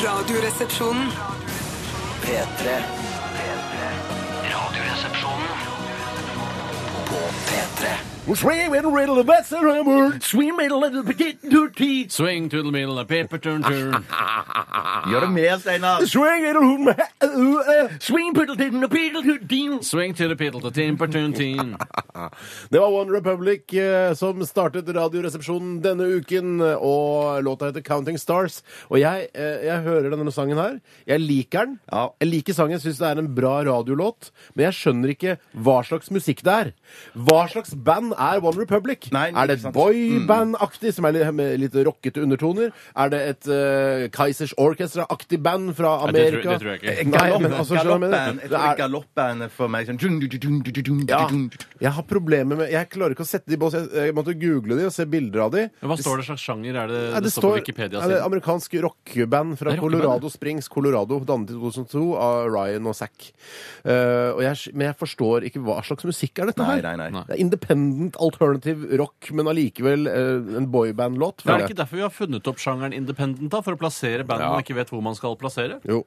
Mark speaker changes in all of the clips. Speaker 1: Radioresepsjonen.
Speaker 2: P3. Radioresepsjonen på P3.
Speaker 3: Swim in the middle of the summer, swim in the little bit dirty.
Speaker 4: Swing to the middle, a paper turn turn.
Speaker 5: Gjør det med, Steinar.
Speaker 3: Swing in the uh, uh, swing piddle diddle piddle to deal.
Speaker 4: Swing to the piddle, to timper turn tin.
Speaker 6: Det var One Republic eh, som startet Radioresepsjonen denne uken, og låta heter Counting Stars. Og jeg, eh, jeg hører denne sangen her. Jeg liker den.
Speaker 5: Ja.
Speaker 6: Jeg liker sangen, syns det er en bra radiolåt, men jeg skjønner ikke hva slags musikk det er. Hva slags band er One Republic?
Speaker 5: Nei,
Speaker 6: er det
Speaker 5: ikke
Speaker 6: et
Speaker 5: sant.
Speaker 6: boyband-aktig, som er litt, med litt rockete undertoner? Er det et eh, Kaizers Orchestra-aktig band fra
Speaker 4: Nei, det tror-
Speaker 6: Amerika?
Speaker 4: det tror jeg ikke.
Speaker 6: Eh, Nei, men altså, skjønner du hva jeg mener?
Speaker 5: Galoppband.
Speaker 6: Det
Speaker 5: Jeg tror
Speaker 6: er-
Speaker 5: galoppband er for meg sånn dun, dun, dun, dun, dun, dun,
Speaker 6: ja,
Speaker 5: dun.
Speaker 6: jeg har problemer med Jeg klarer ikke å sette de i bås. Jeg, jeg måtte google de og se bilder av de.
Speaker 4: Men Hva står det slags sjanger? Er det,
Speaker 6: Ja,
Speaker 4: det, står på
Speaker 6: ja,
Speaker 4: Wikipedia?
Speaker 6: det er
Speaker 4: siden.
Speaker 6: Amerikansk rockeband fra
Speaker 4: Det er rockeband,
Speaker 6: Colorado Springs, Colorado, dannet i 2002 av Ryan og Zack. Eh, og jeg, men jeg forstår ikke hva slags musikk er dette
Speaker 5: Nei,
Speaker 6: her.
Speaker 5: nei, nei.
Speaker 4: Nei.
Speaker 6: Det er independent alternative rock, men allikevel eh, en boyband-låt.
Speaker 4: Men er
Speaker 6: føler
Speaker 4: det
Speaker 6: jeg.
Speaker 4: ikke derfor vi har funnet opp sjangeren independent? da, For å plassere band man ikke vet hvor man skal plassere?
Speaker 6: Jo.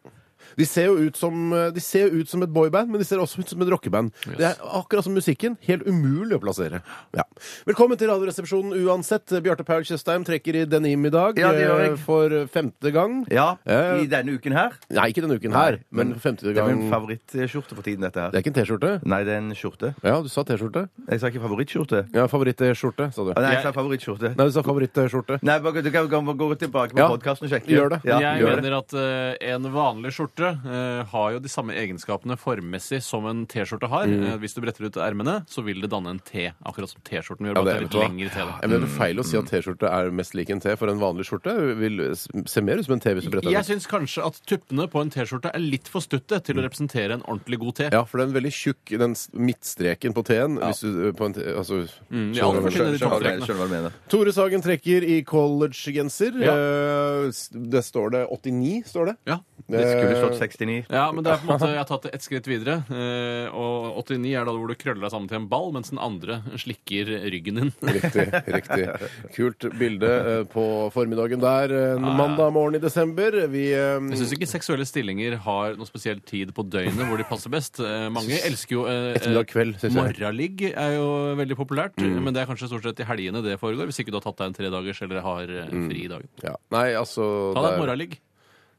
Speaker 6: De ser jo ut som, eh, de ser jo ut som et boyband, men de ser også ut som et rockeband. Det er akkurat som musikken. Helt umulig å plassere. Ja. Velkommen til Radioresepsjonen uansett. Bjarte Paul Tjøstheim trekker i Denim i dag
Speaker 5: Ja, det gjør jeg.
Speaker 6: eh, for femte gang.
Speaker 5: Ja,
Speaker 6: Eh,
Speaker 5: i denne uken her.
Speaker 6: Nei, ikke denne uken her, men femte
Speaker 5: Det er
Speaker 6: gang
Speaker 5: min favorittskjorte for tiden, dette
Speaker 6: Det
Speaker 5: her.
Speaker 6: er ikke en T-skjorte?
Speaker 5: Nei, det er en skjorte.
Speaker 6: Ja, du sa T-skjorte.
Speaker 5: Jeg sa ikke favorittskjorte.
Speaker 6: Ja, favoritt-T-skjorte, sa du.
Speaker 5: Å, Nei,
Speaker 4: Jeg-
Speaker 5: jeg sa favorittskjorte.
Speaker 6: Nei, du sa favoritt-T-skjorte.
Speaker 5: Nei, bare, du kan kan bare gå tilbake på
Speaker 6: Ja.
Speaker 5: podkasten og sjekke.
Speaker 6: Gjør det.
Speaker 5: Ja,
Speaker 4: jeg
Speaker 5: gjør det.
Speaker 4: mener at eh, en vanlig skjorte eh, har jo de samme egenskapene formmessig som en T-skjorte har.
Speaker 6: Mm.
Speaker 4: Eh, hvis du bretter ut ermene, så vil det danne en T, akkurat som T-skjorten gjør.
Speaker 6: Ja,
Speaker 4: bare
Speaker 6: det- vet
Speaker 4: at det er
Speaker 6: du
Speaker 4: litt
Speaker 6: hva?
Speaker 4: lengre
Speaker 6: Jeg mener, det er feil å si at T-skjorte er mest lik en T, for en vanlig skjorte vil se mer ut som en T hvis du
Speaker 4: T
Speaker 6: bretter
Speaker 4: da.
Speaker 6: den.
Speaker 4: Jeg syns kanskje at tuppene på en T-skjorte er litt for stutte til å representere en ordentlig god T.
Speaker 6: Mm. Ja, for det er en veldig tjukk den s- midtstreken på T-en. hvis du, eh, på en T- altså,
Speaker 5: Mm,
Speaker 4: de
Speaker 6: skjønner
Speaker 4: aller
Speaker 6: hva jeg skjønner.
Speaker 4: forskjellige
Speaker 5: Skjønner hva jeg- skjønner hva du mener.
Speaker 6: Tore Sagen trekker i collegegenser.
Speaker 4: Ja.
Speaker 6: Eh, s- det står det 89, står det. Eh,
Speaker 4: Ja.
Speaker 5: Det skulle stått 69.
Speaker 4: Ja, men det er på en måte, jeg har tatt det ett skritt videre. eh, Og 89 er da hvor du krøller deg sammen til en ball, mens den andre slikker ryggen din.
Speaker 6: Riktig. riktig. Kult bilde eh, på formiddagen der eh, en
Speaker 5: Ah,
Speaker 6: mandag morgen i desember. Vi eh,
Speaker 4: Jeg syns ikke seksuelle stillinger har noe spesiell tid på døgnet hvor de passer best. Eh, Mange elsker jo eh,
Speaker 6: Ettermiddag kveld, synes jeg. Mm.
Speaker 4: Morgenligg er jo veldig populært, men det er kanskje stort sett i helgene det foregår, hvis ikke du har tatt deg en tredagers eller har eh, fri i dag.
Speaker 6: ja. Nei, altså
Speaker 4: Ta deg et
Speaker 6: det er-
Speaker 4: morgenligg.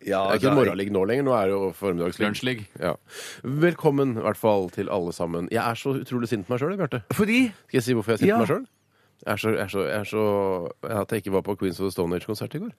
Speaker 5: Ja,
Speaker 6: Det er ikke en morgenligg nå lenger. Nå er det jo formiddagsligg.
Speaker 4: Lunsjligg.
Speaker 6: Ja. Velkommen i hvert fall til alle sammen. Jeg er så utrolig sint på meg sjøl, Bjarte.
Speaker 5: Fordi
Speaker 6: Skal jeg si hvorfor jeg er sint på
Speaker 5: Ja.
Speaker 6: meg sjøl? Jeg er så, jeg er så, jeg er så At jeg ikke var på Queens of the Stone Age-konsert i går.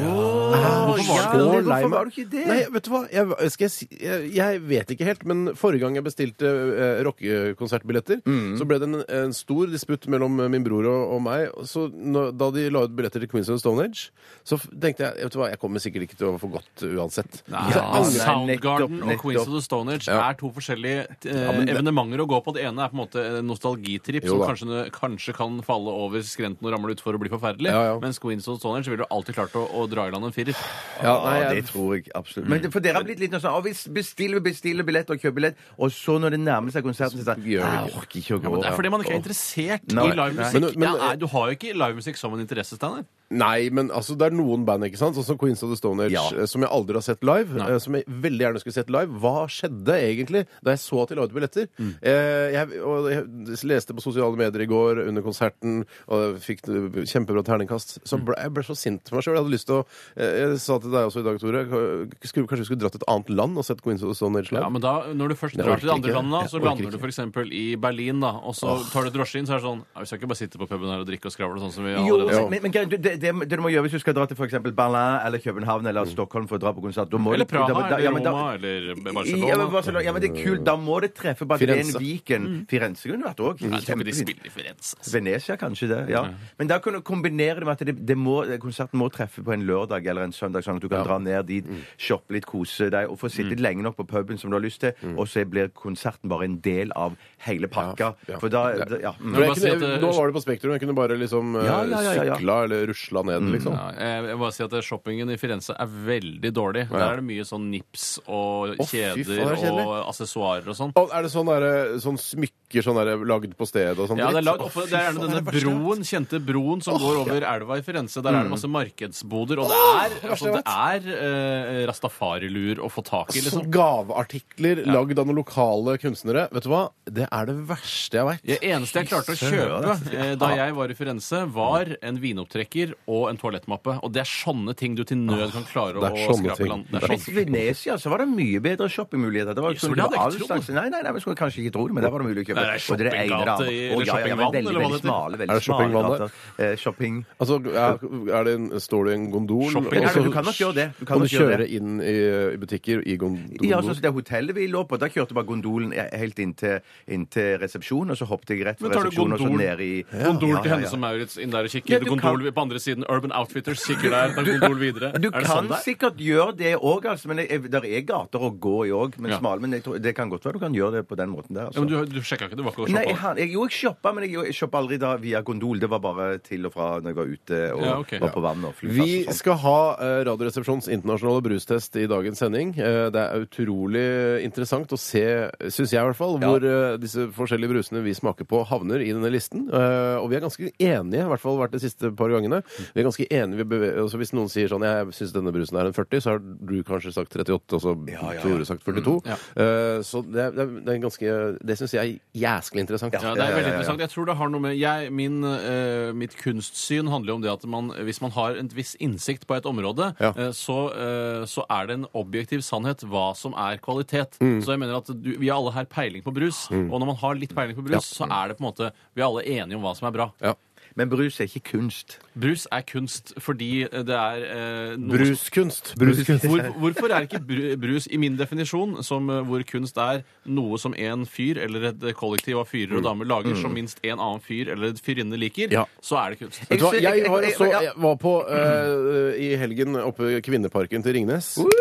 Speaker 5: Hvorfor var
Speaker 6: Så
Speaker 5: du-
Speaker 6: lei
Speaker 5: Hvorfor
Speaker 6: meg.
Speaker 5: var du ikke det?
Speaker 6: Nei, vet du hva? Jeg, skal jeg, si, jeg, jeg vet ikke helt, men forrige gang jeg bestilte eh, rockekonsertbilletter, så ble det en, en stor disputt mellom eh, min bror og, og meg. Og Så når, da de la ut billetter til Queens of the Stone Age, så f- tenkte jeg vet du hva, jeg kommer sikkert ikke til å få godt uansett.
Speaker 4: Nei,
Speaker 6: Så jeg
Speaker 5: Ja,
Speaker 6: angrer-
Speaker 5: nei,
Speaker 4: Soundgarden
Speaker 5: nettopp,
Speaker 4: og Queens of
Speaker 5: nettopp.
Speaker 4: the Stone Age
Speaker 6: Ja.
Speaker 4: er to forskjellige eh,
Speaker 6: men det-
Speaker 4: evenementer å gå på. Det ene er på en måte en nostalgitripp
Speaker 6: Jo
Speaker 4: som
Speaker 6: da.
Speaker 4: kanskje, kanskje kan falle over skrenten og ramle utfor og bli forferdelig.
Speaker 6: Ja, ja.
Speaker 4: Mens Queens of the Stone Age ville du alltid klart å, å dra i land en firer.
Speaker 6: ja, nei,
Speaker 5: Ja,
Speaker 6: jeg,
Speaker 5: det tror jeg absolutt. Men det- for dere har blitt litt noe sånn «Å, vi bestiller, bestiller billett og kjøper billett, og så når det nærmer seg konserten, så sier jeg
Speaker 6: Gjør vi
Speaker 5: jeg orker ikke å gå.
Speaker 4: Men det er fordi man ikke er interessert
Speaker 5: Nei.
Speaker 4: i livemusikk.
Speaker 6: Nei. Men- men-
Speaker 4: ja, nei, du har jo ikke livemusikk som en interesse, Steinar.
Speaker 6: Nei, men altså, det er noen band, ikke sant? Sånn som Queens of the Stone Age,
Speaker 5: Ja.
Speaker 6: eh, som jeg aldri har sett live. eh, Som jeg veldig gjerne skulle sett live. Hva skjedde egentlig da jeg så at de la ut billetter? Eh, jeg, og jeg leste på sosiale medier i går under konserten og fikk eh, kjempebra terningkast. Så ble, jeg ble så sint på meg sjøl. Jeg hadde lyst til å eh, Jeg sa til deg også i dag, Tore, k- skulle, kanskje vi skulle dratt til et annet land og sett Queens of the Stone Age live?
Speaker 4: Ja, men da, Når du først
Speaker 6: Jeg
Speaker 4: drar
Speaker 6: orker
Speaker 4: til det andre
Speaker 6: ikke.
Speaker 4: landet, da, så
Speaker 6: Jeg orker
Speaker 4: lander du
Speaker 6: ikke.
Speaker 4: f.eks. i Berlin, da, og så tar du drosje inn, så er det sånn ja, Vi skal ikke bare sitte på puben her og drikke og skravle, sånn som vi allerede
Speaker 5: Jo, men, men Geir, du- det, det, det du må gjøre hvis du skal dra til f.eks. Berlin eller København eller Stockholm for å dra på konsert da må
Speaker 4: Mm. Eller
Speaker 5: du- da-
Speaker 4: Praha,
Speaker 5: da- ja,
Speaker 4: eller
Speaker 5: men da-
Speaker 4: Roma, eller
Speaker 5: Ja, men
Speaker 4: Barcelona.
Speaker 5: Barcelona. Ja, men det er kult. Da må det treffe Baden,
Speaker 6: Firenze.
Speaker 5: Viken Firenze kunne det vært òg.
Speaker 4: Nei, Jeg tror ikke de spiller i Firenze. altså.
Speaker 5: Venezia, kanskje det. ja. Men da kan du kombinere det med at det, det må, konserten må treffe på en lørdag eller en søndag, sånn at du kan dra ned dit,
Speaker 4: Mm.
Speaker 5: shoppe litt, kose deg og få sitte lenge nok på puben som du har lyst til,
Speaker 4: Mm.
Speaker 5: og så blir konserten bare en del av hele pakka.
Speaker 6: Ja, ja.
Speaker 5: For da da- ja. mm.
Speaker 6: Men
Speaker 4: Men bare
Speaker 6: jeg kunne,
Speaker 4: si at, eh,
Speaker 6: nå var det på Spektrum. Jeg kunne bare liksom eh,
Speaker 5: Ja, ja, ja, ja, ja.
Speaker 6: sykla eller rusla ned, liksom.
Speaker 4: Ja, jeg vil bare si at shoppingen i Firenze er veldig dårlig. Der er det mye sånn nips og
Speaker 6: Å, fy faen,
Speaker 4: kjeder
Speaker 6: det er kjedelig.
Speaker 4: og aksessoarer og sånn.
Speaker 6: Og er det sånn, derre- sånn blokker sånn der, lagd på stedet og sånn
Speaker 4: Ja, det er,
Speaker 6: dritt.
Speaker 4: lagd
Speaker 6: Å,
Speaker 4: oppå,
Speaker 6: fy
Speaker 4: det er
Speaker 6: faen,
Speaker 4: gjerne
Speaker 6: det
Speaker 4: denne
Speaker 6: verste jeg vet.
Speaker 4: broen, kjente broen som går over elva i Firenze. Der
Speaker 6: Mm.
Speaker 4: er det masse markedsboder, og det er, altså, det er eh, rastafarilur å få tak i,
Speaker 6: Sånn
Speaker 4: liksom.
Speaker 6: gaveartikler lagd av noen lokale kunstnere. Vet du hva? Det er det verste jeg veit.
Speaker 4: Det eneste jeg klarte å kjøpe eh, da jeg var i Firenze, var en vinopptrekker og en toalettmappe. Og det er sånne ting du til nød kan klare
Speaker 6: Det er
Speaker 4: å
Speaker 6: sånne ting.
Speaker 4: skrape land. Det er
Speaker 5: Mens
Speaker 4: sånne.
Speaker 5: i Venezia så var det mye bedre shoppingmuligheter. Det var jo
Speaker 4: Yes, for
Speaker 5: sånn,
Speaker 4: det hadde
Speaker 5: det var all
Speaker 4: jeg ikke
Speaker 5: slags, nei, nei, nei, vi skulle kanskje ikke tro det, men der var det mulig å kjøpe.
Speaker 4: Nei, det er
Speaker 5: Og det ene
Speaker 4: shoppinggate
Speaker 5: det
Speaker 4: i-
Speaker 5: andre.
Speaker 4: eller shoppingvann,
Speaker 5: Å, ja, ja, men veldig,
Speaker 4: eller hva det
Speaker 5: veldig
Speaker 4: heter.
Speaker 5: smale,
Speaker 6: Er det
Speaker 5: veldig smale
Speaker 6: shoppingvann
Speaker 5: gater. Eh, shopping...
Speaker 6: Altså, er- er det en, står du i en gondol
Speaker 4: Shopping.
Speaker 6: og
Speaker 4: Ja,
Speaker 6: så
Speaker 5: du kan nok gjøre det. Du kan
Speaker 6: kan du
Speaker 5: nok gjøre
Speaker 6: kjøre
Speaker 5: det.
Speaker 6: inn i, i butikker i gondolen?
Speaker 5: Ja, sånn
Speaker 4: altså,
Speaker 5: som det hotellet vi lå på, da kjørte bare gondolen helt inntil, inntil resepsjonen, og så hoppet jeg rett fra
Speaker 4: Men tar du
Speaker 5: resepsjonen og så
Speaker 4: gondol-
Speaker 5: ned i
Speaker 4: Gondol
Speaker 5: Ja,
Speaker 4: til
Speaker 5: ja,
Speaker 4: Hennes
Speaker 5: ja.
Speaker 4: og Maurits inn der og
Speaker 5: Ja,
Speaker 4: kikker.
Speaker 5: du
Speaker 4: Gondol
Speaker 5: kan-
Speaker 4: på andre siden. Urban Outfitters kikker der. Ta gondol videre.
Speaker 5: Du
Speaker 4: er det
Speaker 5: kan
Speaker 4: sånn det er?
Speaker 5: sikkert gjøre det òg, altså, men det er gater å gå i òg. Men
Speaker 4: Ja.
Speaker 5: smale, men jeg tror, det kan godt være du kan gjøre det på den måten der.
Speaker 4: Ja,
Speaker 5: Altså.
Speaker 4: men du, du sjekka ikke? Du var ikke og
Speaker 5: Nei, jeg,
Speaker 4: shoppa?
Speaker 5: har- jeg, jo, jeg shoppa, men jeg, jeg shoppa aldri da via gondol. Det var bare til og fra når jeg var ute og
Speaker 4: Ja, ok.
Speaker 5: var på vannet og flyplass.
Speaker 6: Vi
Speaker 4: sånn.
Speaker 5: og sånt.
Speaker 6: skal ha eh, Radioresepsjons internasjonale brustest i dagens sending. Eh, Det er utrolig interessant å se, syns jeg i hvert fall,
Speaker 5: Ja.
Speaker 6: hvor eh, disse forskjellige brusene vi smaker på, havner i denne listen. Eh, Og vi er ganske enige, i hvert fall vært de siste par gangene. Vi er ganske enige, vi beve- altså Hvis noen sier sånn 'jeg syns denne brusen er en 40', så har du kanskje sagt 38, og så Tore sagt 42.
Speaker 4: Mm,
Speaker 6: Eh, Så det er, det er- det er ganske Det syns jeg er jæsklig interessant.
Speaker 4: Ja, det er veldig interessant. Jeg tror det har noe med jeg, min, eh, Mitt kunstsyn handler jo om det at man, hvis man har en viss innsikt på et område,
Speaker 6: Ja.
Speaker 4: eh, så, eh, så er det en objektiv sannhet hva som er kvalitet. Så jeg mener at du, vi har alle her peiling på brus, og når man har litt peiling på brus, så er det på en måte Vi er alle enige om hva som er bra.
Speaker 6: Ja.
Speaker 5: Men brus er ikke kunst.
Speaker 4: Brus er kunst fordi det er eh, noe
Speaker 6: Bruskunst. Bruskunst.
Speaker 4: Hvor, hvorfor er ikke bru- brus, i min definisjon, som eh, hvor kunst er noe som en fyr eller et kollektiv av fyrer og damer lager, som minst en annen fyr eller et fyrinne liker,
Speaker 6: Ja.
Speaker 4: så er det kunst.
Speaker 6: Vet du hva,
Speaker 5: Jeg-
Speaker 6: jeg
Speaker 5: jeg-
Speaker 6: var,
Speaker 4: eh,
Speaker 5: jeg-
Speaker 6: også,
Speaker 5: ja.
Speaker 6: jeg var på eh, i helgen oppe i Kvinneparken til Ringnes. Eh, og-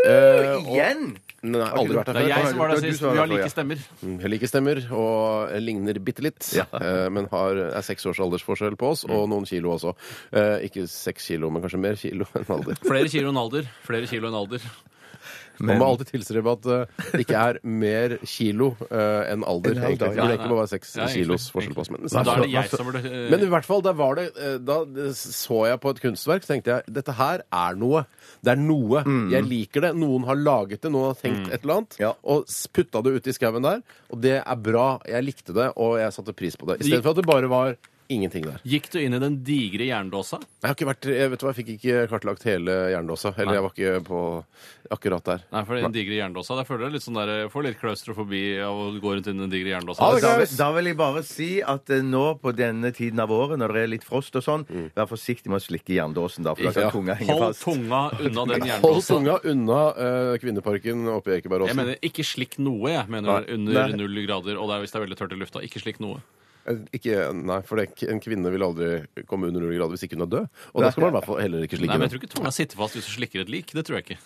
Speaker 5: Igjen!
Speaker 6: Nei, jeg har aldri vært der
Speaker 4: Det er
Speaker 6: før.
Speaker 4: jeg som var
Speaker 5: Det
Speaker 4: der
Speaker 5: var du
Speaker 4: sist.
Speaker 5: som var
Speaker 4: Vi har
Speaker 5: der, ja.
Speaker 4: like stemmer.
Speaker 6: Jeg liker stemmer og jeg ligner bitte litt, eh, men har, er seks års aldersforskjell på oss,
Speaker 4: Mm.
Speaker 6: og noen kilo også. Eh, ikke seks kilo, men kanskje mer kilo enn alder.
Speaker 4: Flere kilo enn alder. Flere kilo enn alder.
Speaker 6: Man må alltid tilstrebe at eh, det ikke er mer kilo eh, enn alder.
Speaker 5: Enn alder,
Speaker 6: egentlig. Det
Speaker 4: ja.
Speaker 6: burde egentlig bare være seks
Speaker 4: Ja, egentlig.
Speaker 6: kilos forskjell på oss. Men,
Speaker 4: Men da er det jeg som burde eh,
Speaker 6: Altså, Men i hvert fall, da, var det, eh, da så jeg på et kunstverk, tenkte jeg dette her er noe. Det er noe. Jeg liker det. Noen har laget det, noen har tenkt et eller annet,
Speaker 5: Ja.
Speaker 6: og s- putta det ut i skauen der. Og det er bra. Jeg likte det, og jeg satte pris på det. I
Speaker 4: Gikk-
Speaker 6: stedet for at det bare var ingenting der.
Speaker 4: Gikk du inn i den digre jerndåsa?
Speaker 6: Jeg har ikke vært, jeg vet du hva, jeg fikk ikke kartlagt hele jerndåsa. Eller jeg var ikke på akkurat der.
Speaker 4: Nei, for den digre jerndåsa, der føler jeg litt sånn der, jeg får litt klaustrofobi av å gå rundt i den digre Altså, jerndåsa.
Speaker 6: Ja, det er
Speaker 5: Da, vil- da vil jeg bare si at eh, nå på denne tiden av året, når det er litt frost og sånn, vær forsiktig med å slikke jerndåsen, da, for da
Speaker 6: Mm. Ja.
Speaker 5: kan tunga henge
Speaker 4: Hold
Speaker 5: fast.
Speaker 4: tunga unna den
Speaker 6: Hold
Speaker 4: jerndåsa.
Speaker 6: tunga unna eh, Kvinneparken oppe i
Speaker 4: Jeg
Speaker 6: Ekebergåsen.
Speaker 4: mener, ikke slikk noe, jeg mener
Speaker 6: Nei.
Speaker 4: under
Speaker 6: Nei.
Speaker 4: null grader. Og det er hvis det er veldig tørt i lufta. Ikke slikk noe.
Speaker 6: Eh, Ikke, nei, for det, er- en kvinne vil aldri komme under null grader hvis ikke hun er død. Og da skal man i hvert fall heller ikke
Speaker 4: Nei,
Speaker 6: slikke
Speaker 4: men
Speaker 6: den.
Speaker 4: jeg tror ikke tunga sitter fast hvis du slikker et lik. Det tror jeg ikke.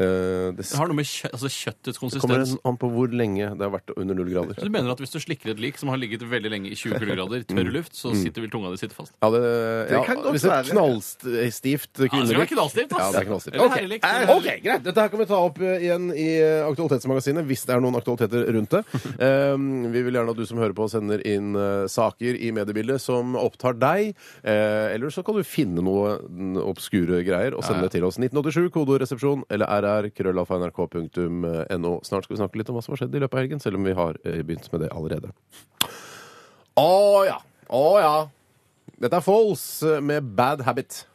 Speaker 6: Eh, det
Speaker 4: Det har noe med kjø altså kjøttets
Speaker 6: kommer
Speaker 4: konsistens
Speaker 6: en- an på hvor lenge det har vært under null
Speaker 4: Så
Speaker 6: grader.
Speaker 4: du mener at hvis du slikker et lik som har ligget veldig lenge i 20 kuldegrader i
Speaker 6: Mm.
Speaker 4: tørr luft, så sitter vel tunga di sitte fast?
Speaker 6: Ja, det, ja,
Speaker 5: Det kan godt
Speaker 6: hvis det er
Speaker 5: være.
Speaker 6: knallstivt
Speaker 4: Ja, det skal være
Speaker 6: kvinnelik
Speaker 4: knallstivt, ass.
Speaker 6: Ja, det er knallstivt.
Speaker 4: Eller
Speaker 6: Ok.
Speaker 4: herlig.
Speaker 6: Eh, ok, greit. Dette her kan vi ta opp eh, igjen i eh, Aktualitetsmagasinet hvis det er noen aktualiteter rundt det. Eh, vi vil gjerne at du som hører på, sender inn eh, saker i mediebildet som opptar deg. Eh, eller så kan du finne noe mm, obskure greier og sende det til oss. 1987, kodoresepsjon eller rr, krøllalfa.nrk.no. Snart skal vi snakke litt om hva som har skjedd i løpet av helgen, selv om vi har eh, begynt med det allerede. Å ja. Å ja. Dette er Foles med Bad Habit.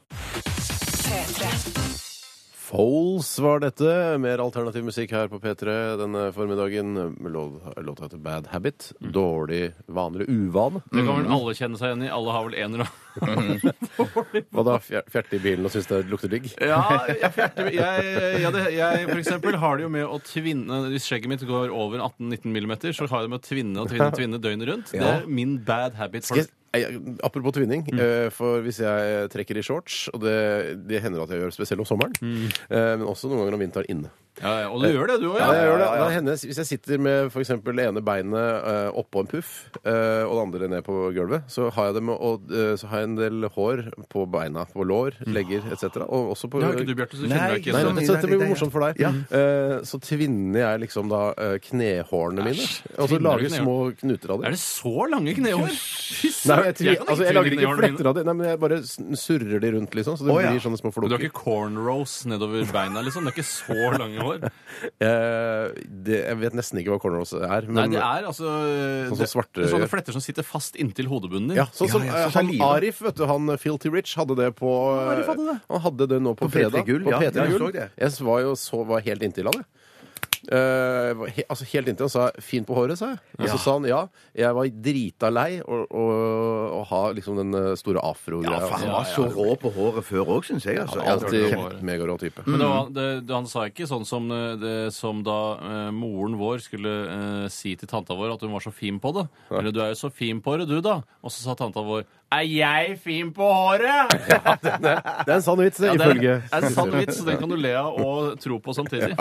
Speaker 6: Foles var dette. Mer alternativ musikk her på P3 denne formiddagen. Lå- Låta heter Bad Habit. Dårlig vane eller uvane.
Speaker 4: Det kan vel alle kjenne seg igjen i. Alle har vel en eller annen
Speaker 6: Hva da? fjer- Fjerte i bilen og syns det lukter digg?
Speaker 4: Ja, jeg, fjerter- jeg, ja, det, jeg for eksempel har det jo med å tvinne Hvis skjegget mitt går over 18-19 millimeter, så har jeg det med å tvinne og tvinne, tvinne døgnet rundt. Det er min bad habit.
Speaker 6: Skal jeg, jeg- apropos tvinning. eh, For hvis Mm. jeg trekker i shorts, og det, det hender at jeg gjør, spesielt om sommeren, eh, men også noen ganger om vinteren inne.
Speaker 4: Ja, ja, og du gjør det, du òg.
Speaker 6: Ja, jeg gjør det.
Speaker 5: ja, ja.
Speaker 6: Det er hennes, hvis jeg sitter med for eksempel det ene beinet eh, oppå en puff eh, og det andre ned på gulvet, så har jeg, det med, og, eh, så har jeg en del hår på beina. På lår, legger etc. Og også på
Speaker 4: Det har ikke du, Sånn Bjarte. Så du
Speaker 5: Nei,
Speaker 4: kjenner deg ikke
Speaker 6: Nei,
Speaker 5: Så
Speaker 6: vet du,
Speaker 4: igjen.
Speaker 5: mye
Speaker 6: så dette blir jo
Speaker 5: der, ja.
Speaker 6: morsomt for deg.
Speaker 5: Ja.
Speaker 6: Eh, Så tvinner jeg liksom da eh, knehårene mine. Og så
Speaker 4: tvinner du
Speaker 6: lager
Speaker 4: knehår?
Speaker 6: små knuter av det.
Speaker 4: Er det så lange knehår?
Speaker 6: Nei, jeg,
Speaker 4: Fy søren, jeg
Speaker 6: tvinner,
Speaker 4: kan
Speaker 6: altså, jeg lager
Speaker 4: tvinne
Speaker 6: ikke
Speaker 4: knehårene mine.
Speaker 6: fletter av det, nei, men jeg bare s- surrer de rundt, liksom. Så det
Speaker 5: Å, ja.
Speaker 6: blir sånne små
Speaker 4: Du har
Speaker 6: floker.
Speaker 4: ikke cornrows nedover beina, liksom? Det er ikke så lange hår.
Speaker 6: Eh, det, jeg vet nesten ikke hva cornrows er. Men,
Speaker 4: Nei, det er altså
Speaker 6: Sånn som
Speaker 4: det-
Speaker 6: svarte
Speaker 4: det er
Speaker 6: gjør.
Speaker 4: Sånne fletter som sitter fast inntil hodebunnen din.
Speaker 6: Ja, sånn som
Speaker 5: Ja,
Speaker 6: eh,
Speaker 5: ja, så
Speaker 6: han
Speaker 5: saliva.
Speaker 6: Arif, vet du, han eh, Filthy Rich, hadde det på eh,
Speaker 4: Arif hadde det.
Speaker 6: Han hadde det nå på,
Speaker 5: På P3
Speaker 6: fredag.
Speaker 5: Gull,
Speaker 6: på
Speaker 5: ja.
Speaker 6: P3
Speaker 5: Ja, jeg
Speaker 6: Gull.
Speaker 5: så det.
Speaker 6: Jeg var jo så, var helt inntil han, jeg. Eh, var he, altså Helt inntil han sa 'fin på håret', sa jeg. Og så sa han ja. Jeg var drita lei å å- å ha liksom den eh, store afro-greia.
Speaker 5: Ja, for han
Speaker 6: Ja,
Speaker 5: var så rå på håret før òg, syns jeg. Altså.
Speaker 6: Alltid
Speaker 5: Ja,
Speaker 4: håret.
Speaker 6: megarå type.
Speaker 5: Mm.
Speaker 4: Men det var, det, det, han sa ikke sånn som, eh, det, som da eh, moren vår skulle eh, si til tanta vår at hun var så fin på det. Eller du er jo så fin på det, du da. Og så sa tanta vår Er jeg fin på håret?!
Speaker 6: Det er en sann vits, det,
Speaker 4: Ja, det er,
Speaker 6: ifølge
Speaker 4: er en sann vits, så den kan du le av og tro på samtidig.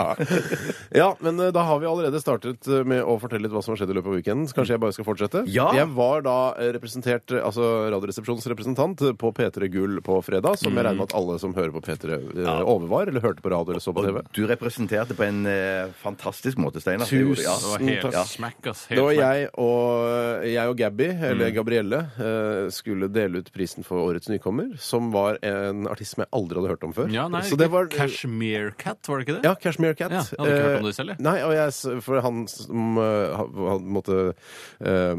Speaker 6: Ja, men eh, da har vi allerede startet eh, med å fortelle litt hva som har skjedd i løpet av weekenden. Så kanskje jeg bare skal fortsette?
Speaker 5: Ja.
Speaker 6: Jeg var da eh, representert, eh, altså Radioresepsjonens representant eh, på P3 Gull på fredag, som jeg regner med at alle som hører på P3 eh, overvar, eller hørte på radio eller så på TV.
Speaker 5: Og du representerte på en eh, fantastisk måte, Steinar.
Speaker 6: Tusen
Speaker 5: Ja.
Speaker 4: Det var
Speaker 6: takk.
Speaker 4: helt smack, ass. Helt
Speaker 6: Det var
Speaker 4: smack.
Speaker 6: jeg og, eh, jeg og Gabby, eller Gabrielle, eh, skulle dele ut prisen for Årets nykommer, som var en artist som jeg aldri hadde hørt om før.
Speaker 4: Ja, nei,
Speaker 6: så det var eh,
Speaker 4: Cashmere Cat, var det ikke det?
Speaker 6: Ja, Cashmere Cat.
Speaker 4: Ja, jeg hadde ikke hørt om det selv, jeg.
Speaker 6: Eh, Nei, og jeg, s- for han som eh, ha- han måtte, eh,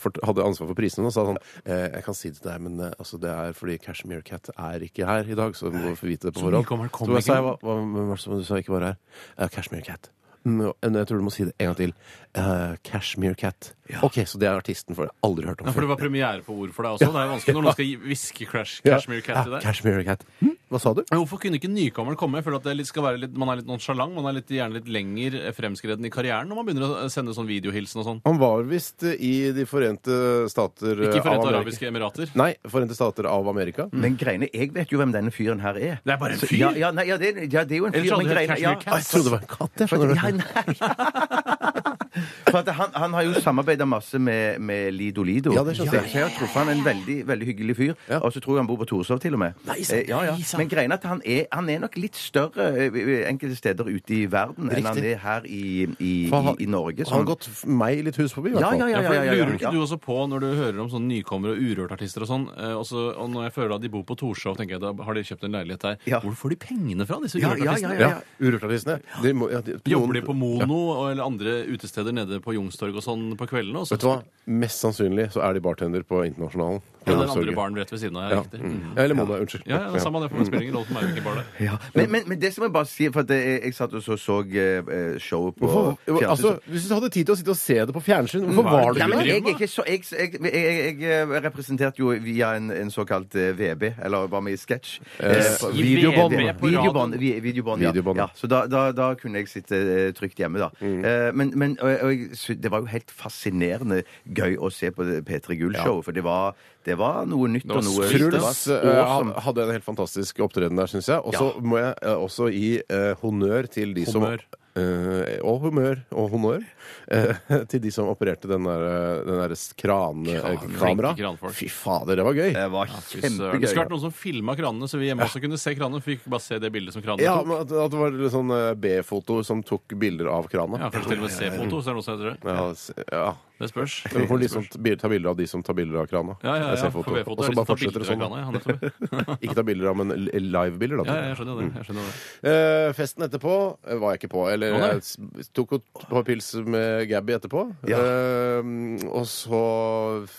Speaker 6: fort- hadde ansvar for prisene, nå, sa sånn eh, Jeg kan si det til deg, men eh, altså, det er fordi Cashmere Cat er ikke her i dag, så du må få vite det på
Speaker 4: Så
Speaker 6: forhånd.
Speaker 4: nykommeren kom
Speaker 6: Så jeg
Speaker 4: ikke.
Speaker 6: sa, hva, hva, hvem var det som du sa ikke var her? Eh, Cashmere Cat. Mm, men jeg tror du må si det en gang til. Eh, Cashmere Cat. OK, så det er artisten for det. Aldri hørt om
Speaker 4: Ja, for det var premiere på ord for deg også. Det er jo vanskelig når noen skal gi- hviske Crash, Cashmere Cat til
Speaker 6: Ja,
Speaker 4: deg.
Speaker 6: Cashmere Cat. Hm? Hva sa du?
Speaker 4: Men Hvorfor kunne ikke nykommeren komme? Jeg føler at det er litt, skal være litt, Man er litt nonchalant. Man er litt, gjerne litt lenger fremskreden i karrieren når man begynner å sende sånn videohilsen og sånn.
Speaker 6: Han var visst eh, i De forente stater eh, av
Speaker 4: Ikke Forente
Speaker 6: Amerika.
Speaker 4: arabiske emirater.
Speaker 6: Nei, Forente stater av Amerika.
Speaker 5: Men greiene, jeg vet jo hvem denne fyren her er.
Speaker 4: Mm. Det er bare en
Speaker 5: Så-
Speaker 4: fyr?
Speaker 5: Ja, ja, nei, ja, det, er- ja, det er jo en
Speaker 4: Ellers
Speaker 5: fyr.
Speaker 4: hadde
Speaker 5: Men
Speaker 4: det hett
Speaker 5: greiene, ja,
Speaker 4: Cashmere Cat.
Speaker 6: Å, jeg trodde det var en katt. Jeg,
Speaker 5: For,
Speaker 6: skjønner du.
Speaker 5: ja, nei. For at han, han har jo samarbeida masse med, med Lido Lido.
Speaker 6: Ja, det skjønte jeg.
Speaker 5: Så jeg har truffet han en veldig, veldig hyggelig fyr.
Speaker 6: Ja.
Speaker 5: Og så tror jeg han bor på Torshov, til og med.
Speaker 6: Nei, sant,
Speaker 5: Eh, ja, ja.
Speaker 6: nei, sant.
Speaker 5: Men greia er at han er, han er nok litt større eh, enkelte steder ute i verden
Speaker 6: Riktig.
Speaker 5: enn han er her i, i,
Speaker 6: For
Speaker 5: i,
Speaker 6: han-
Speaker 5: i Norge.
Speaker 6: Han har gått f- meg litt hus forbi, i hvert
Speaker 5: Ja,
Speaker 6: fall.
Speaker 5: ja, ja.
Speaker 4: Ja, for
Speaker 5: ja, ja.
Speaker 4: Lurer ikke du også på, når du hører om sånne nykommere og urørtartister og sånn, eh, og, så, og når jeg føler at de bor på Torshov, tenker jeg da har de kjøpt en leilighet der.
Speaker 5: Ja.
Speaker 4: Hvor får de pengene fra, disse
Speaker 5: Ja, ja, ja,
Speaker 4: urørtartistene?
Speaker 6: Ja, Urørtartistene. De må- ja, de-
Speaker 4: Jobber de
Speaker 6: noen-
Speaker 4: på Mono og- eller andre utesteder nede på Youngstorg og sånn på kveldene? Og så
Speaker 6: Vet du hva? Mest sannsynlig så er de bartender på Internasjonalen.
Speaker 4: Ja, den andre baren rett ved siden av.
Speaker 6: Ja.
Speaker 4: Ja. Riktig.
Speaker 6: Mm. Ja, Eller Mono, unnskyld.
Speaker 4: Ja, ja, det er samme det, for det spiller ingen rolle for meg hvilken bar det er.
Speaker 5: Ja. Men, men, men det som jeg bare sier, for at jeg, jeg satt og så, så eh, showet på
Speaker 6: Hvorfor,
Speaker 5: fjernsyn, så-
Speaker 6: altså, hvis du hadde tid til å sitte og se det på fjernsyn, hvorfor var
Speaker 5: Ja,
Speaker 6: det
Speaker 5: men
Speaker 6: ikke
Speaker 5: jeg,
Speaker 6: det?
Speaker 5: er ikke så, jeg, jeg, jeg, jeg eh, representerte jo via en, en såkalt eh, VB, eller var med i sketsj. Eh, på-
Speaker 4: I
Speaker 5: videobånd.
Speaker 4: VB på
Speaker 5: Videobånd,
Speaker 4: radioen.
Speaker 5: vi- videobånd, ja.
Speaker 6: Videobånd.
Speaker 5: ja. Så da, da, da kunne jeg sitte eh, trygt hjemme, da. Eh, Men, men og, jeg- og jeg, sy- det var jo helt fascinerende gøy å se på det P3 Gull-showet, for det var, det var noe nytt
Speaker 4: var
Speaker 5: og noe
Speaker 4: skummelt.
Speaker 5: det var
Speaker 6: Truls eh, han
Speaker 5: awesome.
Speaker 6: hadde en helt fantastisk opptreden der, syns jeg. Og så må jeg eh, også gi eh, honnør til de som
Speaker 4: Honnør.
Speaker 6: eh, og humør og honnør eh, til de som opererte den der, eh, den der
Speaker 4: Kran- flinke
Speaker 6: krankameraet.
Speaker 4: kranfolk.
Speaker 6: Fy fader, det var gøy!
Speaker 5: Det var
Speaker 4: Fy søren.
Speaker 5: kjempegøy.
Speaker 4: Det skulle vært noen som filma kranene, så vi hjemme også kunne se kranene. For vi fikk bare se det bildet som kranene
Speaker 6: Ja,
Speaker 4: tok.
Speaker 6: men at, at det var litt sånn eh, B-foto som tok bilder av krana.
Speaker 4: Ja, Kanskje til og med C-foto, så er det noe som heter det.
Speaker 6: Ja, s- ja.
Speaker 4: Det spørs.
Speaker 6: Du får liksom ta ta bilder av de som tar bilder av krana.
Speaker 4: Ja, ja,
Speaker 6: Det er
Speaker 4: ja.
Speaker 6: C-foto.
Speaker 4: For
Speaker 6: Og
Speaker 4: B-foto er
Speaker 6: så
Speaker 4: liksom
Speaker 6: bare
Speaker 4: ta
Speaker 6: fortsetter
Speaker 4: bilder
Speaker 6: det sånn.
Speaker 4: av krana. Ja, nettopp.
Speaker 6: Ikke ta bilder av, men l- live-bilder. da,
Speaker 4: ja,
Speaker 6: tror
Speaker 4: ja,
Speaker 6: jeg.
Speaker 4: jeg skjønner det. Jeg skjønner det.
Speaker 6: Eh, festen etterpå eh, var jeg ikke på. Eller
Speaker 4: Å, nei.
Speaker 6: jeg s- tok og t- på pils med Gabby etterpå.
Speaker 5: Ja.
Speaker 6: Eh, og så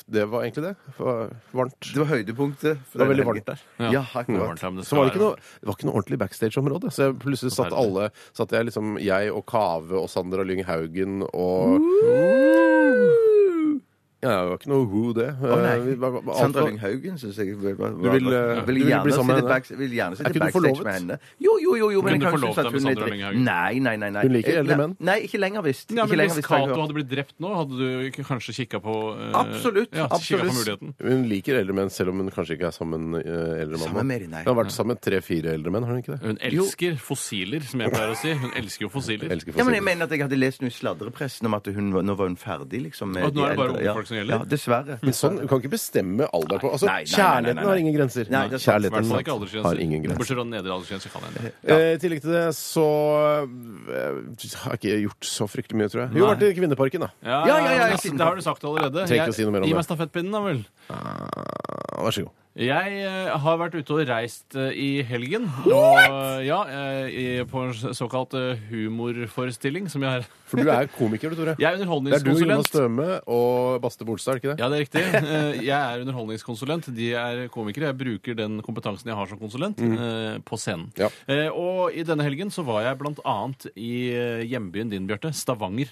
Speaker 6: Det var egentlig det. Det var varmt.
Speaker 5: Det var høydepunktet.
Speaker 6: Det var
Speaker 5: for denne
Speaker 6: veldig varmt der. Mm.
Speaker 5: helgen. Ja,
Speaker 4: Det var
Speaker 5: akkurat.
Speaker 4: varmt her, men det
Speaker 6: Så
Speaker 4: skal
Speaker 6: var det, ikke
Speaker 4: være-
Speaker 6: noe, det var ikke noe ordentlig backstage-område. Så jeg plutselig satt alle Satt jeg liksom jeg og Kave og Sandra Lyng Haugen og Ja, det var ikke noe who, det. Eh, vi var- var-
Speaker 5: Sandra Lyng Haugen syns jeg vil, var,
Speaker 6: Du vil, eh, du vil bli
Speaker 5: gjerne
Speaker 6: sammen med henne?
Speaker 5: sitte back- vil gjerne sitte
Speaker 6: Er ikke du
Speaker 5: backstage
Speaker 6: forlovet?
Speaker 5: med henne. Jo, jo, jo, jo
Speaker 4: Kunne
Speaker 5: men jeg
Speaker 4: du
Speaker 5: kan
Speaker 4: forlovet
Speaker 5: synes at
Speaker 4: deg
Speaker 5: hun
Speaker 4: med
Speaker 5: er
Speaker 4: Sandra Lyng
Speaker 5: dritt.
Speaker 4: Haugen?
Speaker 5: Nei, nei, nei. nei.
Speaker 6: Hun liker
Speaker 5: Eh,
Speaker 6: eldre
Speaker 5: nei,
Speaker 6: menn.
Speaker 5: Nei, ikke lenger visst.
Speaker 4: Ja,
Speaker 5: Ikke
Speaker 4: men
Speaker 5: lenger
Speaker 4: Hvis
Speaker 5: visst, har jeg
Speaker 4: Cato
Speaker 5: hørt.
Speaker 4: hadde blitt drept nå, hadde du ikke kanskje kikka på eh,
Speaker 5: Absolutt,
Speaker 4: Ja, kikket på
Speaker 5: absolutt.
Speaker 4: muligheten.
Speaker 6: Hun liker eldre menn, selv om hun kanskje ikke er sammen med eh, eldre
Speaker 5: Sammen
Speaker 6: mann.
Speaker 5: med de, nei.
Speaker 6: Hun har vært sammen med tre-fire eldre menn, har hun ikke det?
Speaker 4: Hun elsker fossiler, som jeg pleier å si. Hun elsker jo fossiler.
Speaker 6: Elsker
Speaker 5: Ja, men jeg
Speaker 6: fossiler.
Speaker 5: mener at jeg hadde lest noe i sladrepressen om at hun var, nå var hun ferdig, liksom. Med
Speaker 4: At nå er det
Speaker 5: de
Speaker 4: bare
Speaker 5: eldre.
Speaker 4: unge folk som gjelder?
Speaker 5: Ja, dessverre.
Speaker 6: Men sånn, Du kan ikke bestemme alder på Altså,
Speaker 5: Nei, nei, nei, nei, nei,
Speaker 6: Kjærligheten
Speaker 5: nei.
Speaker 6: har ingen grenser.
Speaker 5: Nei, det er sant. Mm.
Speaker 4: I hvert fall ikke
Speaker 6: Kjærligheten har ingen
Speaker 4: aldersgrenser.
Speaker 6: grenser.
Speaker 4: Bortsett fra nedre aldersgrense kan hende.
Speaker 6: Eh, I tillegg til det så eh, har jeg ikke gjort så fryktelig mye, tror jeg. Jo, vært i Kvinneparken, da.
Speaker 4: Ja,
Speaker 5: Ja, ja, ja, jeg
Speaker 4: men
Speaker 5: sitter-
Speaker 4: Det har du sagt allerede.
Speaker 6: Trenger ikke å si noe mer om
Speaker 4: Gi meg
Speaker 6: det.
Speaker 4: stafettpinnen, da vel.
Speaker 6: Ah, Vær så god.
Speaker 4: Jeg eh, har vært ute og reist eh, i helgen. Og, ja, eh, i- På en såkalt eh, humorforestilling som jeg har.
Speaker 6: For du er komiker, du, Tore.
Speaker 4: Jeg er
Speaker 6: Det er du, Jonas
Speaker 4: underholdningskonsulent.
Speaker 6: Støme og Baste Bolstad, er det ikke det?
Speaker 4: Ja, det er riktig. Eh, Jeg er underholdningskonsulent. De er komikere. Jeg bruker den kompetansen jeg har som konsulent, eh, på scenen.
Speaker 6: Mhm. Ja.
Speaker 4: Eh, Og i denne helgen så var jeg blant annet i eh, hjembyen din, Bjarte, Stavanger.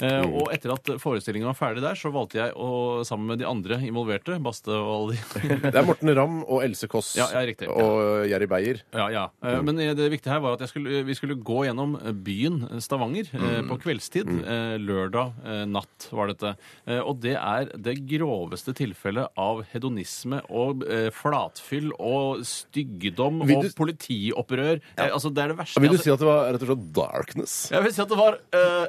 Speaker 4: Eh,
Speaker 6: Mm.
Speaker 4: Og etter at forestillingen var ferdig der, så valgte jeg å, sammen med de andre involverte, Baste og alle de
Speaker 6: Det er Morten Ramm og Else Kåss
Speaker 4: Ja, ja, riktig.
Speaker 6: og Jerry Beyer.
Speaker 4: Ja, ja.
Speaker 6: Mm.
Speaker 4: Eh, Men eh, det viktige her var at jeg skulle, vi skulle gå gjennom eh, byen eh, Stavanger eh,
Speaker 6: Mm.
Speaker 4: på kveldstid. Eh, Lørdag eh, natt var dette. Eh, Og det er det groveste tilfellet av hedonisme og eh, flatfyll og styggedom
Speaker 6: Vil
Speaker 4: og
Speaker 6: du-
Speaker 4: politiopprør. Eh, Altså, det er det verste.
Speaker 6: Vil du
Speaker 4: altså.
Speaker 6: si at det var rett og slett darkness?
Speaker 4: Jeg vil si at det var eh,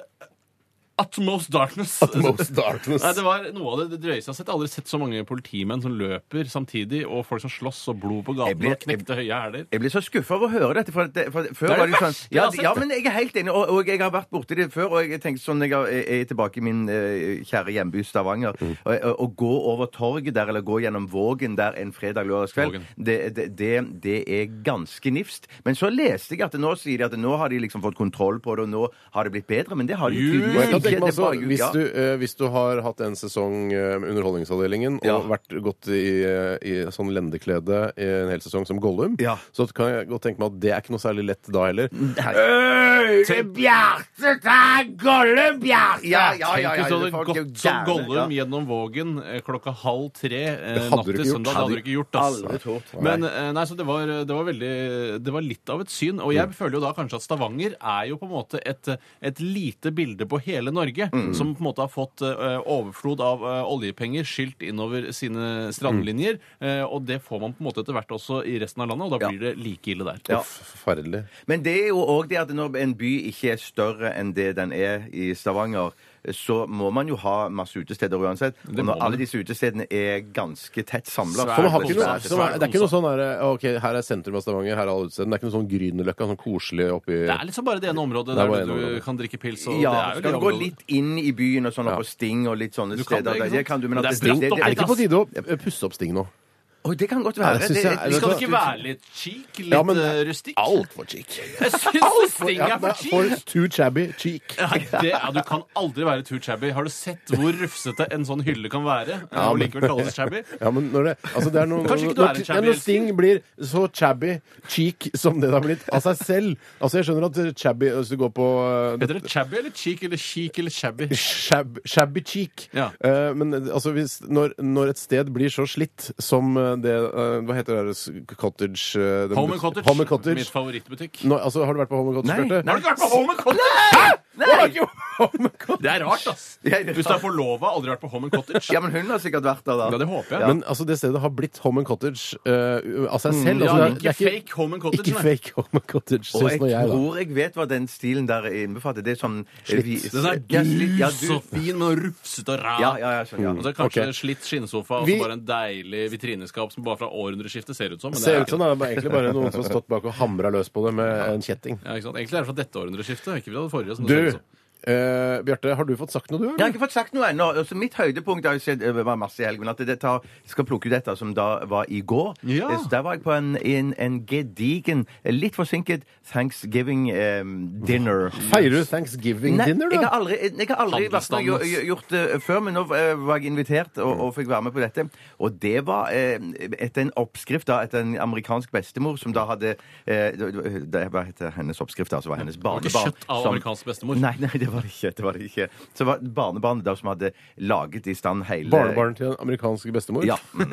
Speaker 4: utmost darkness.
Speaker 6: Most darkness.
Speaker 4: Nei, det var noe av det, det drøyeste jeg har sett. Jeg har aldri sett så mange politimenn som løper samtidig, og folk som slåss, og blod på
Speaker 5: Jeg ble-
Speaker 4: gaten, og knekte høye hæler.
Speaker 5: Jeg blir så skuffa over å høre dette. For, at det, for at før
Speaker 4: Det er
Speaker 5: var
Speaker 4: det
Speaker 5: det jo sånn
Speaker 4: verste jeg
Speaker 5: ja,
Speaker 4: har sett.
Speaker 5: ja, men jeg er helt enig, og, og jeg har vært borti det før. Og jeg tenkte sånn, jeg er- jeg er tilbake i min eh, kjære hjemby Stavanger.
Speaker 4: Mm.
Speaker 5: Og, og, og gå over torget der, eller gå gjennom Vågen der en fredag lørdagskveld,
Speaker 4: Vågen.
Speaker 5: det, det, det, det er ganske nifst. Men så leste jeg at nå sier de at nå har de liksom fått kontroll på det, og nå har det blitt bedre. Men det har de
Speaker 4: Ljug!
Speaker 6: Og jeg
Speaker 5: tydeligvis
Speaker 6: kan tenke meg
Speaker 5: ikke. Det er
Speaker 6: også,
Speaker 5: bare ljug,
Speaker 6: hvis,
Speaker 5: ja.
Speaker 6: du, eh, hvis du har hatt en sesong eh, med Underholdningsavdelingen
Speaker 5: Ja.
Speaker 6: og vært gått i, eh, i sånn lendeklede i en hel sesong som Gollum,
Speaker 5: Ja.
Speaker 6: så kan jeg godt tenke meg at det er ikke noe særlig lett da heller.
Speaker 5: Bjarte, ta Gollum, Bjarte! Ja, ja, ja,
Speaker 4: Tenk
Speaker 5: ja,
Speaker 4: hvis du hadde
Speaker 5: folk er jo
Speaker 4: gått som
Speaker 5: gærne,
Speaker 4: Gollum
Speaker 5: ja.
Speaker 4: gjennom Vågen eh, klokka halv tre eh,
Speaker 6: hadde
Speaker 4: natt
Speaker 6: du
Speaker 4: til
Speaker 6: ikke gjort.
Speaker 4: søndag. Det hadde du ikke gjort, ass.
Speaker 5: Aldri tort.
Speaker 4: Men eh, nei, så det var, det var veldig Det var litt av et syn. Og
Speaker 6: Mm.
Speaker 4: jeg føler jo da kanskje at Stavanger er jo på en måte et, et lite bilde på hele Norge,
Speaker 6: Mm.
Speaker 4: som på en måte har fått eh, overflod av eh, oljepenger skylt innover sine strandlinjer.
Speaker 6: Mm.
Speaker 4: Eh, og det får man på en måte etter hvert også i resten av landet, og da
Speaker 5: Ja.
Speaker 4: blir det like ille der.
Speaker 5: Ja.
Speaker 6: Uff, Eh, Forferdelig.
Speaker 5: Men det er jo òg det at når en by ikke er større enn det den er i Stavanger, så må man jo ha masse utesteder uansett. Og
Speaker 4: må
Speaker 5: når
Speaker 4: man.
Speaker 5: alle disse utestedene er ganske tett
Speaker 4: Så
Speaker 5: samla
Speaker 6: For man
Speaker 4: det
Speaker 6: har ikke noe,
Speaker 4: konsert,
Speaker 6: så man, det er ikke noe
Speaker 4: konsert.
Speaker 6: sånn her, ok, her er sentrum av Stavanger, her er alle utestedene. Det er ikke noe sånn Grünerløkka, sånn koselig oppi
Speaker 4: Det er liksom bare det ene området
Speaker 6: Det er
Speaker 4: der
Speaker 6: bare
Speaker 4: du
Speaker 6: ene området.
Speaker 4: kan drikke pils. Og
Speaker 5: ja,
Speaker 4: det er jo
Speaker 5: skal
Speaker 4: det
Speaker 5: du gå
Speaker 4: området.
Speaker 5: litt inn i byen og sånn,
Speaker 6: Ja.
Speaker 5: og på Sting og litt sånne
Speaker 4: Du kan
Speaker 5: steder.
Speaker 4: det, ikke
Speaker 5: der. Det
Speaker 4: sant?
Speaker 5: kan du, men
Speaker 4: Men det
Speaker 5: at
Speaker 4: er
Speaker 5: det,
Speaker 4: stramt opp,
Speaker 6: Er det
Speaker 5: det,
Speaker 6: ikke på tide å eh, pusse opp Sting nå?
Speaker 5: Oi, det kan godt
Speaker 6: Ja,
Speaker 5: være.
Speaker 6: det synes jeg-
Speaker 4: Vi skal
Speaker 6: Vet du
Speaker 4: ikke
Speaker 6: hva?
Speaker 4: være litt chic, litt
Speaker 6: Ja, men-
Speaker 4: eh, rustikk?
Speaker 6: Altfor chic.
Speaker 4: Jeg syns Sting
Speaker 6: Ja,
Speaker 4: er
Speaker 6: det
Speaker 4: for
Speaker 6: er
Speaker 4: chic!
Speaker 6: for too chabby cheek.
Speaker 4: Nei, det, ja, du kan aldri være too shabby. Har du sett hvor rufsete en sånn hylle kan være?
Speaker 6: Ja,
Speaker 4: og
Speaker 6: men-
Speaker 4: likevel kalles shabby?
Speaker 6: Ja, men når det, altså det er noe,
Speaker 4: Kanskje ikke du
Speaker 6: når-
Speaker 4: er en
Speaker 6: når-
Speaker 4: shabby
Speaker 6: Når
Speaker 4: elsker.
Speaker 6: Sting blir så chabby cheek som det det har blitt av seg selv Altså, jeg skjønner at eh, chabby Hvis du går på eh,
Speaker 4: Heter det shabby eller cheek eller chic eller shabby?
Speaker 6: Shab, shabby cheek.
Speaker 4: Ja.
Speaker 6: Eh, men eh, altså, hvis, når, når et sted blir så slitt som eh, det eh, Hva heter det der s- cottage eh, den-
Speaker 4: Home and Cottage.
Speaker 6: Home and Cottage.
Speaker 4: Mitt favorittbutikk.
Speaker 6: Nå, altså, har du vært på Home and Cottage,
Speaker 5: Nei,
Speaker 6: Bjarte?
Speaker 5: nei.
Speaker 4: Har du ikke vært på Home and Cottage?
Speaker 6: Har du ikke Home and Cottage?
Speaker 4: Det er rart, ass.
Speaker 5: Ja, det er
Speaker 4: Hvis du er forlova, aldri vært på Home and Cottage.
Speaker 5: Ja, men hun har sikkert vært der, da.
Speaker 4: Ja, det håper jeg.
Speaker 6: Men altså, det stedet har blitt Home and Cottage eh, av seg selv.
Speaker 4: Mm. Ja,
Speaker 6: altså, det er-
Speaker 4: ikke
Speaker 6: det er
Speaker 4: fake Home and Cottage.
Speaker 6: ikke
Speaker 4: nei.
Speaker 6: fake Home and Cottage,
Speaker 5: Og
Speaker 6: syns
Speaker 5: jeg
Speaker 6: nå jeg, da.
Speaker 5: tror jeg vet hva den stilen der innbefatter. Det er sånn
Speaker 6: Slitt.
Speaker 5: vi-
Speaker 4: Den er
Speaker 5: Ja, slitt, ja,
Speaker 4: dus og
Speaker 5: du-
Speaker 4: fin, men rufsete og ræl.
Speaker 5: Ja, ja, ja, sånn, ja.
Speaker 4: Og så er det kanskje
Speaker 6: Ok.
Speaker 4: slitt skinnsofa og
Speaker 6: Vi-
Speaker 4: så bare en deilig vitrineskap som bare fra århundreskiftet ser ut som. Men det
Speaker 6: Ser
Speaker 4: er
Speaker 6: ut
Speaker 4: ikke
Speaker 6: som
Speaker 4: det.
Speaker 6: det er bare- egentlig bare noen som har stått bak og hamra løs på det med en kjetting.
Speaker 4: Ja, ikke sant? Egentlig er det fra dette århundreskiftet. Ikke fra det forrige. Som det ser
Speaker 6: Du,
Speaker 4: ut som.
Speaker 6: eh, Bjarte, har du fått sagt noe, du?
Speaker 5: Jeg har
Speaker 6: Eller?
Speaker 5: ikke fått sagt noe ennå. Altså, mitt høydepunkt har jo sett det var masse i helgen. Men at det tar, jeg skal plukke ut dette som da var i går.
Speaker 4: Ja.
Speaker 5: Eh, Så der var jeg på en, en, en gedigen, eh, litt forsinket eh, thanksgiving-dinner.
Speaker 6: Feirer du thanksgiving dinner,
Speaker 5: jeg
Speaker 6: da?
Speaker 5: har aldri, jeg har aldri vært med og gjort,
Speaker 4: Handelsstandens.
Speaker 5: gjort det før, men nå eh, var jeg invitert og, og fikk være med på dette. Og det var eh, etter en oppskrift da, etter en amerikansk bestemor som da hadde eh, det, det, Hva heter hennes oppskrift? da, Altså var hennes
Speaker 4: var ikke
Speaker 5: barnebarn
Speaker 4: kjøtt av
Speaker 5: som-
Speaker 4: amerikansk bestemor.
Speaker 5: Nei, nei, det det var det ikke. det var det ikke. Så var barnebarnet der som hadde laget i stand hele
Speaker 6: Barnebarn til en amerikansk bestemor?
Speaker 5: Ja.
Speaker 6: Men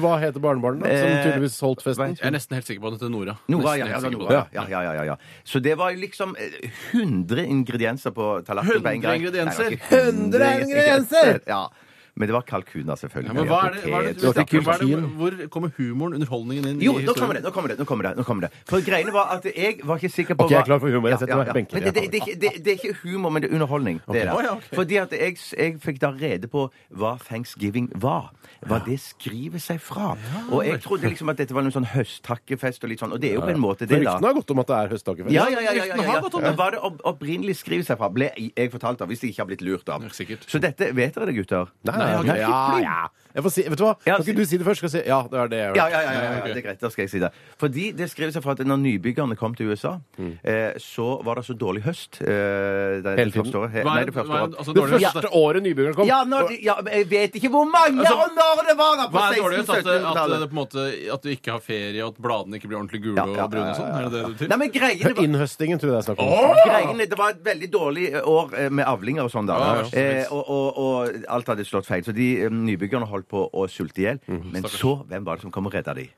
Speaker 6: hva heter barnebarnet, da? Som
Speaker 5: Eh,
Speaker 6: tydeligvis holdt festen?
Speaker 4: Jeg er nesten helt sikker på at det heter Nora. Nesten
Speaker 5: Nora, ja, ja,
Speaker 4: helt
Speaker 5: ja,
Speaker 4: sikker på
Speaker 5: Nora.
Speaker 4: det.
Speaker 5: Ja, ja, ja, ja, ja. Så det var liksom eh, 100 ingredienser på tallerkenen. på en
Speaker 4: 100
Speaker 5: gang.
Speaker 4: ingredienser?
Speaker 5: Nei, det var ikke
Speaker 6: 100 ingredienser!
Speaker 5: Ja. Men det var kalkuner, selvfølgelig.
Speaker 4: Ja, men hva er det, hva er det,
Speaker 6: Det var
Speaker 4: vi
Speaker 5: Potet.
Speaker 6: ikke
Speaker 4: snakker om? hva er det,
Speaker 6: kulkin.
Speaker 4: hvor kommer humoren, underholdningen inn?
Speaker 5: Jo,
Speaker 4: i
Speaker 5: nå
Speaker 4: historien?
Speaker 5: kommer det, nå kommer det, nå kommer det, nå kommer det. For greiene var at jeg var ikke sikker på
Speaker 6: Ok, jeg er klar for humor. Jeg setter meg på benken.
Speaker 5: Men det, det, det, er ikke- det, det er ikke humor, men det er underholdning. Det er det.
Speaker 4: Å, ja, ok.
Speaker 5: Fordi at jeg, jeg fikk da rede på hva thanksgiving var. Hva det skriver seg fra. Og jeg trodde liksom at dette var noen sånn høsttakkefest og litt sånn, og det er jo på en måte
Speaker 6: Men
Speaker 5: det, da.
Speaker 6: ryktene har gått om at det er høsttakkefest.
Speaker 5: Ja, ja, ja, ja, ja,
Speaker 4: Ryktene har gått om
Speaker 5: ja.
Speaker 4: det.
Speaker 5: Hva det opp- opprinnelig skriver seg fra, ble jeg fortalt av, hvis jeg ikke har blitt lurt av.
Speaker 4: Ja, sikkert.
Speaker 5: Så dette vet dere det, gutter?
Speaker 6: Nei, nei, ok.
Speaker 5: Nei,
Speaker 6: ja, ja. Jeg får si, vet du hva?
Speaker 5: Ja,
Speaker 6: Kan
Speaker 5: si-
Speaker 6: ikke du si det først? Skal jeg si, ja, det er det. jeg
Speaker 5: Ja,
Speaker 6: gjør.
Speaker 5: ja, ja, ja, ja, det er greit, da skal jeg si det. Fordi det skrev seg fra at når nybyggerne kom til USA,
Speaker 4: Mm.
Speaker 5: eh, så var det så dårlig høst. Eh, det,
Speaker 6: Hele
Speaker 5: det første
Speaker 6: tiden?
Speaker 5: året. He-
Speaker 4: Hva
Speaker 5: Nei,
Speaker 4: er,
Speaker 5: det første
Speaker 4: hva er,
Speaker 5: året.
Speaker 4: altså,
Speaker 6: Det
Speaker 4: dårlig høst,
Speaker 6: første året nybyggerne kom.
Speaker 5: Ja, når de, ja, men jeg vet ikke hvor mange
Speaker 4: Altså,
Speaker 5: og når det var da på
Speaker 4: Hva er dårligst? At, det- at, det
Speaker 5: 1600-tallet.
Speaker 4: på en måte, at du ikke har ferie, og at bladene ikke blir ordentlig gule
Speaker 5: Ja, ja, ja,
Speaker 4: og brune og sånn? Er det det du
Speaker 5: Nei,
Speaker 4: til?
Speaker 5: men greiene var
Speaker 6: Innhøstingen tror jeg det er snakk om.
Speaker 5: Greiene, det var et veldig dårlig år eh, med avlinger og sånn, da.
Speaker 4: Ja, ja.
Speaker 5: eh, og, og, og alt hadde slått feil. Så de eh, nybyggerne holdt på å sulte i hjel.
Speaker 6: Mhm.
Speaker 5: Men så, hvem var det som kom og redda de?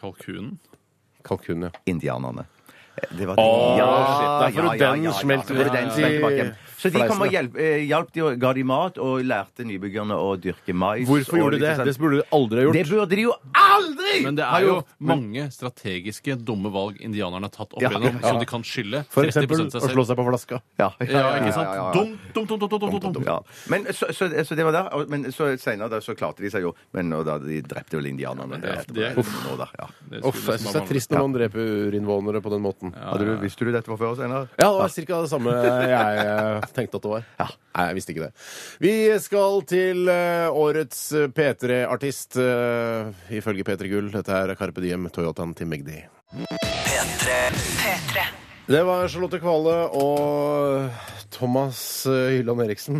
Speaker 4: Kalkunen?
Speaker 6: Kalkun, ja.
Speaker 5: Indianerne. Eh, Det var
Speaker 6: Åh,
Speaker 5: ja,
Speaker 6: shit, derfor den smelt
Speaker 5: det var den
Speaker 6: ut
Speaker 5: som smelt
Speaker 6: i
Speaker 5: tilbake. Så de kom
Speaker 6: fleisen,
Speaker 5: og hjelp, eh, hjalp de og ga de mat, og lærte nybyggerne å dyrke mais.
Speaker 6: Hvorfor
Speaker 5: og
Speaker 6: gjorde de det?
Speaker 5: liksom sånn-
Speaker 6: Det burde du aldri ha gjort.
Speaker 5: Det burde de jo aldri!
Speaker 4: Men det
Speaker 5: ha
Speaker 4: er jo
Speaker 5: gjort.
Speaker 4: mange strategiske dumme valg indianerne har tatt opp
Speaker 5: Ja,
Speaker 4: igjennom,
Speaker 5: ja.
Speaker 4: som de kan skylde
Speaker 6: For
Speaker 4: 30
Speaker 6: eksempel
Speaker 4: seg
Speaker 6: å slå
Speaker 4: selv.
Speaker 6: seg på flaska.
Speaker 5: Ja,
Speaker 4: Ja, ikke sant?
Speaker 5: ja, ja, ja.
Speaker 4: Dumt, dumt, dumt, dumt, dumt, dumt, dumt.
Speaker 5: Ja. Men så, så, så det var der, og- men så senere da, så klarte de seg jo. Men og da, de drepte vel indianerne.
Speaker 4: det-
Speaker 5: etterpå.
Speaker 4: det-
Speaker 5: Nå da, ja.
Speaker 4: Det
Speaker 6: Uff, jeg syns
Speaker 4: skulle
Speaker 6: det
Speaker 4: liksom
Speaker 6: er trist når man dreper urinnvånere på den måten. Ja,
Speaker 5: Hadde du, visste du dette var før og senere?
Speaker 6: det var ca. det samme jeg eh, tenkte at det var. Nei, jeg visste ikke det. Vi skal til eh, årets eh, P3-artist, eh, ifølge P3 Gull. Dette er Carpe Diem, Toyotaen til Magdi.
Speaker 1: P3.
Speaker 6: Det var Charlotte Kvale og Thomas eh, Hylland Eriksen.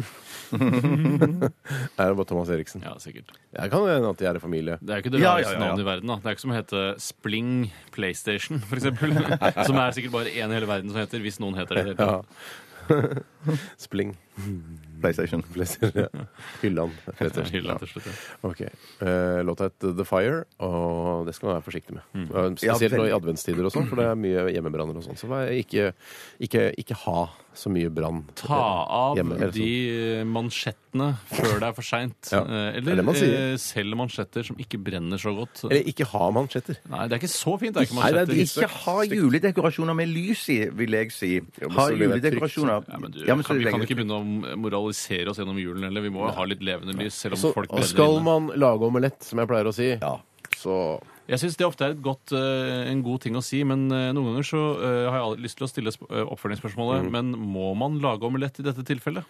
Speaker 6: er det bare Thomas Eriksen?
Speaker 4: Ja, sikkert.
Speaker 6: Jeg kan hende at de er i familie.
Speaker 4: Det er jo ikke det
Speaker 5: Ja,
Speaker 4: rareste
Speaker 5: ja, ja, ja.
Speaker 4: navnet i verden. da. Det er ikke som å hete Spling PlayStation, f.eks. som er sikkert bare én i hele verden som heter, hvis noen heter det. i det hele tatt.
Speaker 6: Spling.
Speaker 5: PlayStation.
Speaker 6: Hylland.
Speaker 4: Det er hyggelig til slutt, ja.
Speaker 6: Ok. Eh, låta het The Fire, og det skal man være forsiktig med.
Speaker 4: Mm.
Speaker 6: Eh, Spesielt
Speaker 5: Ja,
Speaker 6: nå i
Speaker 5: veldig.
Speaker 6: adventstider og sånn, for det er mye hjemmebranner og sånn. Så vær- ikke, ikke, ikke ha så mye brann.
Speaker 4: Ta av
Speaker 6: Hjemme, eller
Speaker 4: de eh, mansjettene før det er for seint.
Speaker 6: Ja, det er det
Speaker 4: Eller
Speaker 6: man sier.
Speaker 4: eh, selg mansjetter som ikke brenner så godt.
Speaker 6: sånn. Eller ikke ha mansjetter.
Speaker 4: Nei, det er ikke så fint. Det er ikke
Speaker 6: Nei, det er
Speaker 4: mansjetter.
Speaker 5: Ikke ha juledekorasjoner med lys i, vil jeg si.
Speaker 6: men
Speaker 5: Ha
Speaker 6: så blir det
Speaker 5: juledekorasjoner
Speaker 4: Ja, men du,
Speaker 5: Ja, men så
Speaker 4: kan, vi
Speaker 5: legger-
Speaker 4: kan ikke begynne å moralisere oss gjennom julen heller. Vi må jo ha litt levende lys, selv om
Speaker 6: Så,
Speaker 4: folk
Speaker 6: og
Speaker 4: brenner
Speaker 6: skal
Speaker 4: inne.
Speaker 6: man lage omelett, som jeg pleier å si,
Speaker 5: Ja.
Speaker 6: så
Speaker 4: Jeg syns det ofte er et godt, eh, en god ting å si, men eh, noen ganger så eh, har jeg aldri lyst til å stille sp eh, oppfølgingsspørsmålet Men må man lage omelett i dette tilfellet?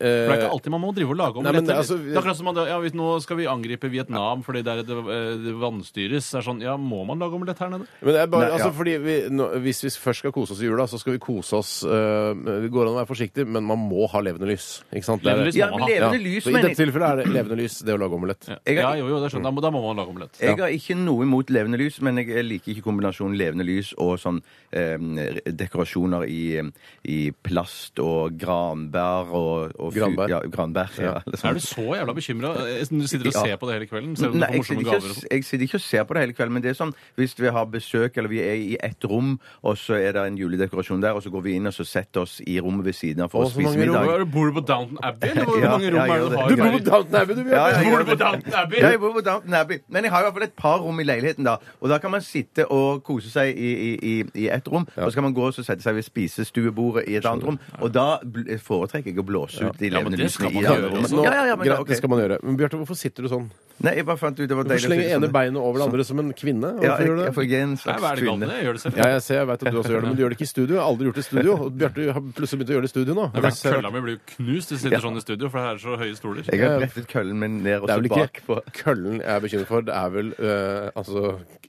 Speaker 4: For det er ikke alltid man må drive og lage
Speaker 6: Eh, Nei,
Speaker 4: omelett.
Speaker 6: men det er
Speaker 4: heller.
Speaker 6: altså-
Speaker 4: det er akkurat som man, ja, hvis Nå skal vi angripe Vietnam fordi det er et eh, det vannstyres. Det er sånn, ja, Må man lage omelett her nede?
Speaker 6: Men det er bare,
Speaker 5: Nei,
Speaker 6: altså
Speaker 5: ja.
Speaker 6: fordi vi, nå, Hvis vi først skal kose oss i jula, så skal vi kose oss øh, Det går an å være forsiktig, men man må ha levende lys. Ikke sant? Det er-
Speaker 4: Levende lys
Speaker 5: Ja,
Speaker 4: må
Speaker 5: men
Speaker 4: man ha.
Speaker 5: levende lys,
Speaker 6: Så I
Speaker 5: men
Speaker 6: dette tilfellet er det levende lys, det å lage omelett.
Speaker 4: Ja,
Speaker 5: Jeg-
Speaker 4: ja jo, jo, det skjønner jeg. Da må- Da må man lage omelett.
Speaker 5: jeg har ikke noe imot levende lys, men jeg liker ikke kombinasjonen levende lys og sånn eh, dekorasjoner i, i plast og granbær og, og fu-
Speaker 6: Granbær?
Speaker 5: Ja, granbær ja, eller sånn. sånt.
Speaker 4: Er du så jævla bekymra? Du sitter og
Speaker 5: Ja.
Speaker 4: ser på det hele kvelden? Ser du
Speaker 5: Nei,
Speaker 4: på
Speaker 5: jeg sitter,
Speaker 4: morsomme
Speaker 5: ikke,
Speaker 4: gaver og
Speaker 5: og-
Speaker 4: sånn?
Speaker 5: jeg sitter ikke og ser på det hele kvelden, men det er sånn hvis vi har besøk, eller vi er i ett rom, og så er det en juledekorasjon der, og så går vi inn og så setter oss i rommet ved siden av for
Speaker 6: Å,
Speaker 5: å
Speaker 6: så
Speaker 5: spise
Speaker 6: mange rom.
Speaker 5: middag.
Speaker 4: Hva er det, Bor du på Downton Abbey? Eller hvor
Speaker 5: Ja,
Speaker 4: mange rom
Speaker 5: ja,
Speaker 4: er det du har?
Speaker 5: jeg gjør det.
Speaker 6: Du bor på Downton Abbey, du! Bjørn.
Speaker 5: Ja, ja,
Speaker 4: Bor du
Speaker 5: gjør
Speaker 4: på
Speaker 5: det.
Speaker 4: Downton Abbey?
Speaker 5: Ja, jeg bor på Downton Abbey. Men jeg har i hvert fall et par rom i leiligheten, da. Og da kan man sitte og kose seg i, i, i, i ett rom, og så kan man gå og så sette seg ved spisestuebordet i et annet rom. Og da bl- foretrekker jeg å blåse ut de
Speaker 4: Ja, men
Speaker 5: levende
Speaker 4: det skal man
Speaker 5: lysene i det
Speaker 4: gjøre,
Speaker 5: andre rommet.
Speaker 6: Nå-
Speaker 5: Ja, ja, ja,
Speaker 6: Sånn.
Speaker 5: men,
Speaker 6: greit,
Speaker 5: ja, ok.
Speaker 6: Det skal man gjøre. Men Bjarte, hvorfor sitter du sånn?
Speaker 5: Nei, jeg bare fant ut det var
Speaker 6: Du får
Speaker 5: deilig. å
Speaker 6: slenge
Speaker 5: sitte
Speaker 6: ene
Speaker 5: sånn.
Speaker 6: beinet over det andre som en kvinne.
Speaker 5: Ja,
Speaker 6: Hvorfor gjør
Speaker 5: jeg, jeg,
Speaker 6: du det?
Speaker 5: får ikke en
Speaker 4: Nei, hva
Speaker 5: slags
Speaker 4: er det galt med
Speaker 5: kvinne.
Speaker 4: det? Jeg gjør det selv.
Speaker 6: Ja, jeg ser, jeg vet at du også gjør det, men du gjør det ikke i studio. Jeg har aldri gjort det i studio. Og Bjarte har plutselig begynt å gjøre det i studio nå.
Speaker 4: Det er
Speaker 6: Det
Speaker 4: klart, Kølla mi blir jo knust. Det sitter sånn i studio, for det er så høye stoler.
Speaker 5: Jeg har brettet køllen min ned og
Speaker 6: er
Speaker 5: så
Speaker 6: vel
Speaker 5: bak på
Speaker 6: ikke køllen jeg er bekymret for, det er vel øh, altså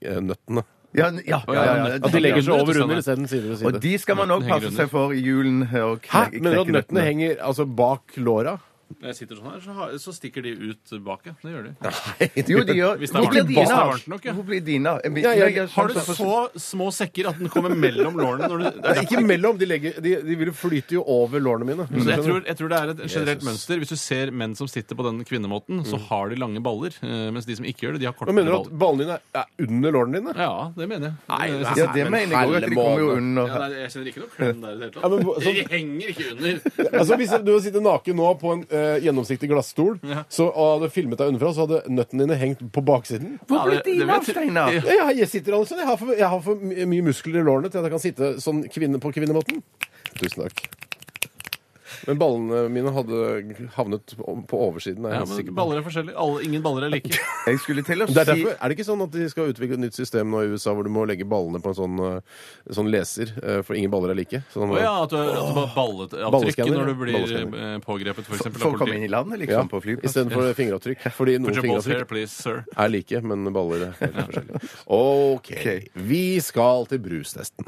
Speaker 6: øh, nøttene.
Speaker 5: Ja, n- ja, ja, ja, ja.
Speaker 6: At de legger seg
Speaker 4: Under,
Speaker 6: over
Speaker 4: sånn
Speaker 6: under
Speaker 4: er.
Speaker 6: isteden side ved
Speaker 5: Og
Speaker 6: side.
Speaker 5: de skal man òg
Speaker 4: Nøttene henger
Speaker 5: passe seg for i julen. eh, Og
Speaker 6: Hæ?
Speaker 5: knek-
Speaker 6: Mener du at
Speaker 5: knekke
Speaker 6: nøttene henger altså bak låra?
Speaker 4: Når jeg sitter sånn her, så, har, så stikker de ut baket. Det gjør de.
Speaker 5: Jo, de gjør
Speaker 4: Hvis det er
Speaker 5: Hvor blir
Speaker 4: varmt-
Speaker 5: dine?
Speaker 4: hvis det er varmt nok, ja.
Speaker 5: Hvor blir dine? Jeg-
Speaker 6: Ja, jeg-
Speaker 5: jeg-
Speaker 4: Har du
Speaker 5: sånn-
Speaker 4: så små sekker at den kommer mellom lårene? Når du, det er sånn-
Speaker 6: Nei,
Speaker 4: derfor-
Speaker 6: ikke Mm. mellom. De, legger, de, de vil jo flyte jo over lårene mine.
Speaker 4: Så jeg, tror, jeg tror det er et generelt
Speaker 6: Jesus.
Speaker 4: mønster. Hvis du ser menn som sitter på den kvinnemåten,
Speaker 5: Mm.
Speaker 4: så har de lange baller. eh, Mens de som ikke gjør det, de har
Speaker 6: Hva
Speaker 4: kortere
Speaker 6: mener du at
Speaker 4: baller.
Speaker 6: ballene dine er- er under lårene dine?
Speaker 4: Ja, det mener jeg. Eh, Det-
Speaker 5: Ja, det mener jeg òg, at de kommer jo under.
Speaker 4: Ja, nei, jeg kjenner ikke noe klem der i det hele tatt.
Speaker 6: Ja, men hva- så-
Speaker 4: De henger ikke under.
Speaker 6: Altså, Hvis du hadde sittet naken nå på en eh, gjennomsiktig glassstol så, og hadde filmet deg underfra, så hadde nøttene dine hengt på baksiden.
Speaker 5: Hvor
Speaker 4: Ja,
Speaker 5: blir
Speaker 4: det- det
Speaker 5: dine
Speaker 4: vet
Speaker 5: av,
Speaker 4: jeg.
Speaker 5: Steinar?
Speaker 6: Ja, jeg, jeg sitter altså, jeg har, for, jeg har for my- mye muskler i lårene til at jeg kan sitte sånn kvinne på kvinnemåten. Tusen takk. Men ballene mine hadde havnet på på oversiden. Er jeg
Speaker 4: Ja,
Speaker 6: helt sikker på.
Speaker 4: men baller er forskjellige. Alle, ingen baller er like.
Speaker 5: Jeg skulle til å
Speaker 6: Det er,
Speaker 5: si
Speaker 6: derfor, er det ikke sånn at de skal utvikle et nytt system nå i USA hvor du må legge ballene på en sånn, eh, sånn leser, eh, for ingen baller er like? Sånn,
Speaker 4: Å ja, at du, at du bare ballet avtrykk
Speaker 6: Balleskanner,
Speaker 4: når du blir
Speaker 6: balleskanner.
Speaker 4: eh, pågrepet, f.eks.
Speaker 5: For å komme inn i landet,
Speaker 4: sånn
Speaker 5: liksom, på flyplassen.
Speaker 6: Istedenfor fingeravtrykk. Fordi noen
Speaker 4: Put your balls here,
Speaker 6: fingeravtrykk
Speaker 4: please, sir.
Speaker 6: er like, men baller er helt forskjellige. OK. Vi skal til brustesten.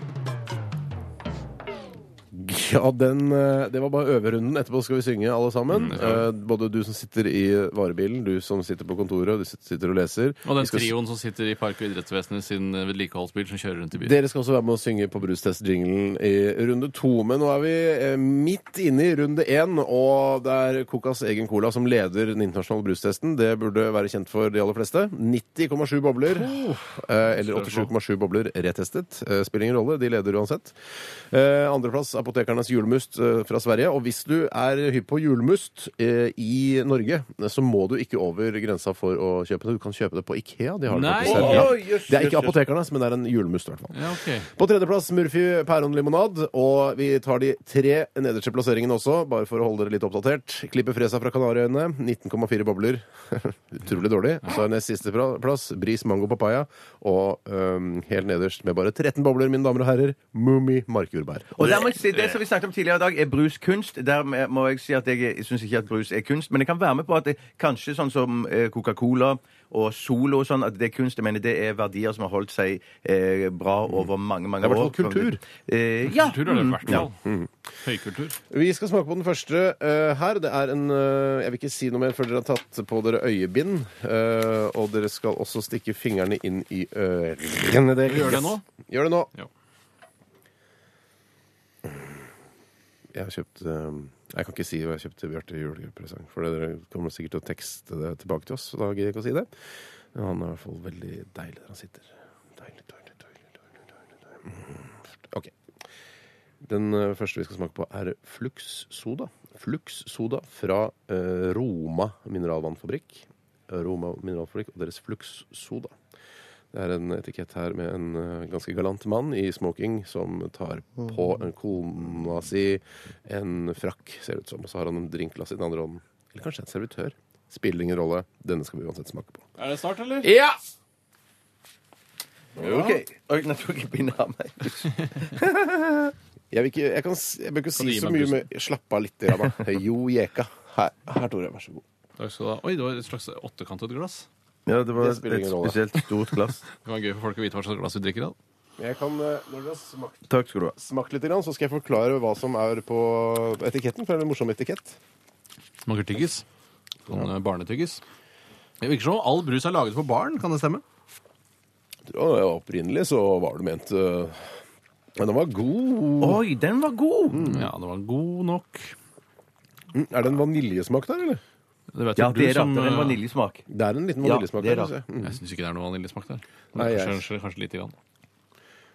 Speaker 6: Ja, den, eh, det var bare øverunden. Etterpå skal vi synge alle sammen.
Speaker 4: Mm,
Speaker 6: Eh, Både du som sitter i varebilen, du som sitter på kontoret, og du som sitter og leser. Vi
Speaker 4: Og den
Speaker 6: skal s-
Speaker 4: trioen som sitter i Park- og idrettsvesenet sin eh, vedlikeholdsbil som kjører rundt i byen.
Speaker 6: Dere skal også være med å synge på brustest-jinglen i runde to. Men nå er vi eh, midt inne i runde én, og det er Cocas egen cola som leder den internasjonale brustesten. Det burde være kjent for de aller fleste. 90,7 bobler.
Speaker 5: Oh,
Speaker 6: eh, Eller 87,7 bobler retestet. Eh, Spiller ingen rolle, de leder uansett. Eh, Andreplass Apotekernes julemust eh, fra Sverige. Og hvis du er hypp på julemust eh, i Norge, så må du ikke over grensa for å kjøpe det. Du kan kjøpe det på Ikea. De har det
Speaker 4: Nei!
Speaker 6: faktisk her. Ja.
Speaker 5: Oi, jøss,
Speaker 6: Det er
Speaker 5: jøss,
Speaker 6: ikke apotekernes, men det er en julemust, i hvert fall.
Speaker 4: Ja, ok.
Speaker 6: På tredjeplass Murphy pæronlimonad. Og vi tar de tre nederste plasseringene også, bare for å holde dere litt oppdatert. Klippe Fresa fra Kanariøyene. 19,4 bobler. Utrolig dårlig. Så er nest siste pra- plass Bris mango papaya. Og øhm, helt nederst med bare 13 bobler, mine damer og herrer, Mummi markjordbær.
Speaker 5: Og der må jeg si, Det som vi snakket om tidligere i dag, er brus kunst. Der må jeg si at jeg syns ikke at brus er kunst, men jeg kan være med på at det, kanskje sånn som eh, Coca-Cola og Solo og sånn, at det er kunst. Jeg mener det er verdier som har holdt seg eh, bra over mange,
Speaker 6: Det
Speaker 5: mange
Speaker 6: er i
Speaker 5: år.
Speaker 6: hvert fall kultur.
Speaker 5: Eh, ja.
Speaker 4: Kultur er det i hvert
Speaker 5: Ja.
Speaker 4: fall. Høykultur.
Speaker 6: Vi skal smake på den første eh, her. Det er en eh, Jeg vil ikke si noe mer før dere har tatt på dere øyebind. eh, og dere skal også stikke fingrene inn i ørene deres.
Speaker 4: Gjør det nå?
Speaker 6: Gjør det nå.
Speaker 4: Ja.
Speaker 6: Jeg har kjøpt eh, Jeg kan ikke si hva jeg kjøpte Bjarte i julepresang, for dere kommer sikkert til å tekste det tilbake til oss. Så da gidder jeg ikke å si det. Men han er i hvert fall veldig deilig der han sitter. Deilig, deilig, deilig, deilig, deilig, deilig. Mm. OK. Den eh, første vi skal smake på, er Flux Soda. Flux Soda fra eh, Roma mineralvannfabrikk. Roma mineralfabrikk og deres Flux Soda. Det er en etikett her med en eh, ganske galant mann i smoking som tar på en kona si en frakk, ser det ut som, og så har han en drinkglass i den andre hånden. Eller kanskje en servitør. Spiller ingen rolle. Denne skal vi uansett smake på.
Speaker 4: Er det snart, eller?
Speaker 6: Ja!
Speaker 5: OK. Oi, nå tok jeg bindet av meg.
Speaker 6: Jeg, vil ikke, jeg, kan, s- jeg bør ikke
Speaker 4: Kan du
Speaker 6: si
Speaker 4: gi
Speaker 6: så
Speaker 4: meg
Speaker 6: mye, men slapp av litt. Rabba. Jo, jeka. Her, her, Tore. Vær så god.
Speaker 4: Takk skal du ha. Oi, det var et slags åttekantet glass.
Speaker 5: Ja, det var
Speaker 6: Det spiller
Speaker 5: et
Speaker 6: ingen rolle.
Speaker 5: spesielt stort glass.
Speaker 4: Det kan være gøy for folk å vite hva slags glass vi drikker av.
Speaker 6: Jeg kan, eh, når dere har smakt,
Speaker 5: Takk skal du ha.
Speaker 6: smakt litt, grann, så skal jeg forklare hva som er på etiketten. For det er en morsom etikett.
Speaker 4: Smaker tyggis. Sånn eh, barnetyggis. Det virker som om all brus er laget for barn, kan det stemme?
Speaker 6: Jeg tror, eh, Opprinnelig så var det ment eh, Men den var god.
Speaker 5: Oi, den var god!
Speaker 6: Mm.
Speaker 4: Ja, det var god nok.
Speaker 6: Er det en vaniljesmak der, eller?
Speaker 4: Det vet
Speaker 5: Ja,
Speaker 4: jo
Speaker 5: det
Speaker 4: du
Speaker 5: er det.
Speaker 4: som
Speaker 5: Det er en
Speaker 4: eh,
Speaker 5: vaniljesmak.
Speaker 6: Det er en liten
Speaker 5: Ja,
Speaker 6: vaniljesmak
Speaker 5: det er
Speaker 6: der.
Speaker 5: det.
Speaker 6: synes jeg. Mm.
Speaker 4: Jeg syns ikke det er noe vaniljesmak der. Men
Speaker 6: Nei, jeg-
Speaker 4: kanskje, kanskje, kanskje lite grann.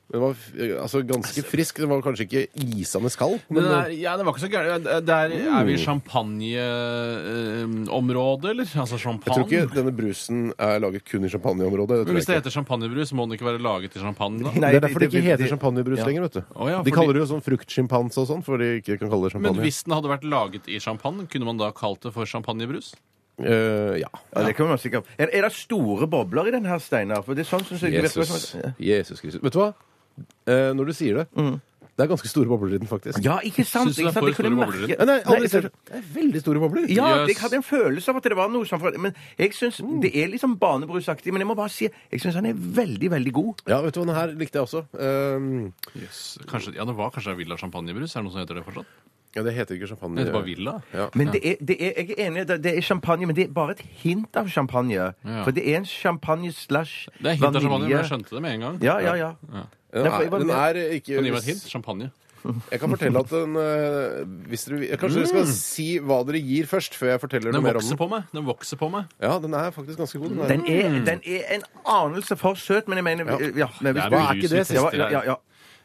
Speaker 6: Den var f- eh, altså, ganske frisk. Den var kanskje ikke isende skall. Men, eh,
Speaker 4: Men det er, ja, det var ikke så gærent. Der er vi i champagneområdet, eller? Altså champagne?
Speaker 6: jeg tror ikke denne brusen er laget kun i champagneområdet. Det
Speaker 4: Men
Speaker 6: tror
Speaker 4: hvis
Speaker 6: jeg
Speaker 4: det
Speaker 6: ikke.
Speaker 4: heter champagnebrus, må den ikke være laget i champagne, da?
Speaker 5: Nei,
Speaker 6: det er derfor det,
Speaker 5: det-
Speaker 6: ikke heter
Speaker 5: det-
Speaker 6: champagnebrus
Speaker 5: ja.
Speaker 6: lenger. vet du.
Speaker 4: Å ja,
Speaker 6: de
Speaker 4: fordi-
Speaker 6: kaller det jo sånn fruktsjimpanse og sånn, for de ikke kan kalle det
Speaker 4: Men
Speaker 6: champagne.
Speaker 4: hvis den hadde vært laget i champagne, kunne man da kalt det for champagnebrus?
Speaker 6: Eh, ja.
Speaker 5: Ja, det kan man sikkert. Er, er det store bobler i den her, Steinar? For det er sånn synes jeg det virker som-
Speaker 6: Jesus. Jesus Kristus. Vet du hva? Eh, når du sier det, Det er ganske store bobler i den, faktisk. Eh,
Speaker 5: Mm. Ja, ikke sant?
Speaker 4: Syns du det er
Speaker 5: ikke sant?
Speaker 4: for
Speaker 5: Jeg kunne
Speaker 4: store bobler i
Speaker 5: merke-
Speaker 6: Nei, nei,
Speaker 5: Nei,
Speaker 6: aldri
Speaker 5: jeg-
Speaker 6: sett. Det er veldig store bobler.
Speaker 5: Ja,
Speaker 4: Yes.
Speaker 5: jeg hadde en følelse av at det var noe sånn for- Men jeg syns det er litt sånn banebrusaktig. Men jeg må bare si jeg syns han er veldig, veldig god.
Speaker 6: Ja, vet du hva, den her likte jeg også. Ehm,
Speaker 4: Jøss. Kanskje, ja, det var kanskje Villa champagnebrus? Er det noe som heter det fortsatt?
Speaker 6: ja, det heter ikke champagne.
Speaker 4: Det heter bare Villa.
Speaker 6: Ja.
Speaker 5: Men det er, det er, jeg er enig, det det er champagne, men det er bare et hint av champagne. For det er en champagne slash
Speaker 4: Det er hint av champagne, men jeg skjønte det med en gang.
Speaker 5: Ja, ja, ja.
Speaker 6: Den
Speaker 5: Derfor,
Speaker 6: er,
Speaker 5: jeg var
Speaker 6: den
Speaker 5: med.
Speaker 6: er ikke
Speaker 4: Kan du gi meg et hint? Champagne.
Speaker 6: Jeg kan fortelle at den eh, hvis dere, vil- Kanskje dere
Speaker 5: Mm.
Speaker 6: skal si hva dere gir først, før jeg forteller noe
Speaker 4: Den
Speaker 6: mer om den.
Speaker 4: vokser på meg. Den vokser på meg.
Speaker 6: Ja, den er faktisk ganske god. Den er.
Speaker 5: Den er, den er en anelse for søt, men jeg mener
Speaker 6: Ja.
Speaker 5: ja.
Speaker 4: Mm.
Speaker 5: men hvis
Speaker 4: Det er
Speaker 5: bare-
Speaker 4: mye
Speaker 5: ikke
Speaker 4: rus vi
Speaker 5: det- ja,
Speaker 4: tester her.
Speaker 5: ja, ja,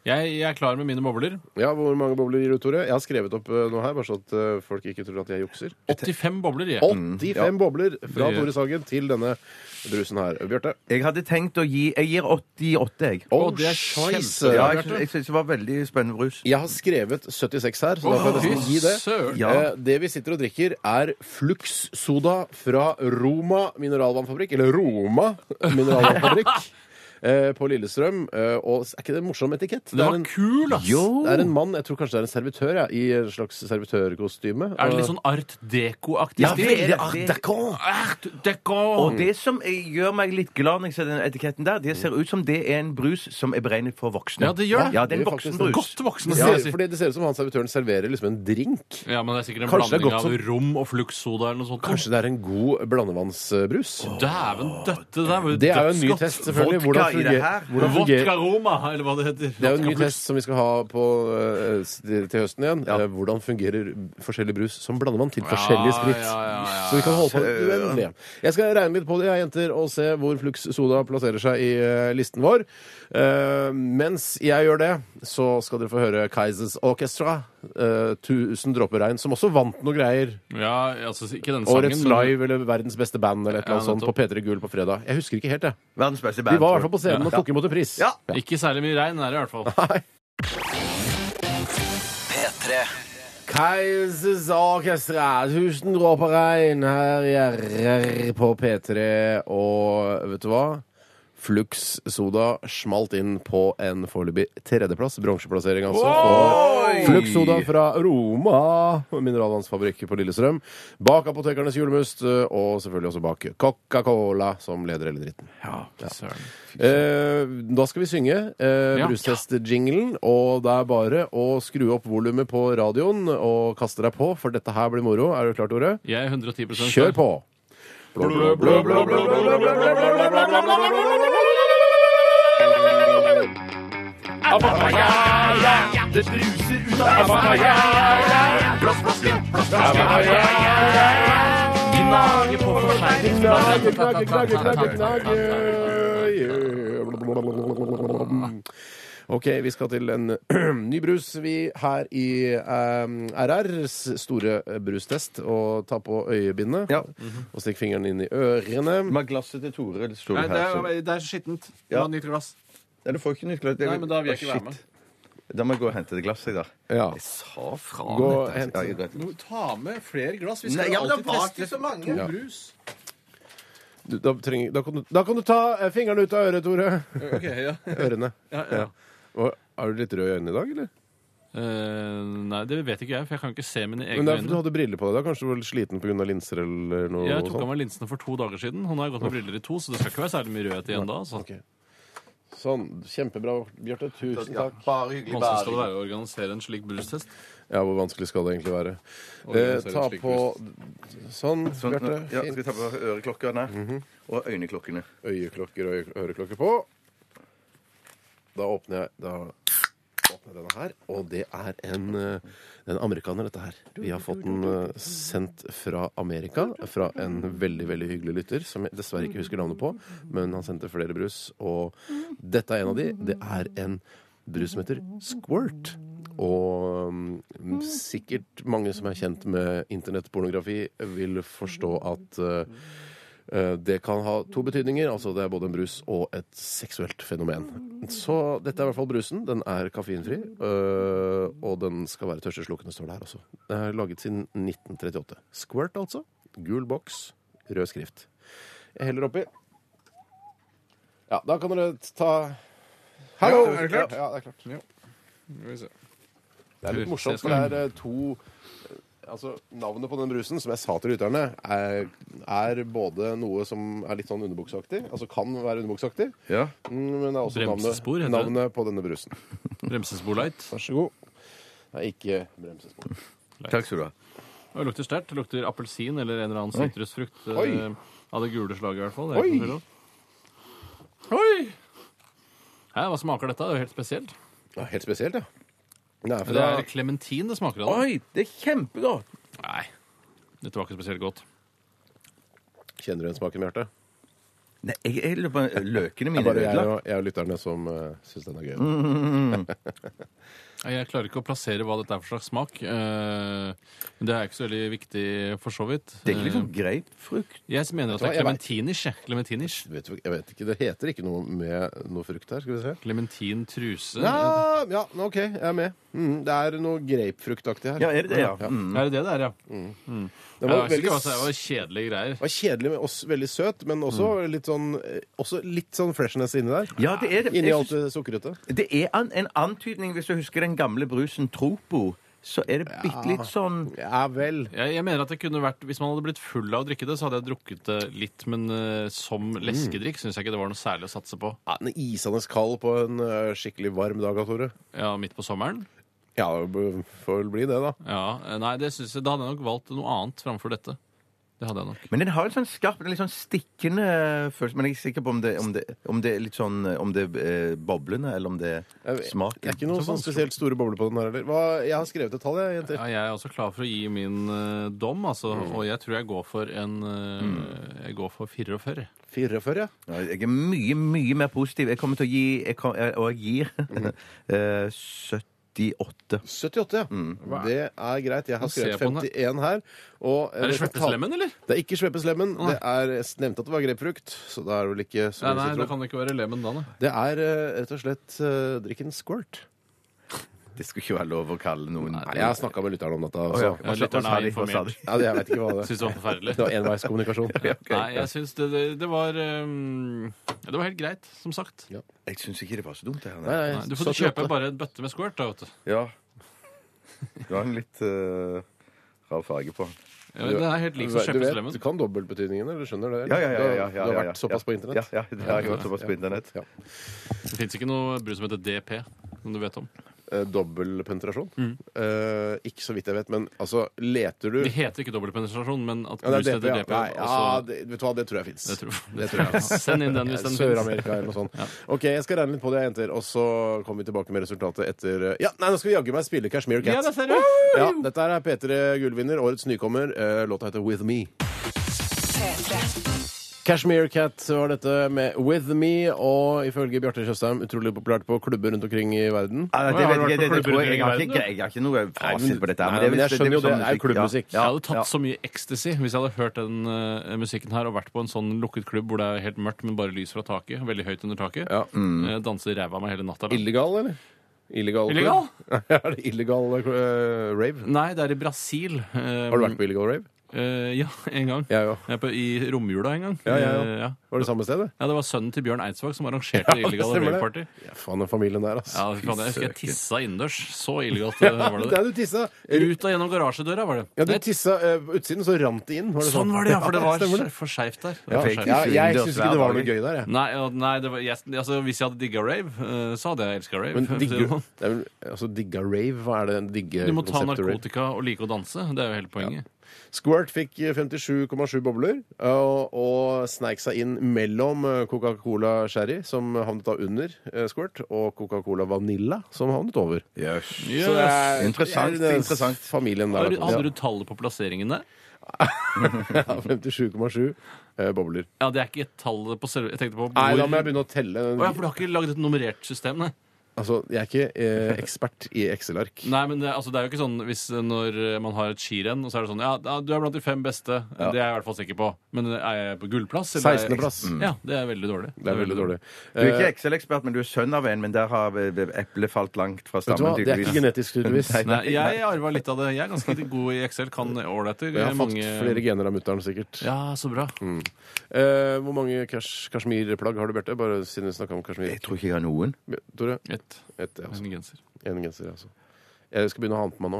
Speaker 4: Jeg, jeg er klar med mine bobler.
Speaker 6: Ja, Hvor mange bobler gir du, Tore? Jeg har skrevet opp eh, noe her, bare så at eh, folk ikke tror at jeg jukser.
Speaker 4: 85 bobler, jeg.
Speaker 6: 85
Speaker 5: Mm,
Speaker 6: bobler fra
Speaker 4: Det-
Speaker 6: Tore Sagen til denne brusen her. Bjarte?
Speaker 5: Jeg hadde tenkt å gi Jeg gir 88, jeg.
Speaker 4: Å, det er kjempe-
Speaker 5: Ja,
Speaker 6: Ja,
Speaker 5: jeg,
Speaker 6: Bjarte.
Speaker 5: synes- jeg syns det var veldig spennende brus.
Speaker 6: Jeg har skrevet 76 her, så da kan jeg
Speaker 4: Å,
Speaker 6: nesten
Speaker 4: fy
Speaker 6: gi det.
Speaker 4: søren.
Speaker 5: Ja.
Speaker 6: Eh, Det vi sitter og drikker, er Flux Soda fra Roma mineralvannfabrikk. Eller Roma mineralvannfabrikk eh, på Lillestrøm. Eh, Og s- er ikke det en morsom etikett? Det
Speaker 4: Den
Speaker 6: er
Speaker 4: var
Speaker 6: en,
Speaker 4: kul, ass!
Speaker 6: det er en mann, jeg tror kanskje det er en servitør, ja, i en slags servitørkostyme.
Speaker 4: Er det litt sånn art deco-aktig
Speaker 5: Ja,
Speaker 4: stil?
Speaker 5: veldig art deco.
Speaker 4: Art deco!
Speaker 5: Og det som eh, gjør meg litt glad når jeg ser den etiketten der, det ser ut som det er en brus som er beregnet for voksne.
Speaker 4: Mm. Ja, det gjør det.
Speaker 5: Ja, det er en
Speaker 6: Det er faktisk
Speaker 5: voksenbrus.
Speaker 4: Godt voksne,
Speaker 6: Ja,
Speaker 4: skal jeg si.
Speaker 6: fordi det ser ut som han servitøren serverer liksom en drink.
Speaker 4: Ja, men det er sikkert en
Speaker 6: Kanskje det er
Speaker 4: blanding
Speaker 6: godt
Speaker 4: av rom og fluxsoda eller noe sånt.
Speaker 6: Kanskje det er en god blandevannsbrus?
Speaker 4: Dæven døtte! Det er jo
Speaker 6: Det er jo en ny
Speaker 4: dødsgodt.
Speaker 6: test, selvfølgelig.
Speaker 5: Vodka
Speaker 6: Hvordan
Speaker 5: i det her.
Speaker 6: fungerer, hvordan fungerer
Speaker 4: Vodka Roma, eller hva det heter.
Speaker 6: Det er jo en ny
Speaker 4: Vodka Plus.
Speaker 6: test som vi skal ha på, eh, s- til høsten igjen. Eh, Hvordan fungerer forskjellig brus som blandevann til forskjellig sprit?
Speaker 4: ja, ja, ja,
Speaker 6: Så vi kan holde på det uendelige. Jeg skal regne litt på det, jeg, jenter, og se hvor Flux Soda plasserer seg i eh, listen vår. Eh, mens jeg gjør det, så skal dere få høre Kaizers Orchestra, eh, 'Tusen dråper regn', som også vant noe greier.
Speaker 4: Ja, altså, ikke denne sangen.
Speaker 6: Årets
Speaker 4: men-
Speaker 6: Live eller Verdens beste band eller et eller annet
Speaker 4: Ja,
Speaker 6: sånt på P3 Gull på fredag. Jeg husker ikke helt, jeg.
Speaker 5: Verdens beste band.
Speaker 6: De var i
Speaker 5: tror
Speaker 6: hvert fall
Speaker 5: jeg.
Speaker 6: på scenen og tok imot en pris.
Speaker 5: Ja.
Speaker 4: Ikke særlig mye regn er det i hvert fall.
Speaker 6: Nei.
Speaker 2: P3
Speaker 6: Kaisers Orkestra, 1000 dråper regn her i RR på P3. Og vet du hva? Flux Soda smalt inn på en foreløpig tredjeplass. Bronseplassering, altså. for Flux Soda fra Roma mineralvannsfabrikk på Lillestrøm. Bak Apotekernes julemust, eh, og selvfølgelig også bak Coca-Cola, som leder hele dritten.
Speaker 4: Søren.
Speaker 6: Eh, da skal vi synge eh,
Speaker 4: Ja.
Speaker 6: brustest-jinglen, og det er bare å skru opp volumet på radioen og kaste deg på, for dette her blir moro. Er du klar, Tore?
Speaker 4: Jeg er 110 klar.
Speaker 6: Kjør på! Knagge, knagge, knagge, knagge, knagge. Ok, vi skal til en ny brus vi her i um, RRs store brustest. Og ta på øyebindet.
Speaker 5: Ja.
Speaker 6: Og stikk fingeren inn i ørene.
Speaker 5: Men glasset til Tore sto
Speaker 4: Nei,
Speaker 5: her.
Speaker 4: det er,
Speaker 5: så-
Speaker 4: det er skittent.
Speaker 5: Ja.
Speaker 4: Ja. Nytt glass.
Speaker 5: Ja, du får ikke nytt glass. Det er-
Speaker 4: Nei, men da vil jeg
Speaker 5: Å,
Speaker 4: ikke være
Speaker 5: shit.
Speaker 4: med.
Speaker 5: Da må jeg gå og hente det glasset, da.
Speaker 6: Ja.
Speaker 5: Sa fra
Speaker 6: Gå
Speaker 5: Gå.
Speaker 6: og hent
Speaker 5: Ja, jeg vet.
Speaker 4: Nå, Ta med flere glass. Vi
Speaker 5: Nei,
Speaker 4: skal
Speaker 5: ja,
Speaker 4: jo
Speaker 5: men det
Speaker 4: alltid
Speaker 5: var
Speaker 4: teste
Speaker 5: ikke så mange.
Speaker 4: to brus.
Speaker 6: Du, da, trenger, da, kan du, da kan du ta eh, fingeren ut av øret, Tore.
Speaker 4: Eh, Ok, ja.
Speaker 6: Ørene.
Speaker 4: ja, ja.
Speaker 6: Og, er du litt rød i øynene i dag, eller?
Speaker 4: Eh, nei, det vet ikke jeg, for jeg kan ikke se mine
Speaker 6: Men det
Speaker 4: egne
Speaker 6: er fordi du
Speaker 4: øyne.
Speaker 6: hadde briller på deg. da Kanskje du var litt sliten pga. linser eller noe?
Speaker 4: Jeg tok av
Speaker 6: sånt.
Speaker 4: meg linsene for to dager siden, og nå har jeg gått med briller i to, så det skal ikke være særlig mye rødhet igjen da. Altså.
Speaker 6: Ok. Sånn. Kjempebra, Bjarte. Tusen
Speaker 5: Ja,
Speaker 6: takk.
Speaker 5: bare hyggelig.
Speaker 4: Hvordan skal det
Speaker 5: Bare.
Speaker 4: være å organisere en slik brustest?
Speaker 6: Ja, hvor vanskelig skal det egentlig være? Eh,
Speaker 4: Organisere en
Speaker 6: ta
Speaker 4: slik
Speaker 6: på Sånn,
Speaker 5: Sånn,
Speaker 6: Bjarte.
Speaker 5: ja, skal vi
Speaker 6: Fint.
Speaker 5: ta på øreklokkene
Speaker 4: Mhm.
Speaker 5: og øyneklokkene?
Speaker 6: Øyeklokker og øye- øreklokker på. Da åpner jeg da åpner jeg denne her, og det er en, eh, det er en amerikaner, dette her. Vi har fått den eh, sendt fra Amerika, fra en veldig veldig hyggelig lytter, som jeg dessverre ikke husker navnet på, men han sendte flere brus, og dette er en av de. Det er en brus som heter Squirt. Og mm, sikkert mange som er kjent med internettpornografi, vil forstå at eh, Eh, Det kan ha to betydninger. altså Det er både en brus og et seksuelt fenomen. Så dette er i hvert fall brusen. Den er koffeinfri. eh, Og den skal være tørsteslukende, står det her også. Den er laget siden 1938. Squirt, altså. Gul boks, rød skrift. Jeg heller oppi. Ja, da kan dere ta Hallo!
Speaker 5: er det klart?
Speaker 6: Ja, ja, det er klart. Det er litt morsomt, for det er eh, to Altså, Navnet på den brusen, som jeg sa til lytterne, er, er både noe som er litt sånn underbukseaktig, altså kan være underbukseaktig,
Speaker 5: Ja.
Speaker 6: mm, men det er også navnet,
Speaker 4: Bremsespor heter det.
Speaker 6: navnet på denne brusen.
Speaker 4: Bremsespolite.
Speaker 6: Vær så god. Det er ikke bremsespor.
Speaker 5: Takk skal du ha.
Speaker 4: Og Det lukter sterkt. Det lukter appelsin eller en eller annen sitrusfrukt. eh,
Speaker 6: Oi.
Speaker 4: Av det gule slaget, i hvert fall. Det er
Speaker 6: Oi.
Speaker 4: ikke noe tvil om. Oi! Hæ, hva smaker dette? Det er jo helt spesielt.
Speaker 6: Ja, helt spesielt, ja. Det er
Speaker 4: Det
Speaker 6: fra
Speaker 4: er klementin det smaker av.
Speaker 5: Oi, det er kjempegodt!
Speaker 4: Nei, dette var ikke spesielt godt.
Speaker 6: Kjenner du igjen smaken, Bjarte?
Speaker 5: Nei, jeg, jeg, lurer på- løkene
Speaker 6: Det er
Speaker 5: mine er
Speaker 6: bare jeg
Speaker 5: ødelagt. Mm.
Speaker 6: og, jeg og lytterne som uh, syns den er gøy.
Speaker 4: Nei, Jeg klarer ikke å plassere hva dette er for slags smak. eh, Men det er ikke så veldig viktig, for så vidt.
Speaker 5: Det er ikke liksom grapefrukt.
Speaker 4: Eh, Jeg mener at det
Speaker 6: Vet du hva,
Speaker 4: er
Speaker 6: jeg vet-
Speaker 4: klementinish. jeg. Klementinish.
Speaker 6: Vet, du hva- jeg vet ikke, Det heter ikke noe med noe frukt her. Skal vi se.
Speaker 4: Klementin truse.
Speaker 6: Ja, ja, OK, jeg er med. Mm, det er noe grapefruktaktig her.
Speaker 5: Ja, er det det? Ja. Mm.
Speaker 4: Er det det det er, ja?
Speaker 6: Det var,
Speaker 4: Jeg vet
Speaker 6: veldig,
Speaker 4: ikke hva det er, det var kjedelige greier.
Speaker 6: det var kjedelig, men også veldig søt. Men også,
Speaker 4: Mm.
Speaker 6: litt, sånn, eh, også litt sånn freshness inni der.
Speaker 5: ja, det er det.
Speaker 6: Inni
Speaker 5: Jeg
Speaker 6: alt det
Speaker 5: synes-
Speaker 6: sukkerete.
Speaker 5: Det er an, en antydning, hvis du husker den gamle brusen Tropo, så er det bitte litt sånn
Speaker 6: Ja vel.
Speaker 4: Jeg, jeg mener at det kunne vært, Hvis man hadde blitt full av å drikke det, så hadde jeg drukket det litt, men eh, som leskedrikk syns jeg ikke det var noe særlig å satse på.
Speaker 6: Ja, den er isende kald på en eh, skikkelig varm dag, Tore.
Speaker 4: Ja, Midt på sommeren?
Speaker 6: Ja, det b- får vel bli det, da.
Speaker 4: Ja, eh, Nei, det synes jeg, da hadde jeg nok valgt noe annet framfor dette. Det hadde jeg nok.
Speaker 5: Men den har en sånn skarp, en litt sånn stikkende følelse. Men jeg er ikke sikker på om det, om det, om det er litt sånn Om det er eh, boblende, eller om det er
Speaker 6: Jeg- Det er
Speaker 5: smaken.
Speaker 6: ikke noe sånn spesielt store bobler på den her heller. Hva- Jeg har skrevet et tall, jeg, jenter.
Speaker 4: Ja, jeg er også klar for å gi min eh, dom, altså, og jeg tror jeg går for en eh, Jeg går for 44.
Speaker 6: 44, ja.
Speaker 5: Ja, Jeg er mye, mye mer positiv. Jeg kommer til å gi, jeg kom, jeg- og jeg gir,
Speaker 6: Mhm.
Speaker 5: eh, 78.
Speaker 6: 78, ja. Det er greit. Jeg har
Speaker 4: Mm. se
Speaker 6: skrevet
Speaker 4: på den her.
Speaker 6: 51 her. Og,
Speaker 4: Er det
Speaker 6: jeg vet at tall-
Speaker 4: sveppeslemmen, eller?
Speaker 6: Det er ikke sveppeslemmen.
Speaker 4: Å, nei.
Speaker 6: Det er, jeg nevnte at det var grepfrukt, så da er det vel ikke så
Speaker 4: Nei,
Speaker 6: mye
Speaker 4: nei,
Speaker 6: som
Speaker 4: det
Speaker 6: tror.
Speaker 4: kan det ikke være lemen da, nei.
Speaker 6: Det er eh, rett og slett eh, drikken squirt.
Speaker 5: Det skulle ikke være lov å kalle noen
Speaker 6: Nei, jeg har snakka med lytteren om dette.
Speaker 5: Å,
Speaker 6: Altså.
Speaker 5: ja.
Speaker 6: ja.
Speaker 5: Hva sa-
Speaker 4: lytteren
Speaker 5: hva sa
Speaker 4: er
Speaker 5: de? Hva sa de?
Speaker 6: jeg vet ikke hva det
Speaker 4: Syns det var forferdelig.
Speaker 6: Det var enveiskommunikasjon.
Speaker 4: Nei, jeg syns det, det, det var eh, Det var helt greit, som sagt.
Speaker 5: Jeg syns ikke det var så dumt, det her.
Speaker 6: Nei,
Speaker 5: nei.
Speaker 6: nei,
Speaker 4: Nei, du får
Speaker 6: 78.
Speaker 4: kjøpe bare en bøtte med squirt, da, vet du.
Speaker 5: Ja. Du har en litt eh, rar farge på den.
Speaker 4: Ja, men Den er helt lik som
Speaker 6: du, vet,
Speaker 4: kjøpeslemmen.
Speaker 6: du kan dobbeltbetydningen, eller skjønner du det?
Speaker 5: Ja, ja, ja, ja, ja,
Speaker 6: Du har-
Speaker 5: ja,
Speaker 6: Du har
Speaker 5: ja,
Speaker 6: vært såpass på
Speaker 5: Ja,
Speaker 6: internett?
Speaker 5: ja, det har jeg vært såpass på internett.
Speaker 6: Ja.
Speaker 4: Det fins ikke noe brus som heter DP, som du vet om.
Speaker 6: Eh, Dobbel penetrasjon?
Speaker 4: Mm.
Speaker 6: Eh, ikke så vidt jeg vet, men altså, leter du
Speaker 4: Det heter ikke dobbeltpenetrasjon, men at
Speaker 6: Ja,
Speaker 4: brus
Speaker 6: det er
Speaker 4: heter
Speaker 6: DP,
Speaker 4: DP.
Speaker 6: ja. Nei, ja,
Speaker 4: altså-
Speaker 6: det, vet du hva, det tror jeg fins.
Speaker 4: Det tror-
Speaker 6: Det tror jeg.
Speaker 4: Send inn den hvis den fins.
Speaker 6: Sør-Amerika eller noe sånt. OK, jeg skal regne litt på det, jenter, og så kommer vi tilbake med resultatet etter eh, Ja, nei, nå skal vi jaggu meg spille Kashmir
Speaker 4: Ja,
Speaker 6: Cat.
Speaker 4: det ser du.
Speaker 6: Ja, dette her er P3 Gullvinner, årets nykommer. Eh, Låta heter With Me. Kashmir Cat var dette med With Me, og ifølge Bjarte Tjøstheim utrolig populært på klubber rundt omkring i verden.
Speaker 5: Ja,
Speaker 4: Har
Speaker 5: det,
Speaker 4: du
Speaker 5: vet
Speaker 4: vært
Speaker 5: jeg-
Speaker 4: på
Speaker 5: det, det,
Speaker 4: klubber
Speaker 5: tror jeg,
Speaker 4: i
Speaker 5: jeg, har
Speaker 4: verden,
Speaker 5: ikke,
Speaker 4: da?
Speaker 5: jeg har ikke noe fasit på dette. her,
Speaker 6: Nei,
Speaker 5: det
Speaker 6: men
Speaker 5: er vel-
Speaker 6: jeg skjønner jo det.
Speaker 5: vel sånn
Speaker 6: Det er jo
Speaker 5: musikk,
Speaker 6: klubbmusikk.
Speaker 5: Ja,
Speaker 4: Jeg hadde tatt
Speaker 5: ja.
Speaker 4: så mye ecstasy hvis jeg hadde hørt den eh, musikken her og vært på en sånn lukket klubb hvor det er helt mørkt, men bare lys fra taket. Veldig høyt under taket.
Speaker 6: Ja. mm.
Speaker 4: Eh, Danse ræva av meg hele natta.
Speaker 6: Illegal, eller? Illegal? klubb?
Speaker 4: Illegal?
Speaker 6: er det illegal eh, rave?
Speaker 4: Nei, det er i Brasil. Eh,
Speaker 6: Har du vært på illegal rave?
Speaker 4: ja, en gang.
Speaker 6: Jeg òg.
Speaker 4: Jeg er på, I romjula en gang.
Speaker 6: Ja, jeg
Speaker 4: Eh,
Speaker 6: òg.
Speaker 4: ja.
Speaker 6: Var det samme stedet?
Speaker 4: Ja, Det var sønnen til Bjørn Eidsvåg som arrangerte det illegale
Speaker 6: stemmer det.
Speaker 4: raveparty.
Speaker 6: Ja, faen, den familien der, altså.
Speaker 4: Ja, fy faen, jeg husker jeg tissa innendørs. Så illegalt eh, var det.
Speaker 6: Der du tissa.
Speaker 4: Ut og gjennom garasjedøra var det.
Speaker 6: Ja, du
Speaker 4: Nei,
Speaker 6: tissa eh, på utsiden, så rant det inn. Var det
Speaker 4: sånn var det, ja! For det var
Speaker 6: stemmer det.
Speaker 4: for skeivt der. Det Mm,
Speaker 6: Ja,
Speaker 4: var for skeivt.
Speaker 6: ja, jeg
Speaker 5: Innendørs
Speaker 6: syns
Speaker 5: hver
Speaker 6: ikke det var
Speaker 5: dag.
Speaker 6: noe gøy der, jeg.
Speaker 4: Nei, og- nei det var, jeg, altså, hvis jeg hadde digga rave, eh, så hadde jeg elska rave.
Speaker 6: Men
Speaker 4: for å si
Speaker 6: digger,
Speaker 4: det sånn.
Speaker 6: det er vel, altså, digga rave, hva er det? Digge
Speaker 4: du må ta
Speaker 6: konseptet rave?
Speaker 4: narkotika og like å danse. Det er jo hele poenget.
Speaker 6: Squirt fikk eh, 57,7 bobler eh, og, og sneik seg inn mellom eh, Coca-Cola Sherry, som havnet da under eh, Squirt, og Coca-Cola Vanilla, som havnet over.
Speaker 5: Yes.
Speaker 4: Yes.
Speaker 6: Så det er-
Speaker 5: Interessant,
Speaker 6: det er den
Speaker 5: interessant.
Speaker 6: Familien
Speaker 4: Har
Speaker 6: der.
Speaker 4: du-
Speaker 6: da.
Speaker 4: Hadde du tallet på plasseringene?
Speaker 6: Ja, 57,7 eh, bobler.
Speaker 4: Ja, det er ikke tallet på selve Jeg tenkte på hvor
Speaker 6: Nei, da må jeg begynne å telle.
Speaker 4: Å ja, for du har ikke lagd et nummerert system, nei?
Speaker 6: Altså, jeg er ikke eh, ekspert i Excel-ark.
Speaker 4: Nei, men det, altså, det er jo ikke sånn hvis eh, når eh, man har et skirenn, og så er det sånn Ja, da- du er blant de fem beste. Det er jeg i hvert fall sikker på. Men eh, er jeg på gullplass? eller er jeg-
Speaker 6: 16. plass.
Speaker 4: Ja, det er veldig dårlig.
Speaker 6: Det er veldig dårlig.
Speaker 5: Du
Speaker 6: Eh,
Speaker 5: er ikke Excel-ekspert, men du er sønn av en, men der har eh, eplet falt langt fra
Speaker 6: Vet du hva,
Speaker 5: stammen.
Speaker 6: det er ikke
Speaker 5: tydeligvis.
Speaker 6: genetisk, tydeligvis.
Speaker 5: Nei.
Speaker 4: Nei, jeg arva litt av det. Jeg er ganske god i Excel, kan ålreiter.
Speaker 6: Jeg har fått
Speaker 4: Mange-
Speaker 6: flere gener av mutter'n, sikkert.
Speaker 4: Ja, så bra.
Speaker 6: Eh, hvor mange kash- kasjmirplagg har du, Bjarte? Bare siden vi snakka om kasjmir.
Speaker 5: Jeg tror ikke jeg har noen.
Speaker 6: Tore?
Speaker 4: Jeg ett.
Speaker 6: Et, ja, altså.
Speaker 4: En genser.
Speaker 6: En genser, altså. Jeg skal begynne å ha den på meg nå.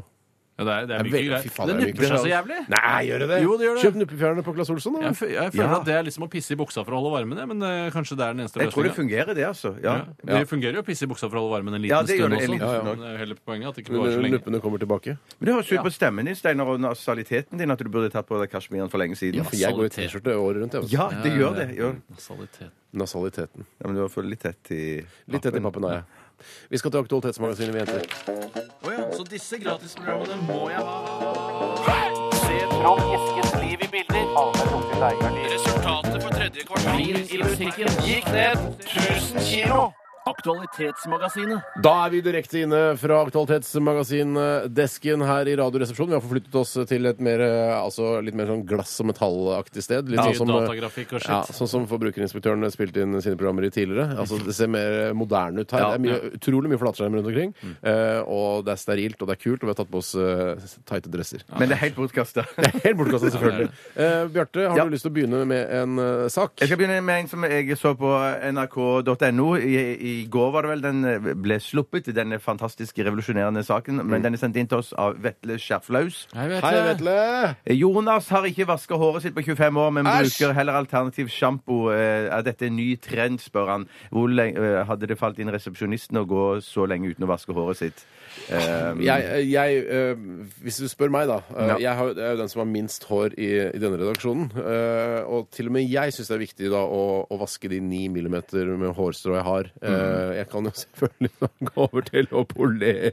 Speaker 4: Ja, det er, det er
Speaker 6: Jeg
Speaker 4: mye
Speaker 6: vet-
Speaker 4: greier.
Speaker 6: fy faen, det
Speaker 4: det
Speaker 6: er mye
Speaker 4: nupper seg så
Speaker 6: greier.
Speaker 4: jævlig.
Speaker 6: Nei, gjør det det?
Speaker 4: Jo, det gjør det.
Speaker 6: Kjøp nuppefjerneren på Claes Olsson, da.
Speaker 4: Jeg, fø- jeg føler
Speaker 5: Ja.
Speaker 4: at det er liksom å pisse i buksa for å holde varmen, jeg, men eh, kanskje det er den eneste
Speaker 5: Jeg tror det
Speaker 4: løsninga.
Speaker 5: fungerer, det, altså. Ja.
Speaker 4: Det fungerer jo å pisse i buksa for å holde varmen en liten
Speaker 5: Ja, det gjør
Speaker 4: stund
Speaker 5: det en
Speaker 4: også.
Speaker 5: liten stund
Speaker 4: Men det er jo hele poenget at det ikke varer så lenge.
Speaker 6: Nuppene kommer tilbake.
Speaker 5: Men det høres ut på stemmen din, Steinar, og nasaliteten din at du burde tatt på deg kasjmiren for lenge siden.
Speaker 6: For jeg går i
Speaker 4: Nasalitet.
Speaker 6: T-skjorte året rundt. Jeg, altså.
Speaker 5: Ja, det gjør det. Jo.
Speaker 4: Nasalitet.
Speaker 6: Nasaliteten.
Speaker 5: Ja, men du har fått litt tett i
Speaker 6: Litt etter pappen er jeg. Vi skal til Aktualitetsmagasinet, vi jenter.
Speaker 4: Så disse gratisprogrammene må jeg ha. Resultatet på tredje kvartal gikk ned 1000 kilo.
Speaker 3: Aktualitetsmagasinet.
Speaker 6: Da er vi direkte inne fra Aktualitetsmagasinet-desken her i Radioresepsjonen. Vi har forflyttet oss til et mer, eh, altså litt mer sånn glass- og metallaktig sted. Litt
Speaker 4: Mye
Speaker 6: sånn som, eh,
Speaker 4: datagrafikk og shit.
Speaker 6: ja, sånn som Forbrukerinspektøren spilte inn sine programmer i tidligere. Altså, Det ser mer moderne ut her. det er mye, utrolig mye flatskjerm rundt omkring.
Speaker 5: Mm.
Speaker 6: eh, og det er sterilt, og det er kult, og vi har tatt på oss eh, tighte dresser.
Speaker 5: Men det er helt bortkasta.
Speaker 6: Helt bortkastet, selvfølgelig. Eh, Bjarte, har
Speaker 5: Ja.
Speaker 6: du lyst til å begynne med en eh, sak?
Speaker 5: Jeg skal begynne med en som jeg så på nrk.no. I, I går var det vel den eh, ble sluppet, denne fantastiske revolusjonerende saken. Men den er sendt inn til oss av Vetle Skjerflaus. Eh,
Speaker 4: Hei, vet
Speaker 6: Hei,
Speaker 4: jeg.
Speaker 6: Vetle!
Speaker 5: Jonas har ikke vaska håret sitt på 25 år, men
Speaker 6: Æsj!
Speaker 5: bruker heller alternativ sjampo. Eh, Er dette en ny trend, spør han. Hvor lenge, eh, hadde det falt inn resepsjonisten å gå så lenge uten å vaske håret sitt? Eh,
Speaker 6: jeg, jeg, eh, hvis du spør meg, da. eh,
Speaker 5: Ja.
Speaker 6: Jeg har- jeg er jo den som har minst hår i, i denne redaksjonen. eh, og til og med jeg syns det er viktig da å, å vaske de ni millimeter med hårstrå jeg har. Eh, jeg kan jo selvfølgelig da gå over til å polere.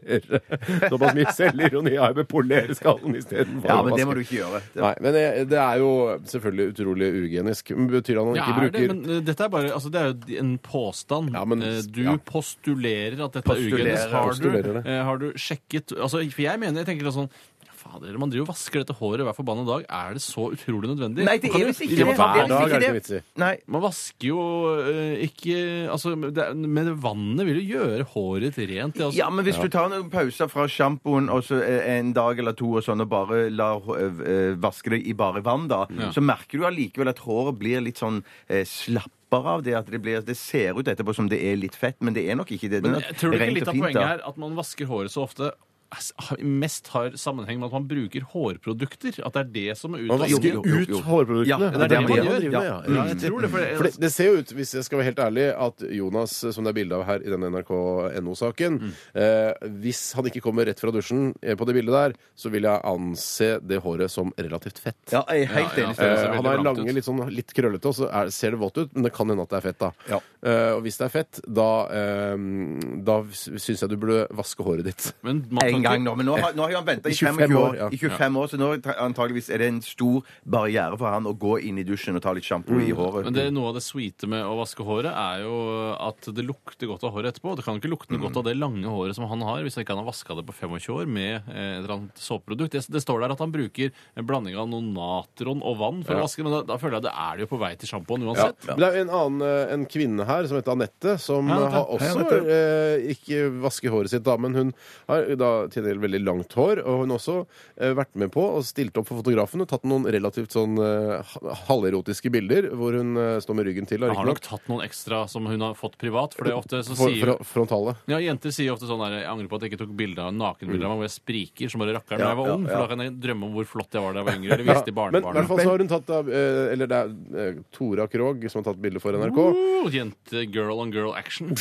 Speaker 6: Såpass mye selvironi har jeg med polereskallen istedenfor
Speaker 5: ja,
Speaker 6: å
Speaker 5: men
Speaker 6: vaske.
Speaker 5: det må du ikke gjøre. Det-
Speaker 6: Nei, men jeg, det er jo selvfølgelig utrolig uhygienisk. Men Betyr det at han
Speaker 4: Ja,
Speaker 6: ikke
Speaker 4: er
Speaker 6: bruker
Speaker 4: det, men eh, dette er bare altså, Det er jo en påstand.
Speaker 6: Ja, men-
Speaker 4: Eh, du
Speaker 6: ja.
Speaker 4: postulerer at dette
Speaker 5: Postulerer,
Speaker 4: er ugenes. Har,
Speaker 6: postulerer
Speaker 4: du-
Speaker 6: det.
Speaker 4: eh, har du sjekket altså, For jeg mener, jeg tenker da sånn ja, Fader, man driver og vasker dette håret hver forbanna dag. Er det så utrolig nødvendig?
Speaker 5: Nei, det
Speaker 4: Man kan
Speaker 5: er
Speaker 4: jo-
Speaker 5: visst ikke
Speaker 4: Ja,
Speaker 5: det.
Speaker 4: men
Speaker 6: Hver
Speaker 4: faen,
Speaker 5: Det er
Speaker 6: dag er det
Speaker 5: ikke det.
Speaker 6: ikke vits i.
Speaker 5: Nei.
Speaker 4: Man vasker jo eh, ikke Altså, det, er- men vannet vil jo gjøre håret rent. det, Altså.
Speaker 5: Ja, men hvis du tar noen pauser fra sjampoen og så eh, en dag eller to og sånn, og bare lar hå- eh, vaske det i bare vann, da, så merker du allikevel at håret blir litt sånn eh, slappere av det. At det, blir, det ser ut etterpå som det er litt fett, men det er nok ikke det. Det er
Speaker 4: Men
Speaker 5: nok
Speaker 4: jeg tror du ikke
Speaker 5: rent
Speaker 4: litt
Speaker 5: og
Speaker 4: av
Speaker 5: fint,
Speaker 4: poenget
Speaker 5: da.
Speaker 4: her at man vasker håret så ofte s- har- mest har sammenheng med at man bruker hårprodukter? At det er det som er
Speaker 6: Man
Speaker 4: utgangspunktet?
Speaker 6: vasker
Speaker 5: Jo,
Speaker 6: jo,
Speaker 5: jo,
Speaker 6: ut
Speaker 5: jo.
Speaker 6: hårproduktene.
Speaker 5: Ja, det
Speaker 4: er det man
Speaker 6: man
Speaker 4: gjør.
Speaker 6: driver med, ja.
Speaker 4: Ja, jeg tror det, for det-
Speaker 6: For det, det ser jo ut, hvis jeg skal være helt ærlig, at Jonas, eh, som det er bilde av her i den NRK.no-saken
Speaker 4: Mm.
Speaker 6: eh, Hvis han ikke kommer rett fra dusjen eh, på det bildet der, så vil jeg anse det håret som relativt fett.
Speaker 5: Ja, jeg er helt
Speaker 4: Ja, ja.
Speaker 5: enig.
Speaker 4: det
Speaker 6: Eh,
Speaker 5: Steinar.
Speaker 4: ser veldig
Speaker 6: han er
Speaker 4: blankt
Speaker 6: lange,
Speaker 4: ut.
Speaker 6: litt, sånn, litt krøllete, og så er, ser det vått ut, men det kan hende at det er fett. da
Speaker 5: Ja.
Speaker 6: Eh, Og hvis det er fett, da, eh, da syns jeg du burde vaske håret ditt.
Speaker 4: Men man kan
Speaker 5: En gang
Speaker 4: ikke-
Speaker 5: nå, men nå har, nå har han venta i
Speaker 6: I 25
Speaker 5: 25 år,
Speaker 6: år, ja.
Speaker 5: i 25 år så nå ta- antageligvis er det en stor barriere for han å gå inn i dusjen og ta litt sjampo i håret.
Speaker 4: Mm. Men det, noe av det sweete med å vaske håret er jo at det lukter godt av håret etterpå. Det kan jo ikke lukte
Speaker 6: Mm.
Speaker 4: noe godt av det lange håret som han har, hvis han ikke har vaska det på 25 år med eh, et eller annet såpeprodukt. Det, det står der at han bruker en blanding av noe natron og vann for å vaske, men da, da føler jeg det er det jo på vei til sjampoen
Speaker 6: Ja.
Speaker 4: uansett.
Speaker 6: Men det er jo en annen eh, en kvinne her som heter Anette, som
Speaker 4: Hei,
Speaker 6: eh,
Speaker 4: Anette.
Speaker 6: har også eh, ikke vasker håret sitt, da, men hun har da til en del veldig langt hår. Og hun har også eh, vært med på og stilt opp for fotografen og tatt noen relativt sånn eh, ha- halverotiske bilder hvor hun eh, står med ryggen til. da,
Speaker 4: Han har nok
Speaker 6: riktignok.
Speaker 4: tatt noen ekstra som hun har fått privat, for det er ofte så
Speaker 6: For,
Speaker 4: sier
Speaker 6: for, frontale.
Speaker 4: Ja, Jenter sier ofte sånn der, jeg angrer på at jeg ikke tok bilde av
Speaker 6: Mm.
Speaker 4: nakenbilder av meg hvor jeg spriker som bare rakkeren da jeg var ung, for da kan jeg drømme om hvor flott jeg var da jeg var yngre. Eller viste i
Speaker 6: men i hvert
Speaker 4: barnebarnet.
Speaker 6: fall så har hun tatt av eh, Eller det er eh, Tora Krog som har tatt bilde for NRK.
Speaker 4: Uh, jente, girl on girl action.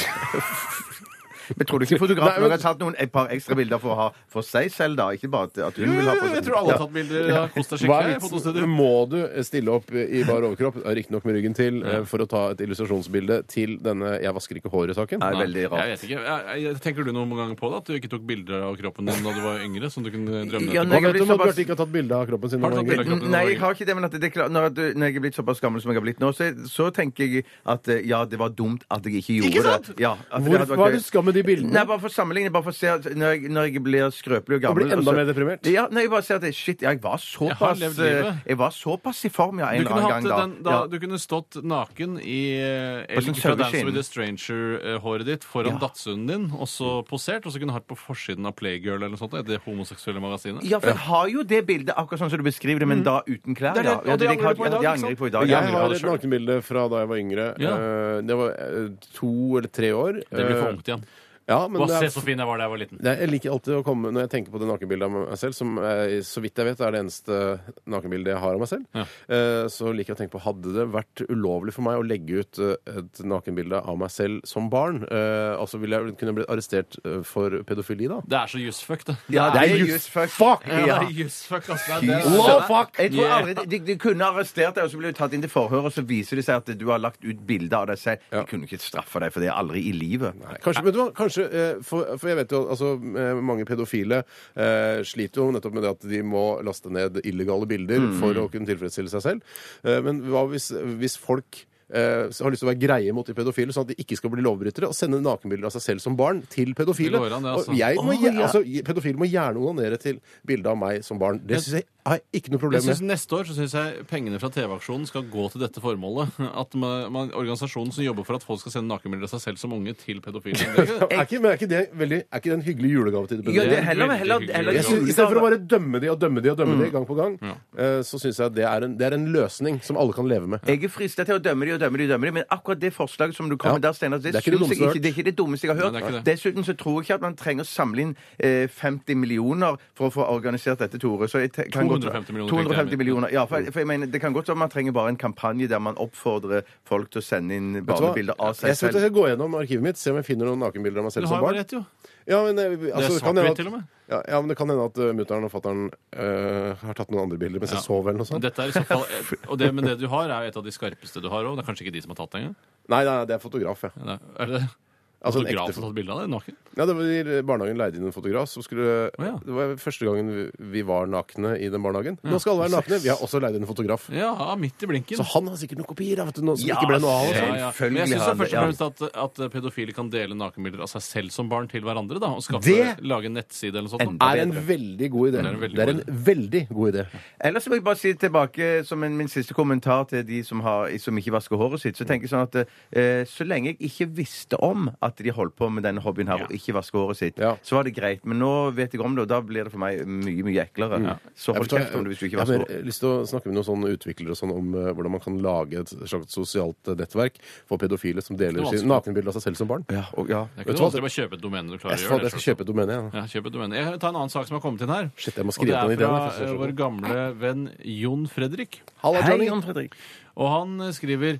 Speaker 5: Men tror du ikke fotografen har tatt noen, et par ekstra bilder for å ha for seg selv, da? Ikke bare at- at hun vil ha for
Speaker 4: Jeg tror alle har tatt bilder av Kosta
Speaker 6: Hva
Speaker 4: Skikkelig.
Speaker 6: er
Speaker 4: i fotostudio.
Speaker 6: vitsen? Må du stille opp i bar overkropp, riktignok med ryggen til, eh, for å ta et illustrasjonsbilde til denne 'jeg vasker ikke håret'-saken?
Speaker 5: Nei, veldig rart.
Speaker 4: Jeg vet ikke. Jeg, jeg, tenker du noen gang på det? At du ikke tok bilder av kroppen din da du var yngre? Som du kunne drømme
Speaker 5: Ja,
Speaker 4: etterpå?
Speaker 6: Hva
Speaker 5: nei, jeg har
Speaker 6: vet du om
Speaker 5: blitt
Speaker 6: at
Speaker 5: såpass-
Speaker 6: Bjarte ikke har tatt bilde av kroppen sin?
Speaker 4: Har
Speaker 6: når
Speaker 4: du
Speaker 6: han
Speaker 4: tatt
Speaker 6: var
Speaker 4: bilde av
Speaker 6: yngre?
Speaker 4: kroppen?
Speaker 5: Nei, jeg har ikke det, men at det er klart, når, at- når jeg er blitt såpass gammel som jeg har blitt nå, så, så tenker jeg at eh, ja, det var dumt at jeg ikke gjorde
Speaker 4: Ikke sant?
Speaker 5: det. Ja, at det
Speaker 6: Hvor,
Speaker 5: hadde vært
Speaker 6: hva er det
Speaker 5: gøy.
Speaker 6: du skal med de bildene?
Speaker 5: Nei, bare for å sammenligne, bare for å se at når jeg, når jeg blir skrøpelig og
Speaker 6: Og
Speaker 5: gammel
Speaker 6: blir enda
Speaker 5: og så-
Speaker 6: mer deprimert?
Speaker 5: Ja, nei, jeg bare ser at det- shit, jeg var
Speaker 4: Jeg har
Speaker 5: såpass
Speaker 4: levd
Speaker 5: eh,
Speaker 4: livet.
Speaker 5: Jeg var såpass i form, ja, en
Speaker 4: Du kunne,
Speaker 5: eller annen
Speaker 4: hatt
Speaker 5: gang da.
Speaker 4: den, da,
Speaker 5: ja.
Speaker 4: du kunne stått naken i eh,
Speaker 5: På sånn
Speaker 4: elg fra Dance
Speaker 5: saueskinn.
Speaker 4: with a Stranger-håret ditt foran
Speaker 5: Ja.
Speaker 4: dattsunden din, og så posert, og så kunne du hatt på forsiden av Playgirl eller noe sånt, det homoseksuelle magasinet.
Speaker 5: Ja, for jeg har jo det bildet akkurat sånn som du beskriver det, men da uten
Speaker 4: Mm.
Speaker 5: klær.
Speaker 4: Det er det-
Speaker 5: ja.
Speaker 4: og
Speaker 5: Ja,
Speaker 4: det
Speaker 5: jeg
Speaker 4: angrer
Speaker 5: har-
Speaker 4: du på i dag,
Speaker 5: ja,
Speaker 4: ikke
Speaker 5: det angrer jeg på i
Speaker 4: sant? Ja,
Speaker 5: dag. Jeg
Speaker 6: Jeg
Speaker 5: angrer på
Speaker 4: har
Speaker 6: har
Speaker 5: det
Speaker 6: et
Speaker 5: selv.
Speaker 6: nakenbilde fra da jeg var yngre.
Speaker 4: Ja.
Speaker 6: Eh, Det var eh, to eller tre år.
Speaker 4: Det blir for
Speaker 6: Eh,
Speaker 4: ungt igjen.
Speaker 6: Ja, men
Speaker 4: Bare
Speaker 6: det
Speaker 4: se
Speaker 6: er-
Speaker 4: så fin jeg var da jeg var lliten.
Speaker 6: Nei, Jeg liker alltid å komme Når jeg tenker på det nakenbildet av meg selv, som eh, så vidt jeg vet er det eneste nakenbildet jeg har av meg selv, eh, så liker jeg å tenke på hadde det vært ulovlig for meg å legge ut eh, et nakenbilde av meg selv som barn? Eh, altså ville jeg kunne blitt arrestert eh, for pedofili da?
Speaker 4: Det er så jusfuck, det.
Speaker 5: Ja, det er just fuck. fuck
Speaker 4: Ja, det
Speaker 5: ja.
Speaker 4: er jusfuck, ass. Det er det.
Speaker 5: Wow, fuck! Jeg tror
Speaker 4: Yeah.
Speaker 5: aldri, de, de kunne arrestert deg, og så blir du tatt inn til forhør, og så viser det seg at du har lagt ut bilde av deg selv. De kunne ikke straffa deg for det aldri i livet.
Speaker 6: Kanskje, men du, hva, kanskje eh, for, for jeg vet jo altså, eh, mange pedofile eh, sliter jo nettopp med det at de må laste ned illegale bilder
Speaker 4: Mm.
Speaker 6: for å kunne tilfredsstille seg selv. Eh, men hva hvis, hvis folk eh, har lyst til å være greie mot de pedofile, sånn at de ikke skal bli lovbrytere, og sende nakenbilder av seg selv som barn til pedofile?
Speaker 4: Det går an, det, altså.
Speaker 6: Og jeg må,
Speaker 5: Å,
Speaker 6: gje-
Speaker 5: ja.
Speaker 6: altså, pedofile må gjerne onanere til bilde av meg som barn. Det syns jeg har jeg ikke noe
Speaker 4: Jeg
Speaker 6: problem
Speaker 4: synes
Speaker 6: med.
Speaker 4: Neste år så synes jeg pengene fra TV-aksjonen skal gå til dette formålet. At man, man, Organisasjonen som jobber for at folk skal sende nakenbilder av seg selv som unge til pedofile. Det er ikke-
Speaker 6: Er ikke, men er ikke det veldig, er ikke det en hyggelig julegave til de pedofile?
Speaker 5: Ja, det er heller,
Speaker 4: veldig
Speaker 5: heller,
Speaker 4: hyggelig.
Speaker 5: heller
Speaker 6: Jeg synes, I stedet for å bare dømme de og dømme de og dømme
Speaker 5: Mm.
Speaker 6: de gang på gang, eh, så syns jeg det er, en, det er en løsning som alle kan leve med.
Speaker 5: Jeg er frista til å dømme de og dømme de, og dømme de men akkurat det forslaget som du kom med
Speaker 6: Ja.
Speaker 5: der, Steinar, det,
Speaker 6: Det er ikke det dummeste jeg har
Speaker 5: synes jeg ikke- det er ikke det dummeste jeg har
Speaker 4: Nei,
Speaker 5: hørt.
Speaker 4: det er ikke det.
Speaker 5: Dessuten så tror jeg ikke at man trenger å samle inn eh, 50 millioner for å få organisert dette, Tore. Så jeg te- kan godt-
Speaker 4: 250 millioner, tenkte jeg.
Speaker 5: 250 millioner. Ja, for, for jeg mener, det kan godt være man trenger bare en kampanje der man oppfordrer folk til å sende inn
Speaker 6: Vet du hva?
Speaker 5: barnebilder av seg
Speaker 6: Jeg skal jeg
Speaker 5: selv.
Speaker 6: skal gå gjennom arkivet mitt, se om jeg finner noen nakenbilder av meg
Speaker 4: Du
Speaker 6: selv som
Speaker 4: har jo
Speaker 6: barn.
Speaker 4: rett, jo.
Speaker 6: Ja, men, eh, altså,
Speaker 4: Det
Speaker 6: kan
Speaker 4: er
Speaker 6: hende
Speaker 4: svart-hvitt
Speaker 6: at-
Speaker 4: til og med.
Speaker 6: Ja, ja, men det kan hende at uh, mutter'n og fatter'n eh, har tatt noen andre bilder mens
Speaker 4: Ja.
Speaker 6: jeg sov eller noe sånt.
Speaker 4: Dette er i så fall, og det, men det du har, er jo et av de skarpeste du har òg. Det er kanskje ikke de som har tatt det engang?
Speaker 6: Nei, nei, det er fotograf, ja.
Speaker 4: Det er- Er det det?
Speaker 6: Altså, en ekte
Speaker 4: Fotograf som har tatt bilde av deg naken?
Speaker 6: Ja, det var i barnehagen leide inn en fotograf som skulle
Speaker 4: Å, ja.
Speaker 6: Det var første gangen vi, vi var nakne i den barnehagen. Nå skal alle være nakne. Vi har også leid inn en fotograf.
Speaker 4: Ja, midt i blinken.
Speaker 6: Så han har sikkert noen kopier da, vet du, nå, som
Speaker 5: Ja,
Speaker 6: ikke ble noe av.
Speaker 5: se.
Speaker 6: altså.
Speaker 4: Ja, ja. Men
Speaker 5: Selvfølgelig
Speaker 4: jeg syns
Speaker 5: har han
Speaker 4: først og
Speaker 5: det,
Speaker 4: fremst at, at pedofile kan dele nakenbilder av seg selv som barn til hverandre. da, Og skaffe,
Speaker 6: Det-
Speaker 4: lage en nettside eller noe sånt. da.
Speaker 5: Enda.
Speaker 6: er en veldig god idé.
Speaker 4: Det er en veldig
Speaker 6: Det er
Speaker 4: god
Speaker 6: en veldig god idé.
Speaker 5: Ellers så må jeg bare si tilbake som en, min siste kommentar til de som, har, som ikke vasker håret sitt. Så tenker jeg sånn at eh, så lenge jeg ikke visste om at de holdt på med denne hobbyen her og ikke vasker håret sitt,
Speaker 6: Ja.
Speaker 5: så var det greit. Men nå vet jeg om det, og da blir det for meg mye, mye eklere. Så hold
Speaker 6: Jeg
Speaker 5: kjeft om det hvis du ikke
Speaker 6: har
Speaker 5: vasker
Speaker 6: mer
Speaker 5: håret.
Speaker 6: lyst til å snakke med noen sånne utviklere og sånn om eh, hvordan man kan lage et slags sosialt eh, nettverk for pedofile som deler
Speaker 4: Det er
Speaker 6: sine nakenbilder av seg selv som barn.
Speaker 5: Ja, og, ja.
Speaker 4: Det er
Speaker 6: Vet
Speaker 4: ikke
Speaker 6: du hva,
Speaker 4: noe vanskelig å bare kjøpe et domene du klarer å
Speaker 6: Jeg,
Speaker 4: gjøre.
Speaker 6: skal,
Speaker 4: det
Speaker 6: jeg skal
Speaker 4: selv.
Speaker 6: kjøpe et domene, jeg.
Speaker 4: Ja, kjøp et domene. Jeg tar en annen sak som har kommet inn her.
Speaker 6: Shit, jeg må
Speaker 4: og det
Speaker 6: skrive
Speaker 4: er
Speaker 6: på den ideen.
Speaker 4: fra
Speaker 6: jeg, for jeg
Speaker 4: eh,
Speaker 6: er så
Speaker 4: vår
Speaker 6: god.
Speaker 4: gamle venn Jon Fredrik.
Speaker 6: Halla,
Speaker 5: Hei,
Speaker 6: Johnny.
Speaker 5: Jon Fredrik.
Speaker 4: Og han eh, skriver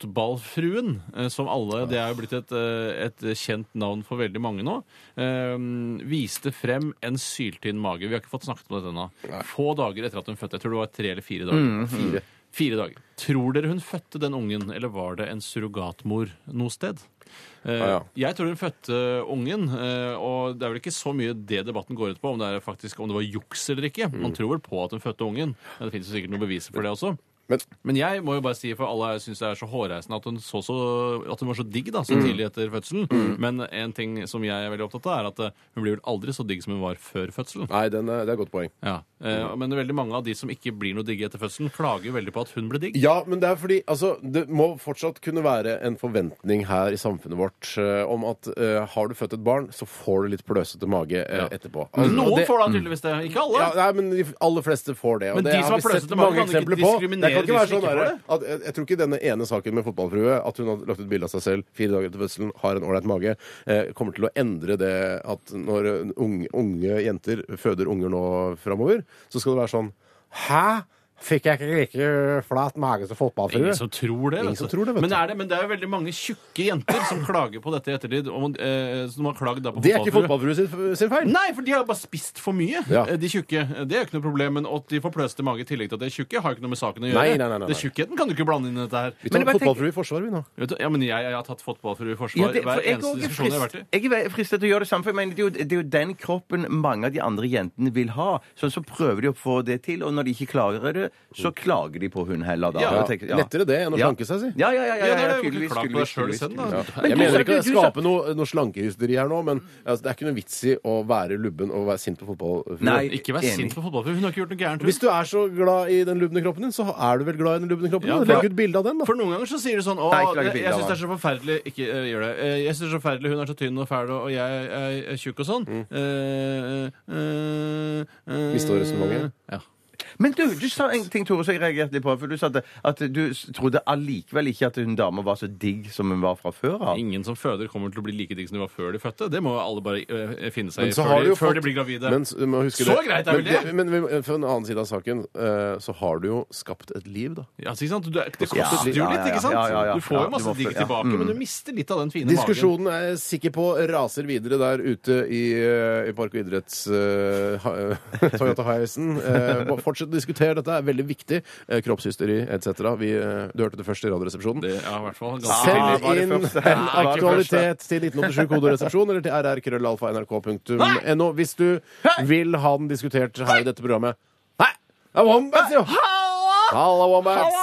Speaker 4: Fotballfruen, eh, som alle Det er jo blitt et, eh, et kjent navn for veldig mange nå. eh, Viste frem en syltynn mage. Vi har ikke fått snakket om dette ennå. Få dager etter at hun fødte. Jeg tror det var tre eller fire dager.
Speaker 6: Mm, Fire.
Speaker 4: Fire dager. Tror dere hun fødte den ungen, eller var det en surrogatmor noe sted? Eh,
Speaker 6: ja.
Speaker 4: Jeg tror hun fødte ungen, eh, og det er vel ikke så mye det debatten går ut på, om det, er faktisk, om det var juks eller ikke.
Speaker 6: Mm.
Speaker 4: Man tror vel på at hun fødte ungen. men Det finnes jo sikkert noen beviser for det også.
Speaker 6: Men
Speaker 4: Men jeg må jo bare si, for alle her syns det er så hårreisende at hun, så så, at hun var så digg da, så
Speaker 6: Mm.
Speaker 4: tidlig etter fødselen. Men en ting som jeg er veldig opptatt av, er at eh, hun blir vel aldri så digg som hun var før fødselen.
Speaker 6: nei, den er, det er et godt poeng.
Speaker 4: Ja. Eh,
Speaker 6: Mm.
Speaker 4: Men veldig mange av de som ikke blir noe digge etter fødselen, klager jo veldig på at hun ble digg.
Speaker 6: Ja, men det er fordi altså, det må fortsatt kunne være en forventning her i samfunnet vårt eh, om at eh, har du født et barn, så får du litt pløsete mage eh, etterpå. Altså,
Speaker 4: Noen
Speaker 6: det-
Speaker 4: får da tydeligvis det, ikke alle.
Speaker 6: Ja, nei, men De aller fleste får det. og
Speaker 4: Men
Speaker 6: det
Speaker 4: de som
Speaker 6: har
Speaker 4: har
Speaker 6: vi sett
Speaker 4: pløsete mage,
Speaker 6: mange
Speaker 4: kan ikke
Speaker 6: eksempler på.
Speaker 4: diskriminere
Speaker 6: Det kan ikke
Speaker 4: de
Speaker 6: være sånn
Speaker 4: som ikke får
Speaker 6: der, at, jeg, jeg tror ikke denne ene saken med fotballfrue, at hun har lagt ut bilde av seg selv fire dager etter fødselen, har en ålreit mage, eh, kommer til å endre det at når eh, unge, unge jenter føder unger nå framover, så skal det være sånn Hæ? Fikk jeg ikke like flat mage som fotballfrue?
Speaker 4: Ingen som tror det.
Speaker 6: Ingen
Speaker 4: altså.
Speaker 6: som tror det, vet
Speaker 4: men,
Speaker 6: du.
Speaker 4: er det, men det er jo veldig mange tjukke jenter som klager på dette i ettertid. Og, eh, som har klagd da på
Speaker 6: Det er ikke
Speaker 4: fotballfrue.
Speaker 6: fotballfrue sin, sin feil.
Speaker 4: Nei, for de har jo bare spist for mye,
Speaker 6: Ja.
Speaker 4: eh, de tjukke. Det er jo ikke noe problem. Men at de får pløsete mage i tillegg til at de er tjukke, har jo ikke noe med saken å gjøre.
Speaker 6: Nei, nei, nei, nei,
Speaker 4: Det er tjukkheten kan du ikke blande inn i dette her.
Speaker 6: Vi tar
Speaker 5: Men jeg bare
Speaker 6: fotballfrue i forsvar, vi nå.
Speaker 4: Vet du, ja, men jeg, jeg har tatt fotballfrue i forsvar
Speaker 5: Ja, det- for
Speaker 4: hver
Speaker 5: jeg
Speaker 4: eneste
Speaker 5: er
Speaker 4: diskusjon jeg har vært i.
Speaker 5: frist- jeg er fristet til å gjøre det samme, for jeg mener, det, er jo, det er jo den kroppen mange av de andre jentene vil ha. Sånn så prøver de å få det til, og når de ikke klarer det, så klager de på hun heller. Da.
Speaker 4: Ja,
Speaker 5: Jeg tenker- ja.
Speaker 6: Lettere det enn å
Speaker 5: Ja.
Speaker 6: slanke seg, si.
Speaker 5: Ja, ja,
Speaker 4: Ja,
Speaker 5: ja. ja,
Speaker 4: det
Speaker 5: ja,
Speaker 4: er det. Du
Speaker 5: tydeligvis,
Speaker 4: kan klage på deg sjøl
Speaker 5: tydeligvis,
Speaker 4: selv, da.
Speaker 6: jeg
Speaker 5: tydeligvis. du
Speaker 6: mener ikke
Speaker 5: sa-
Speaker 6: at
Speaker 5: du
Speaker 6: jeg
Speaker 5: sa-
Speaker 6: skaper noe, noe slankehysteri her nå, men altså, det er ikke noe vits i å være lubben og være sint på fotball.
Speaker 5: Nei.
Speaker 4: Ikke vær
Speaker 5: Enig.
Speaker 4: sint på fotballfrue. Hun har ikke gjort noe gærent. hun.
Speaker 6: Hvis du er så glad i den lubne kroppen din, så er du vel glad i den lubne kroppen?
Speaker 4: Ja,
Speaker 6: da?
Speaker 4: for-
Speaker 6: Legg ut bilde av den, da.
Speaker 4: For noen ganger så sier du sånn Å,
Speaker 5: Nei, ikke
Speaker 4: jeg,
Speaker 5: lage
Speaker 4: jeg
Speaker 5: bilder av
Speaker 4: syns det er så forferdelig Ikke eh, gjør det. Eh, Jeg syns det er så forferdelig hun er så tynn og fæl, og jeg er, er tjukk og sånn. Mm.
Speaker 6: Mistet du resonnementet?
Speaker 4: eh, Ja.
Speaker 5: Men du, du sa en ting, Tore, som jeg reagerte litt på. For du sa at, at du s- trodde allikevel ikke at hun dama var så digg som hun var fra før av.
Speaker 4: Ingen som føder, kommer til å bli like digg som de var før de fødte. Det må jo alle bare eh, finne seg
Speaker 6: Men
Speaker 4: i
Speaker 6: så
Speaker 4: før,
Speaker 6: har du
Speaker 4: de,
Speaker 6: jo
Speaker 4: før
Speaker 6: fått-
Speaker 4: de blir gravide.
Speaker 6: Men, s- du må huske
Speaker 4: Så
Speaker 6: det.
Speaker 4: greit er vel
Speaker 6: men,
Speaker 4: det?
Speaker 6: Men, vi- fra en annen side av saken eh, så har du jo skapt et liv, da.
Speaker 4: Ja, så ikke sant? Du, det koster
Speaker 5: Ja,
Speaker 4: jo litt,
Speaker 5: ja, ja,
Speaker 4: ikke sant?
Speaker 5: ja, ja, ja.
Speaker 4: Du får
Speaker 5: Ja,
Speaker 4: jo masse
Speaker 5: du må
Speaker 4: digg
Speaker 5: fø- ja.
Speaker 4: tilbake, men du mister litt av den fine magen.
Speaker 6: Diskusjonen er jeg sikker på raser videre der ute i, eh, i Park og idretts eh, ha- Toyota Hiacen. Eh, bare Fortsett å diskutere dette, er veldig viktig. Eh, Kroppshysteri etc. Vi, eh, Du hørte det først i Radioresepsjonen.
Speaker 4: Det er i hvert fall ganske
Speaker 5: Ah,
Speaker 6: Send
Speaker 5: var det
Speaker 6: inn en
Speaker 5: første? Ja, var det
Speaker 6: aktualitet til 1987 koderesepsjon eller til rrkrøllalfa.nrk.no hvis du vil ha den diskutert her i dette programmet. Nei! Det er Wombats, jo! Halla, Wombats!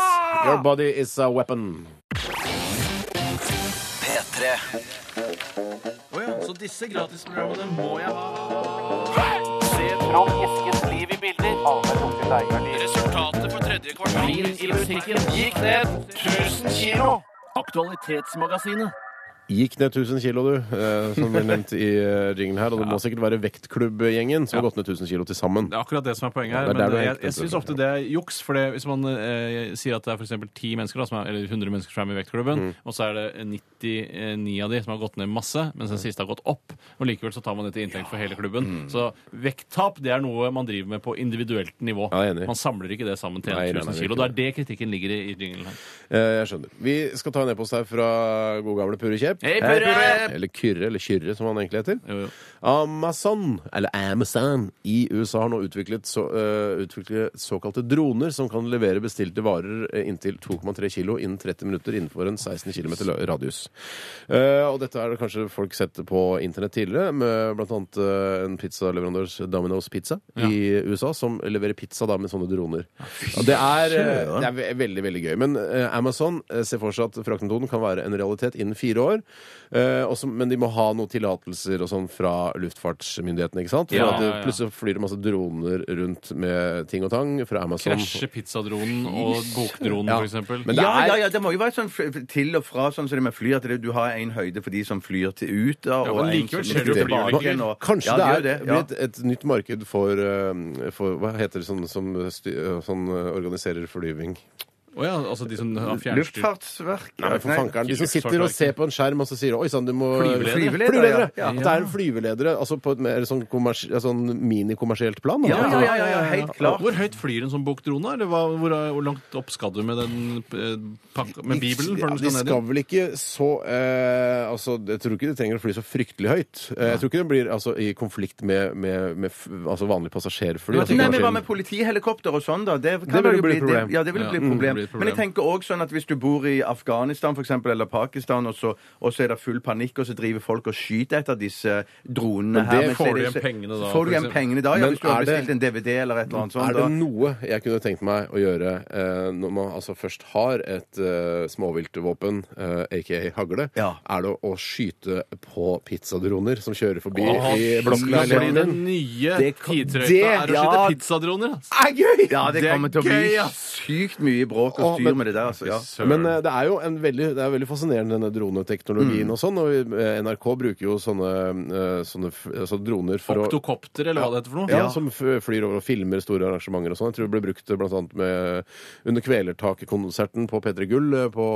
Speaker 6: Your body is a weapon.
Speaker 2: P3
Speaker 4: Så disse gratisprogrammene må jeg ha. Resultatet for tredje kvartal i musikken gikk ned 1000 kilo. Aktualitetsmagasinet.
Speaker 6: Gikk ned 1000 kilo, du, eh, som ble nevnt i eh, jinglen her. Og det må sikkert være vektklubbgjengen som har gått ned 1000 kilo til sammen.
Speaker 4: Det er akkurat det som er poenget her.
Speaker 6: Ja, det er der
Speaker 4: men
Speaker 6: du er
Speaker 4: jeg,
Speaker 6: helt
Speaker 4: jeg syns ofte det er juks. For det, hvis man eh, sier at det er for eksempel 10 mennesker, da, som er, eller 100 mennesker som er med i vektklubben,
Speaker 6: Mm.
Speaker 4: og så er det 99 av de som har gått ned masse, mens
Speaker 6: Mm.
Speaker 4: den siste har gått opp, og likevel så tar man det til inntekt for hele klubben. Så vekttap det er noe man driver med på individuelt nivå.
Speaker 6: Ja, jeg er enig.
Speaker 4: Man samler ikke det sammen til
Speaker 6: Nei, nei, nei, det er
Speaker 4: 1000 kilo.
Speaker 6: ikke
Speaker 4: Det er det kritikken ligger i, i jinglen her.
Speaker 6: Eh, Jeg skjønner. Vi skal ta en e-post her fra god gamle Purre Kjepp. Eh,
Speaker 4: Hei, Purre!
Speaker 6: Eller Kyrre, eller Kyrre, som han egentlig heter.
Speaker 4: Jo, jo.
Speaker 6: Amazon, eller Amazon, i USA har nå utviklet, så, eh, utviklet såkalte droner som kan levere bestilte varer eh, inntil 2,3 kilo innen 30 minutter innenfor en 16 km radius. Eh, og dette er det kanskje folk sett på internett tidligere, med blant annet eh, en pizzaleverandør, Domino's Pizza, i USA, som leverer pizza da med sånne droner. Og det er, eh, det er ve- veldig, veldig gøy. Men eh, Amazon eh, ser for seg at fraktmetoden kan være en realitet innen fire år, eh, og som- men de må ha noen tillatelser og sånn fra luftfartsmyndighetene, ikke sant? For
Speaker 4: Ja,
Speaker 6: at det,
Speaker 4: ja, ja.
Speaker 6: plutselig flyr det masse droner rundt med ting og tang fra Amazon.
Speaker 4: Krasje pizzadronen og bokdronen,
Speaker 6: Sånn. Ja,
Speaker 4: for eksempel.
Speaker 6: men det
Speaker 5: Ja,
Speaker 6: er-
Speaker 5: ja, ja, det må jo være sånn fl- til og fra, sånn som det med fly, at det, du har en høyde for de som flyr til ut. Da,
Speaker 4: Ja, men likevel
Speaker 5: som
Speaker 4: skjer det jo
Speaker 5: flyr tilbake
Speaker 4: ulykker.
Speaker 5: igjen, og-
Speaker 6: Kanskje
Speaker 5: ja,
Speaker 6: det, er,
Speaker 5: gjør ja.
Speaker 6: blir et, et nytt marked for, eh, for Hva heter det sånn som sty, sånn, eh, organiserer flyving?
Speaker 4: Å ja, altså de som har fjernstyrt
Speaker 5: Luftfartsverket
Speaker 6: Nei, men for fankeren, De som sitter og ser på en skjerm og så sier Oi sann, du må
Speaker 4: Flyveledere.
Speaker 5: Flyveledere,
Speaker 6: Flyveledere.
Speaker 5: ja.
Speaker 6: At det er flyveledere altså på et mer sånn, kommers- ja, sånn minikommersielt plan. da. Altså,
Speaker 5: Ja, ja, ja, ja, ja, helt klart.
Speaker 4: Hvor høyt flyr en sånn bokdrone? Eller hva, hvor, eh, hvor langt opp skal du med, den, eh, pakka- med Bibelen?
Speaker 6: Ja,
Speaker 4: før den
Speaker 6: de
Speaker 4: skal ned
Speaker 6: skal
Speaker 4: igjen?
Speaker 6: vel ikke så eh, altså, Jeg tror ikke de trenger å fly så fryktelig høyt. Eh, jeg tror ikke det blir altså, i konflikt med, med, med f altså, vanlig passasjerfly. altså,
Speaker 5: Nei, men Hva
Speaker 6: kommersiell-
Speaker 5: med politihelikopter og sånn, da? Det, kan
Speaker 6: Det vil
Speaker 5: vel
Speaker 6: jo bli et
Speaker 5: det-
Speaker 6: problem.
Speaker 5: Ja, det vil
Speaker 4: Ja.
Speaker 5: bli
Speaker 4: Mm, det
Speaker 5: et problem.
Speaker 4: blir et problem.
Speaker 5: Men jeg tenker også sånn at hvis du bor i Afghanistan for eksempel, eller Pakistan, og så, og så er det full panikk, og så driver folk og skyter etter disse dronene
Speaker 4: det
Speaker 5: her men så
Speaker 4: får
Speaker 5: er
Speaker 4: du
Speaker 5: det-
Speaker 4: igjen pengene da,
Speaker 5: Får du
Speaker 4: for
Speaker 5: igjen
Speaker 4: eksempel.
Speaker 5: pengene da? Ja,
Speaker 6: Men
Speaker 5: hvis du har
Speaker 6: er det-
Speaker 5: bestilt en DVD eller et eller annet sånt.
Speaker 6: Er det
Speaker 5: da.
Speaker 6: noe jeg kunne tenkt meg å gjøre eh, når man altså først har et eh, småviltvåpen, eh, aka hagle,
Speaker 5: Ja.
Speaker 6: er det å, å skyte på pizzadroner som kjører forbi
Speaker 4: Åh,
Speaker 6: i
Speaker 4: fordi
Speaker 6: blokkleiligheten din?
Speaker 4: den nye
Speaker 5: Det-
Speaker 4: tidtrøyta
Speaker 5: det-
Speaker 4: er å skyte
Speaker 5: ja.
Speaker 4: pizzadroner. ass.
Speaker 5: er gøy! Ja, det,
Speaker 4: Det er
Speaker 5: kommer til å bli
Speaker 4: gøy, ass.
Speaker 5: sykt mye bråk
Speaker 6: Å,
Speaker 5: og styr
Speaker 6: men-
Speaker 5: med det der. Altså, ja.
Speaker 6: Men eh, det er jo en veldig, det er veldig fascinerende, denne
Speaker 5: Mm.
Speaker 6: droneteknologien og sånn. Og vi- eh, NRK bruker jo sånne, eh, sånne f- altså droner for å
Speaker 4: Oktokopter, eller hva det heter for noe.
Speaker 6: Ja, som f- flyr over og filmer store arrangementer og sånn. Jeg tror det ble brukt eh, blant annet med, under Kvelertak-konserten på P3 Gull eh, på,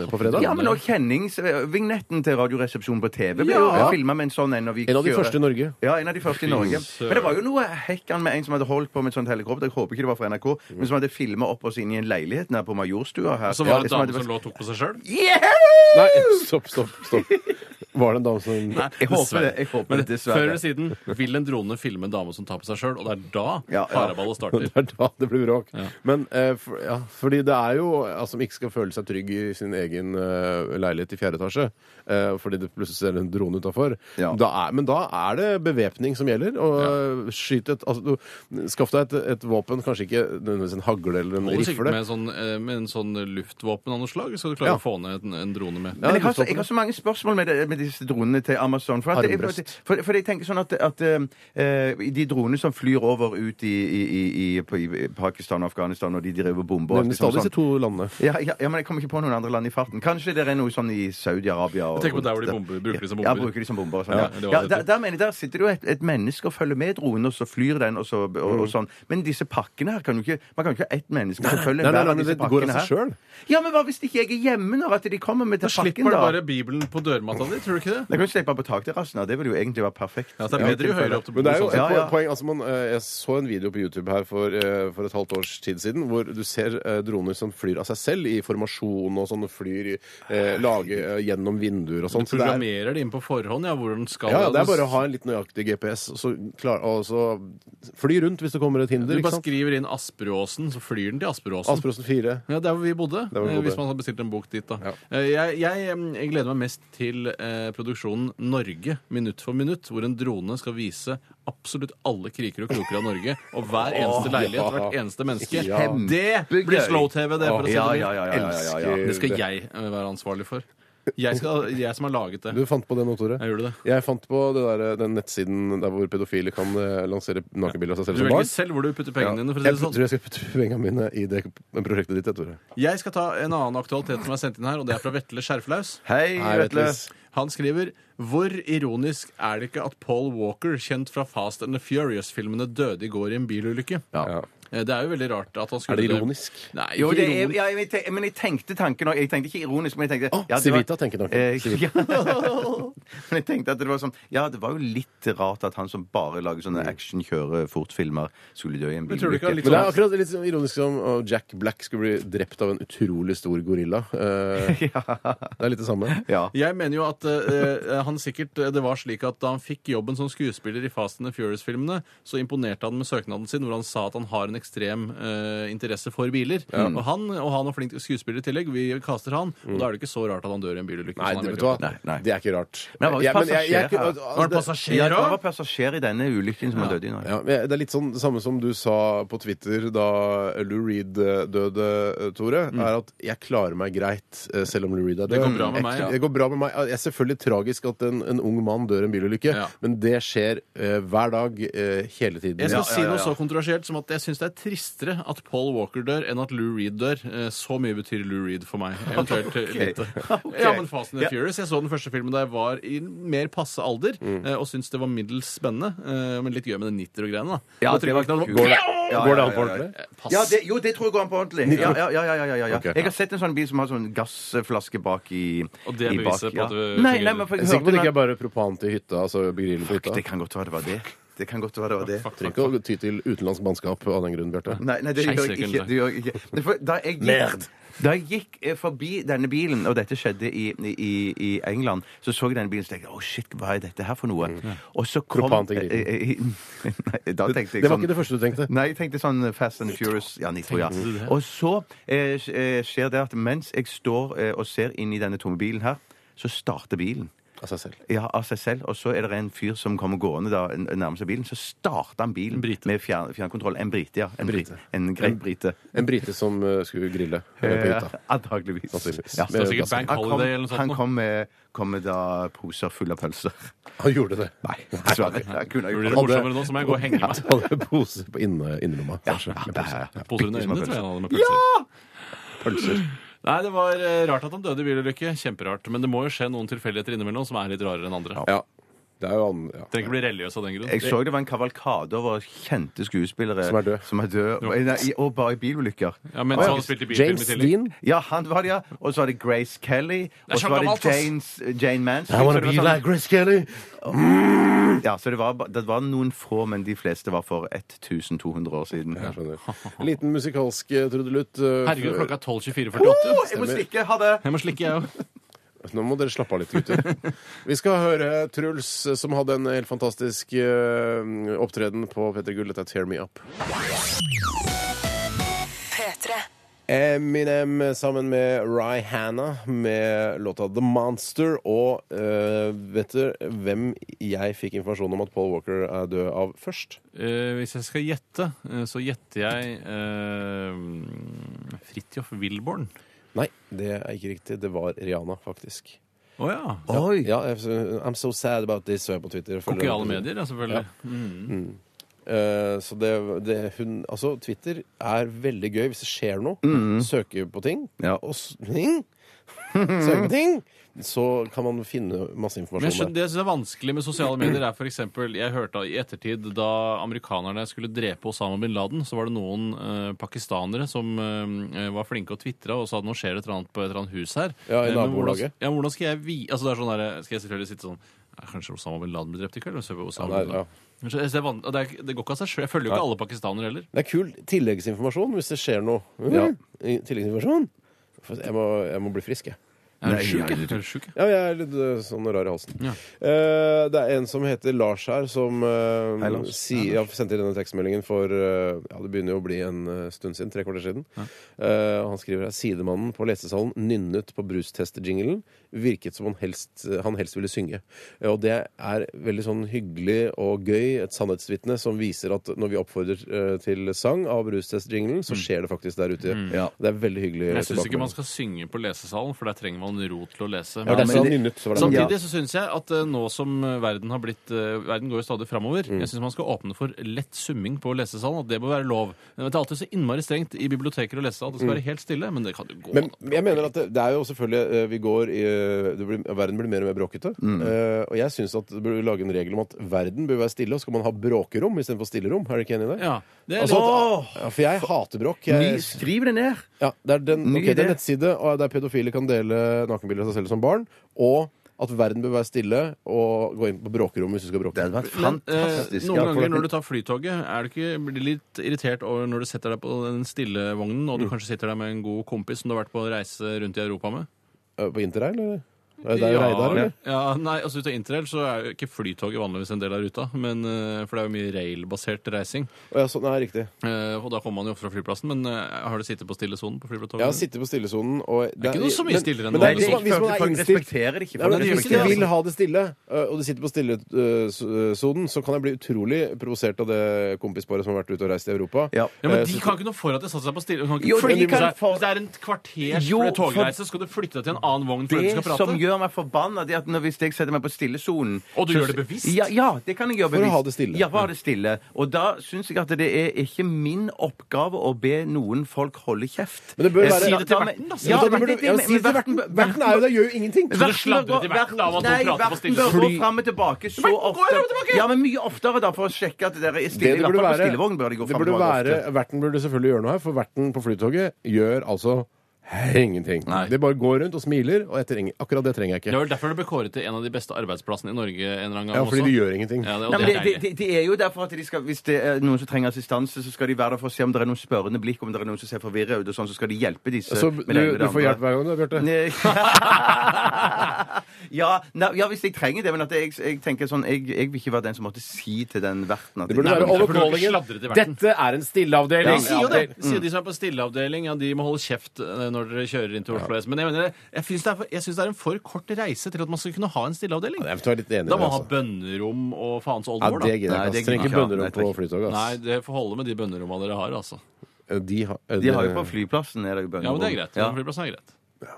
Speaker 6: eh, på fredag.
Speaker 5: Ja, men også kjennings... Vignetten til Radioresepsjonen på TV ble jo
Speaker 6: Ja.
Speaker 5: filma med en sånn en. når vi
Speaker 6: En av de
Speaker 5: kjører.
Speaker 6: første i Norge.
Speaker 5: Ja, en av de første i Norge. Men det var jo noe hekkan med en som hadde holdt på med et sånt helikopter, jeg håper ikke det var fra NRK, men som hadde filma opp oss inn i en leilighet nær på Majorstua
Speaker 4: Mm.
Speaker 5: her.
Speaker 4: Og så
Speaker 5: liksom,
Speaker 4: var det
Speaker 5: det
Speaker 4: en dame som lå og tok på seg sjøl.
Speaker 6: Nei, stopp, stopp, stopp. Var det en dame som
Speaker 5: Jeg håper det, jeg håper det,
Speaker 4: Før eller
Speaker 5: dessverre.
Speaker 4: siden vil en drone filme en dame som tar på seg sjøl, og det er da
Speaker 5: Ja, ja.
Speaker 4: paraballet starter.
Speaker 6: Det er da det blir bråk. Men eh, for, ja, fordi det er jo altså, som ikke skal føle seg trygg i sin egen eh, leilighet i fjerde etasje, eh, fordi det plutselig ser en drone utafor.
Speaker 5: Ja.
Speaker 6: Men da er det bevæpning som gjelder. Og eh, skyt et altså, du, Skaff deg et, et våpen, kanskje ikke nødvendigvis en hagle eller en
Speaker 4: Hold deg sikkert
Speaker 6: rifle.
Speaker 4: med, en sånn, eh, med en sånn luftvåpen av noe slag, så du klarer
Speaker 6: Ja.
Speaker 4: å få ned en, en drone med.
Speaker 5: Men
Speaker 6: Ja,
Speaker 5: jeg har,
Speaker 6: du
Speaker 5: så,
Speaker 6: stoppet
Speaker 5: jeg har så mange spørsmål med, det, med disse dronene til Amazon. For, at, for,
Speaker 6: Armbrøst.
Speaker 5: for, for jeg tenker sånn at, at eh, de dronene som flyr over ut i, i, i, i, på- i Pakistan og Afghanistan, og de driver bomber og
Speaker 6: Nevner
Speaker 5: alt sånn,
Speaker 6: stadig
Speaker 5: sånt.
Speaker 6: disse to landene.
Speaker 5: Ja, ja, ja, men jeg kommer ikke på noen andre land i farten. Kanskje det er noe sånn i Saudi-Arabia og
Speaker 4: Jeg tenker på der hvor de bomber, bruker de som
Speaker 5: Ja,
Speaker 4: bomber.
Speaker 5: bruker de som bomber og sånn,
Speaker 4: Ja,
Speaker 5: ja.
Speaker 4: det
Speaker 5: ja,
Speaker 4: var det.
Speaker 5: der, der mener jeg der sitter det jo et, et menneske og følger med dronen, og så flyr den, og, så, og,
Speaker 4: Mm.
Speaker 5: og sånn. Men disse pakkene her kan jo ikke Man kan jo ikke ha ett menneske som følger
Speaker 6: nei, nei,
Speaker 5: hver
Speaker 6: men
Speaker 5: av disse
Speaker 6: det går av
Speaker 5: pakkene
Speaker 6: seg
Speaker 5: her.
Speaker 6: selv.
Speaker 5: Ja, men hva hvis ikke jeg er hjemme når at de kommer med
Speaker 4: Da
Speaker 5: til
Speaker 4: slipper
Speaker 5: pakken,
Speaker 4: du
Speaker 5: da?
Speaker 4: bare Bibelen på dørmatta di, tror du ikke det?
Speaker 5: Jeg kan jo slippe på takterrassen, da. Det ville jo egentlig være perfekt.
Speaker 4: Ja, det er bedre jo høyere opp til
Speaker 6: Men det er jo
Speaker 4: bordet.
Speaker 6: et
Speaker 5: Ja, ja.
Speaker 6: poeng altså man, eh, Jeg så en video på YouTube her for, eh, for et halvt års tid siden hvor du ser eh, droner som flyr av seg selv i formasjon og sånn, og flyr eh, lage eh, gjennom vinduer og sånn. Så det er-
Speaker 4: Programmerer det inn på forhånd, ja, hvor den skal.
Speaker 6: ja, ja, det er bare å ha en litt nøyaktig GPS, og så, klar, og så fly rundt hvis det kommer et hinder.
Speaker 4: Du
Speaker 6: ikke
Speaker 4: bare
Speaker 6: sant?
Speaker 4: skriver inn Asperåsen, så flyr den til Asperåsen.
Speaker 6: Asperosen 4.
Speaker 4: Ja, Der hvor vi bodde.
Speaker 6: hvor vi
Speaker 4: eh,
Speaker 6: bodde.
Speaker 4: Hvis man hadde bestilt en bok dit, da.
Speaker 6: Ja.
Speaker 4: Eh, Jeg, jeg, em, jeg gleder meg mest til eh, produksjonen Norge minutt for minutt, hvor en drone skal vise absolutt alle kriker og kroker av Norge, og hver eneste leilighet, hvert eneste menneske.
Speaker 6: Ja.
Speaker 4: Det blir slow-TV, det, for å si
Speaker 5: Ja,
Speaker 4: det mildt.
Speaker 5: ja, ja, ja, ja, ja, ja.
Speaker 4: Det skal jeg eh, være ansvarlig for. Jeg, skal, jeg som har laget det.
Speaker 6: Du fant på det nå, Tore.
Speaker 4: Jeg gjorde det.
Speaker 6: Jeg fant på det der, eh, den nettsiden der hvor pedofile kan eh, lansere nakenbilder av seg selv
Speaker 4: Du
Speaker 6: som
Speaker 4: velger
Speaker 6: barn.
Speaker 4: selv hvor du putter pengene dine. for å si
Speaker 6: Jeg
Speaker 4: det sånn.
Speaker 6: tror jeg skal putte pengene mine i det prosjektet ditt. Jeg, Tore.
Speaker 4: Jeg skal ta en annen aktualitet som er sendt inn her, og det er fra Vetle Skjerflaus.
Speaker 5: Hei,
Speaker 6: Nei, vet
Speaker 5: Vetle.
Speaker 6: du.
Speaker 4: Han skriver Hvor ironisk er det ikke at Paul Walker, kjent fra Fast and the Furious-filmene, døde i går i en bilulykke?
Speaker 6: Ja.
Speaker 4: Eh, Det er jo veldig rart at han
Speaker 6: Er
Speaker 4: skulle
Speaker 6: det ironisk?
Speaker 4: Nei,
Speaker 5: Jo,
Speaker 4: ikke
Speaker 5: det er,
Speaker 4: ironisk.
Speaker 5: ja, jeg, tenk- men jeg tenkte tanken òg. Jeg tenkte ikke ironisk, men jeg tenkte
Speaker 6: Å,
Speaker 5: ja, det var-
Speaker 6: Civita tenker nok.
Speaker 5: Eh, ja. Men jeg tenkte at det var sånn Ja, det var jo litt rart at han som bare lager
Speaker 6: Mm.
Speaker 5: sånne action-kjøre-fort-filmer, skulle dø i en
Speaker 4: Men tror du ikke han
Speaker 5: bilulykke.
Speaker 4: litt
Speaker 6: Men det er
Speaker 4: sånn
Speaker 6: akkurat litt sånn ironisk som å, Jack Black skulle bli drept av en utrolig stor gorilla.
Speaker 4: sånn-
Speaker 6: Eh, Det er litt det samme.
Speaker 5: Ja.
Speaker 4: jeg mener jo at eh, han sikkert eh, Det var slik at da han fikk jobben som skuespiller i Fast and the Furious-filmene, så imponerte han med søknaden sin, hvor han sa at han har en ekstrem eh, interesse for biler. Og han og han er flink skuespiller i tillegg. Vi kaster han. Og da er det ikke så rart at han dør i en bilulykke.
Speaker 6: Nei,
Speaker 4: som han
Speaker 6: det,
Speaker 4: er
Speaker 6: vet du
Speaker 4: veldig
Speaker 6: hva?
Speaker 4: opptatt av.
Speaker 5: Nei, nei.
Speaker 6: det er ikke rart.
Speaker 5: Men han var jo passasjer her.
Speaker 4: Var det
Speaker 6: altså, det,
Speaker 5: Ja,
Speaker 4: passasjer
Speaker 5: det
Speaker 4: òg?
Speaker 5: var passasjer i denne ulykken som har dødd i Norge.
Speaker 6: ja, men det er litt sånn det samme som du sa på Twitter da Lou Reed eh, døde, eh, Tore.
Speaker 5: Mm.
Speaker 6: Er at jeg klarer meg greit eh, selv om Lou Reed er død.
Speaker 4: Det går bra med meg,
Speaker 6: Jeg,
Speaker 4: ja.
Speaker 6: det går bra med meg. Det er selvfølgelig tragisk at en, en ung mann dør i en bilulykke,
Speaker 4: Ja.
Speaker 6: men det skjer eh, hver dag, eh, hele tiden.
Speaker 4: Jeg skal
Speaker 5: Ja,
Speaker 4: si
Speaker 5: ja,
Speaker 4: noe
Speaker 5: ja.
Speaker 4: så kontroversielt som at jeg syns det er tristere at Paul Walker dør, enn at Lou Reed dør. Eh, Så mye betyr Lou Reed for meg. Eventuelt eh, lite. Ja, men Fast and the Furious. Jeg så den første filmen da jeg var i mer passe alder,
Speaker 5: Mm.
Speaker 4: eh, og syntes det var middels spennende. eh, Men litt gøy med den nitter-greiene, da.
Speaker 5: Ja,
Speaker 4: Da trykker
Speaker 5: det var
Speaker 4: man knappen.
Speaker 5: kult. Ja,
Speaker 6: Går det
Speaker 5: ja,
Speaker 6: an på
Speaker 5: ja, ja.
Speaker 6: ordentlig?
Speaker 4: Pass.
Speaker 5: Ja, det, jo, det tror jeg går an på ordentlig. Ja, ja, ja, ja, ja, ja, ja.
Speaker 6: Ok.
Speaker 5: Jeg har sett en sånn bil som har sånn gassflaske bak i
Speaker 4: Og det er
Speaker 5: i bak,
Speaker 4: beviset på at du
Speaker 5: Nei,
Speaker 4: fungerer.
Speaker 5: nei, men for
Speaker 6: Jeg
Speaker 5: jeg
Speaker 6: er sikker på at det
Speaker 5: hørte
Speaker 6: ikke er bare propan til hytta. altså grillen på hytta.
Speaker 5: Det kan godt være det var det. Det kan godt være det var det.
Speaker 6: Trenger ikke å ty til utenlandsk mannskap av den grunn, Bjarte.
Speaker 5: Nei, nei, det
Speaker 4: Skeiv
Speaker 5: gjør jeg
Speaker 4: sekunder.
Speaker 5: ikke. Det gjør jeg ikke. Men for, da, jeg gikk,
Speaker 6: Merd.
Speaker 5: da jeg gikk eh, forbi denne bilen, og dette skjedde i, i, i England, så så jeg denne bilen og tenkte jeg, å shit, hva er dette her for noe?
Speaker 6: Mm.
Speaker 5: Og så kom
Speaker 6: Propan til
Speaker 5: eh, eh, Nei, da tenkte jeg
Speaker 6: Det var
Speaker 5: sånn
Speaker 6: ikke det første du tenkte.
Speaker 5: Nei, jeg tenkte sånn Fast and Furious. Ja, Nitro, ja. Og så eh, sk- eh, skjer det at mens jeg står eh, og ser inn i denne tomme bilen her, så starter bilen.
Speaker 6: Av seg selv.
Speaker 5: Ja, av seg selv. Og så er det en fyr som kommer gående da, n- nærmer seg bilen. Så starter han bilen
Speaker 4: brite.
Speaker 5: med fjern, fjernkontroll. En brite, ja. En,
Speaker 6: brite.
Speaker 5: brite. En greit brite.
Speaker 6: En brite som eh, skulle grille eh, på
Speaker 5: Eh,
Speaker 6: hytta.
Speaker 5: Antakeligvis.
Speaker 6: Sannsynligvis.
Speaker 5: Ja.
Speaker 4: Det var sikkert Bank
Speaker 5: Han kom,
Speaker 4: Holiday eller noe sånt.
Speaker 5: han kom med, kom med da poser fulle av pølser.
Speaker 6: Han gjorde det.
Speaker 5: Nei, dessverre. Jeg kunne
Speaker 4: Blir
Speaker 5: ikke
Speaker 4: det morsommere nå, så må jeg gå og henge meg.
Speaker 6: Han hadde pose på inne, innerlomma, kanskje.
Speaker 5: Ja,
Speaker 6: med
Speaker 5: det er-
Speaker 6: pølser.
Speaker 4: Poser under øynene,
Speaker 5: Bittesmå
Speaker 4: tror jeg han hadde med
Speaker 5: pølser.
Speaker 4: pølser.
Speaker 6: Pølser.
Speaker 4: Nei, det var eh, rart at han døde i bilulykke. Kjemperart. Men det må jo skje noen tilfeldigheter innimellom som er litt rarere enn andre.
Speaker 6: Ja. Det er jo han ja.
Speaker 4: Trenger ikke bli religiøs av den grunn.
Speaker 5: Jeg så det var en kavalkade over kjente skuespillere
Speaker 6: Som er død.
Speaker 5: som er død. Og, nei, i- og bare i bilulykker.
Speaker 4: Ja, mens
Speaker 5: Å,
Speaker 4: han spilte i bilfilm i
Speaker 6: James
Speaker 4: tillegg.
Speaker 6: Dean.
Speaker 5: Ja, han var det, ja. Og så var det Grace Kelly. Og så var det
Speaker 4: gammelt, ass.
Speaker 5: Janes, Jane Mansfield.
Speaker 6: I wanna
Speaker 5: Så det
Speaker 6: be
Speaker 5: var sånn-
Speaker 6: like Grace Kelly.
Speaker 5: Ja, så det var, ba- det var noen få, men de fleste var for 1200 år siden.
Speaker 6: Jeg skjønner. En liten musikalsk eh, trudelutt. eh,
Speaker 4: Herregud, klokka er
Speaker 5: Å,
Speaker 4: 12.24.48.
Speaker 5: jeg må stikke! Ha det!
Speaker 4: Jeg må slikke, jeg òg.
Speaker 6: Nå må dere slappe av litt, gutter. Vi skal høre Truls, som hadde en helt fantastisk eh, opptreden på P3 Gull. Dette er Tear Me Up.
Speaker 1: P3.
Speaker 6: Eminem sammen med Rihanna med låta The Monster. Og eh, vet du hvem jeg fikk informasjon om at Paul Walker er død av først?
Speaker 4: Eh, hvis jeg skal gjette, eh, så gjetter jeg uh, Fridtjof Wilborn.
Speaker 6: Nei, det er ikke riktig. Det var Rihanna, faktisk.
Speaker 4: Å ja.
Speaker 5: Oi!
Speaker 6: Ja, jeg- I'm so sad about this, så jeg på Twitter. Følger-
Speaker 4: Sosiale medier, ja, selvfølgelig.
Speaker 6: Eh, så det, det hun Altså, Twitter er veldig gøy hvis det skjer noe. Søke på ting.
Speaker 5: Ja.
Speaker 6: Og s- ting. Søke på ting! Så kan man finne masse
Speaker 4: Men jeg
Speaker 6: informasjon
Speaker 4: skjønner, det jeg synes er vanskelig med sosiale medier, er for eksempel, Jeg hørte i ettertid, da amerikanerne skulle drepe Osama bin Laden, så var det noen eh, pakistanere som eh, var flinke og tvitra og sa at nå skjer det et eller annet på et eller annet hus her.
Speaker 6: Ja, i
Speaker 4: Eh, men
Speaker 6: nabolaget.
Speaker 4: Hvordan, ja, men hvordan skal jeg vi... Altså, det er sånn der, skal jeg selvfølgelig sitte sånn «Ja, Kanskje Osama bin Laden blir drept i kveld? Men så er det Osama
Speaker 6: Ja,
Speaker 4: bin
Speaker 6: nei, ja.
Speaker 4: Laden. Men så- jeg ser van- Det, er, det går ikke av seg sjøl. Jeg følger jo ikke alle pakistanere heller.
Speaker 6: Det er kul tilleggsinformasjon hvis det skjer noe. Mm. I- Tilleggsinformasjon. For Jeg må, jeg må bli frisk, jeg.
Speaker 4: Jeg
Speaker 5: Nei,
Speaker 4: er sjuk,
Speaker 5: jeg er
Speaker 4: jeg. Jeg er sjuk, jeg.
Speaker 6: Ja, jeg er litt øh, sånn rar i halsen.
Speaker 4: Ja.
Speaker 6: Eh, det er en som heter Lars her, som uh,
Speaker 5: Hei, Lars.
Speaker 6: sier, ja, sendte inn denne tekstmeldingen for eh, ja, det begynner jo å bli en eh, stund siden. Tre kvarter siden. Eh, han skriver her sidemannen på lesesalen nynnet på brustestjingelen. Virket som han helst, han helst ville synge. Eh, og det er veldig sånn hyggelig og gøy, et sannhetsvitne som viser at når vi oppfordrer eh, til sang av brustestjingelen, så skjer det faktisk der ute.
Speaker 5: Ja.
Speaker 6: Det er veldig hyggelig.
Speaker 4: Jeg syns ikke
Speaker 6: tilbakemelding.
Speaker 4: man skal synge på lesesalen, for der trenger man ro til å lese.
Speaker 6: ja,
Speaker 4: Men-
Speaker 5: men
Speaker 6: derfor han
Speaker 5: det-
Speaker 6: sånn nynnet. Så var det
Speaker 4: Samtidig så syns jeg at eh, nå som eh, verden har blitt eh, Verden går jo stadig framover.
Speaker 6: Mm.
Speaker 4: Jeg syns man skal åpne for lett summing på lesesalen. At det bør være lov. Men Det er alltid så innmari strengt i biblioteker og lesesal. Det skal være helt stille. Men det kan jo gå.
Speaker 6: Mm. Men
Speaker 4: da.
Speaker 6: jeg mener at det, det er jo selvfølgelig eh, Vi går i eh, det blir, Verden blir mer og mer bråkete.
Speaker 5: Mm.
Speaker 6: Eh, og jeg syns at det burde lage en regel om at verden bør være stille, og så skal man ha bråkerom istedenfor stillerom. Er du ikke enig i det?
Speaker 4: Ja, det er
Speaker 6: altså,
Speaker 5: litt-
Speaker 6: at, ja, for jeg hater bråk.
Speaker 5: Ny,
Speaker 6: Jeg,
Speaker 5: skriv det ned!
Speaker 6: ja, det er den,
Speaker 5: Ny
Speaker 6: ok, det er
Speaker 5: idé.
Speaker 6: en nettside og der pedofile kan dele nakenbilder av seg selv som barn, og at verden bør være stille og gå inn på bråkerommet hvis du skal bråke.
Speaker 5: Det hadde vært
Speaker 4: Men, eh,
Speaker 5: fantastisk.
Speaker 4: noen ganger når du tar flytoget, er du ikke, blir du litt irritert over når du setter deg på den stille vognen,
Speaker 6: Mm.
Speaker 4: og du kanskje sitter der med en god kompis som du har vært på reise rundt i Europa med?
Speaker 6: Eh, På interrail, eller? Er det Reidar, eller?
Speaker 4: ja, nei, altså Ut av interrail så er jo ikke flytoget vanligvis en del av ruta, men, eh, for det er jo mye railbasert reising.
Speaker 6: Å, ja, så, nei, riktig.
Speaker 4: Eh, og da kommer man jo ofte fra flyplassen, men eh, har du sittet på stillesonen på flyplassen?
Speaker 6: Jeg har sittet på stillesonen og
Speaker 4: Det er ikke noe så mye stillere
Speaker 6: men, men
Speaker 4: enn altså.
Speaker 6: det
Speaker 5: Nei,
Speaker 6: er, sånn hvis,
Speaker 5: det er
Speaker 6: man, hvis man er
Speaker 5: folk
Speaker 6: innstilt
Speaker 5: respekterer det ikke. altså.
Speaker 6: Nei, men
Speaker 4: det gjør
Speaker 6: Hvis
Speaker 4: ikke
Speaker 6: du
Speaker 4: det,
Speaker 6: vil ha det stille, ø, og du sitter på stillesonen, så kan jeg bli utrolig provosert av det kompisparet som har vært ute og reist i Europa.
Speaker 5: Ja.
Speaker 4: Ja, men
Speaker 6: Eh,
Speaker 4: De
Speaker 6: så-
Speaker 4: kan ikke noe for at det satte seg på stille. de Kan ikke
Speaker 5: Jo,
Speaker 4: flytte
Speaker 5: de kan
Speaker 4: seg.
Speaker 5: få-
Speaker 4: Hvis det er en kvarters
Speaker 5: Jo, for-
Speaker 4: togreise, skal du flytte deg til en annen vogn for at du skal
Speaker 5: det
Speaker 4: prate?
Speaker 5: som gjør meg forbanna, det er at når, hvis jeg setter meg på stillesonen
Speaker 4: Og du
Speaker 5: så-
Speaker 4: gjør det bevisst?
Speaker 5: Ja, ja, det kan jeg gjøre
Speaker 6: For å
Speaker 5: bevisst.
Speaker 6: ha det stille.
Speaker 5: Ja, for å ha det stille. Og da syns jeg at det er ikke min oppgave å be noen folk holde kjeft.
Speaker 6: Men det bør
Speaker 5: Eh,
Speaker 6: være-
Speaker 5: da-
Speaker 6: Si
Speaker 4: det til
Speaker 5: da-
Speaker 4: verten, da. Si
Speaker 5: Ja,
Speaker 6: Men da
Speaker 5: men
Speaker 6: burde
Speaker 5: det-
Speaker 6: du- ja,
Speaker 5: men-
Speaker 6: si til
Speaker 5: men
Speaker 6: verten verten er jo der, gjør jo ingenting!
Speaker 4: Så du sladrer til verten av at noen
Speaker 5: Nei,
Speaker 4: prater på
Speaker 5: verten
Speaker 4: stille.
Speaker 5: bør gå
Speaker 4: Fordi-
Speaker 5: fram og tilbake så
Speaker 4: Verten går jo
Speaker 5: ofte.
Speaker 4: fram og tilbake!
Speaker 5: Ja, men mye oftere, da, for å sjekke at dere er stille.
Speaker 6: Det det
Speaker 5: I hvert
Speaker 6: burde
Speaker 5: fall på
Speaker 6: være,
Speaker 5: stillevogn bør de gå
Speaker 6: det
Speaker 5: fram og
Speaker 6: burde
Speaker 5: tilbake
Speaker 6: være
Speaker 5: ofte.
Speaker 6: Verten burde selvfølgelig gjøre noe her, for verten på Flytoget gjør altså ingenting.
Speaker 4: Nei.
Speaker 6: Det bare går rundt og smiler, og jeg trenger, akkurat det trenger jeg
Speaker 4: Det
Speaker 6: ikke.
Speaker 4: var derfor det ble kåret til en av de beste arbeidsplassene i Norge en eller annen gang
Speaker 6: Ja, fordi
Speaker 4: også.
Speaker 6: de gjør ingenting.
Speaker 4: Ja, det, og
Speaker 5: Nei, men
Speaker 4: det er
Speaker 5: det,
Speaker 4: deilig.
Speaker 5: det, det er jo derfor at de skal, Hvis det er noen som trenger assistanse, så skal de være der for å se om det er noen spørrende blikk, om det er noen som ser forvirra ut, og sånn, så skal de hjelpe disse.
Speaker 6: Så Altså, du,
Speaker 5: med det ene
Speaker 6: du
Speaker 5: med det
Speaker 6: får hjelp
Speaker 5: andre.
Speaker 6: hver gang du har gjort det.
Speaker 5: Nei. ja, nei, ja, hvis jeg trenger det. Men at jeg, jeg tenker sånn jeg, jeg vil ikke være den som måtte si til den verten at
Speaker 6: Det burde være
Speaker 5: Nei, men-
Speaker 4: for du har ikke
Speaker 6: overkålingen.
Speaker 4: sladret til verten.
Speaker 6: Dette er en
Speaker 4: De
Speaker 6: stilleavdeling!
Speaker 4: sier jo det! De
Speaker 6: mm.
Speaker 4: sier de som er på stilleavdeling, ja, de må holde kjeft eh, når dere kjører inn til Oslo S. Men jeg mener, jeg syns det, er for- jeg synes det er en for kort reise til at man skal kunne ha en stilleavdeling.
Speaker 6: Jeg er litt enig i
Speaker 4: Da
Speaker 6: det.
Speaker 4: må man ha
Speaker 6: Altså.
Speaker 4: bønnerom og faens
Speaker 6: Ja,
Speaker 4: oldemor,
Speaker 6: det
Speaker 4: da.
Speaker 6: gidder
Speaker 5: Nei,
Speaker 6: jeg
Speaker 5: det
Speaker 6: ikke. Trenger ikke
Speaker 5: gidder jeg
Speaker 6: bønnerom
Speaker 5: ikke. Nei,
Speaker 6: på Flytoget. ass.
Speaker 4: Nei, det får holde med de bønnerommene dere har, altså.
Speaker 6: De har,
Speaker 5: De har jo på flyplassen er det jo bønnerom.
Speaker 4: Ja, men det er greit.
Speaker 5: Ja.
Speaker 4: Flyplassen er greit.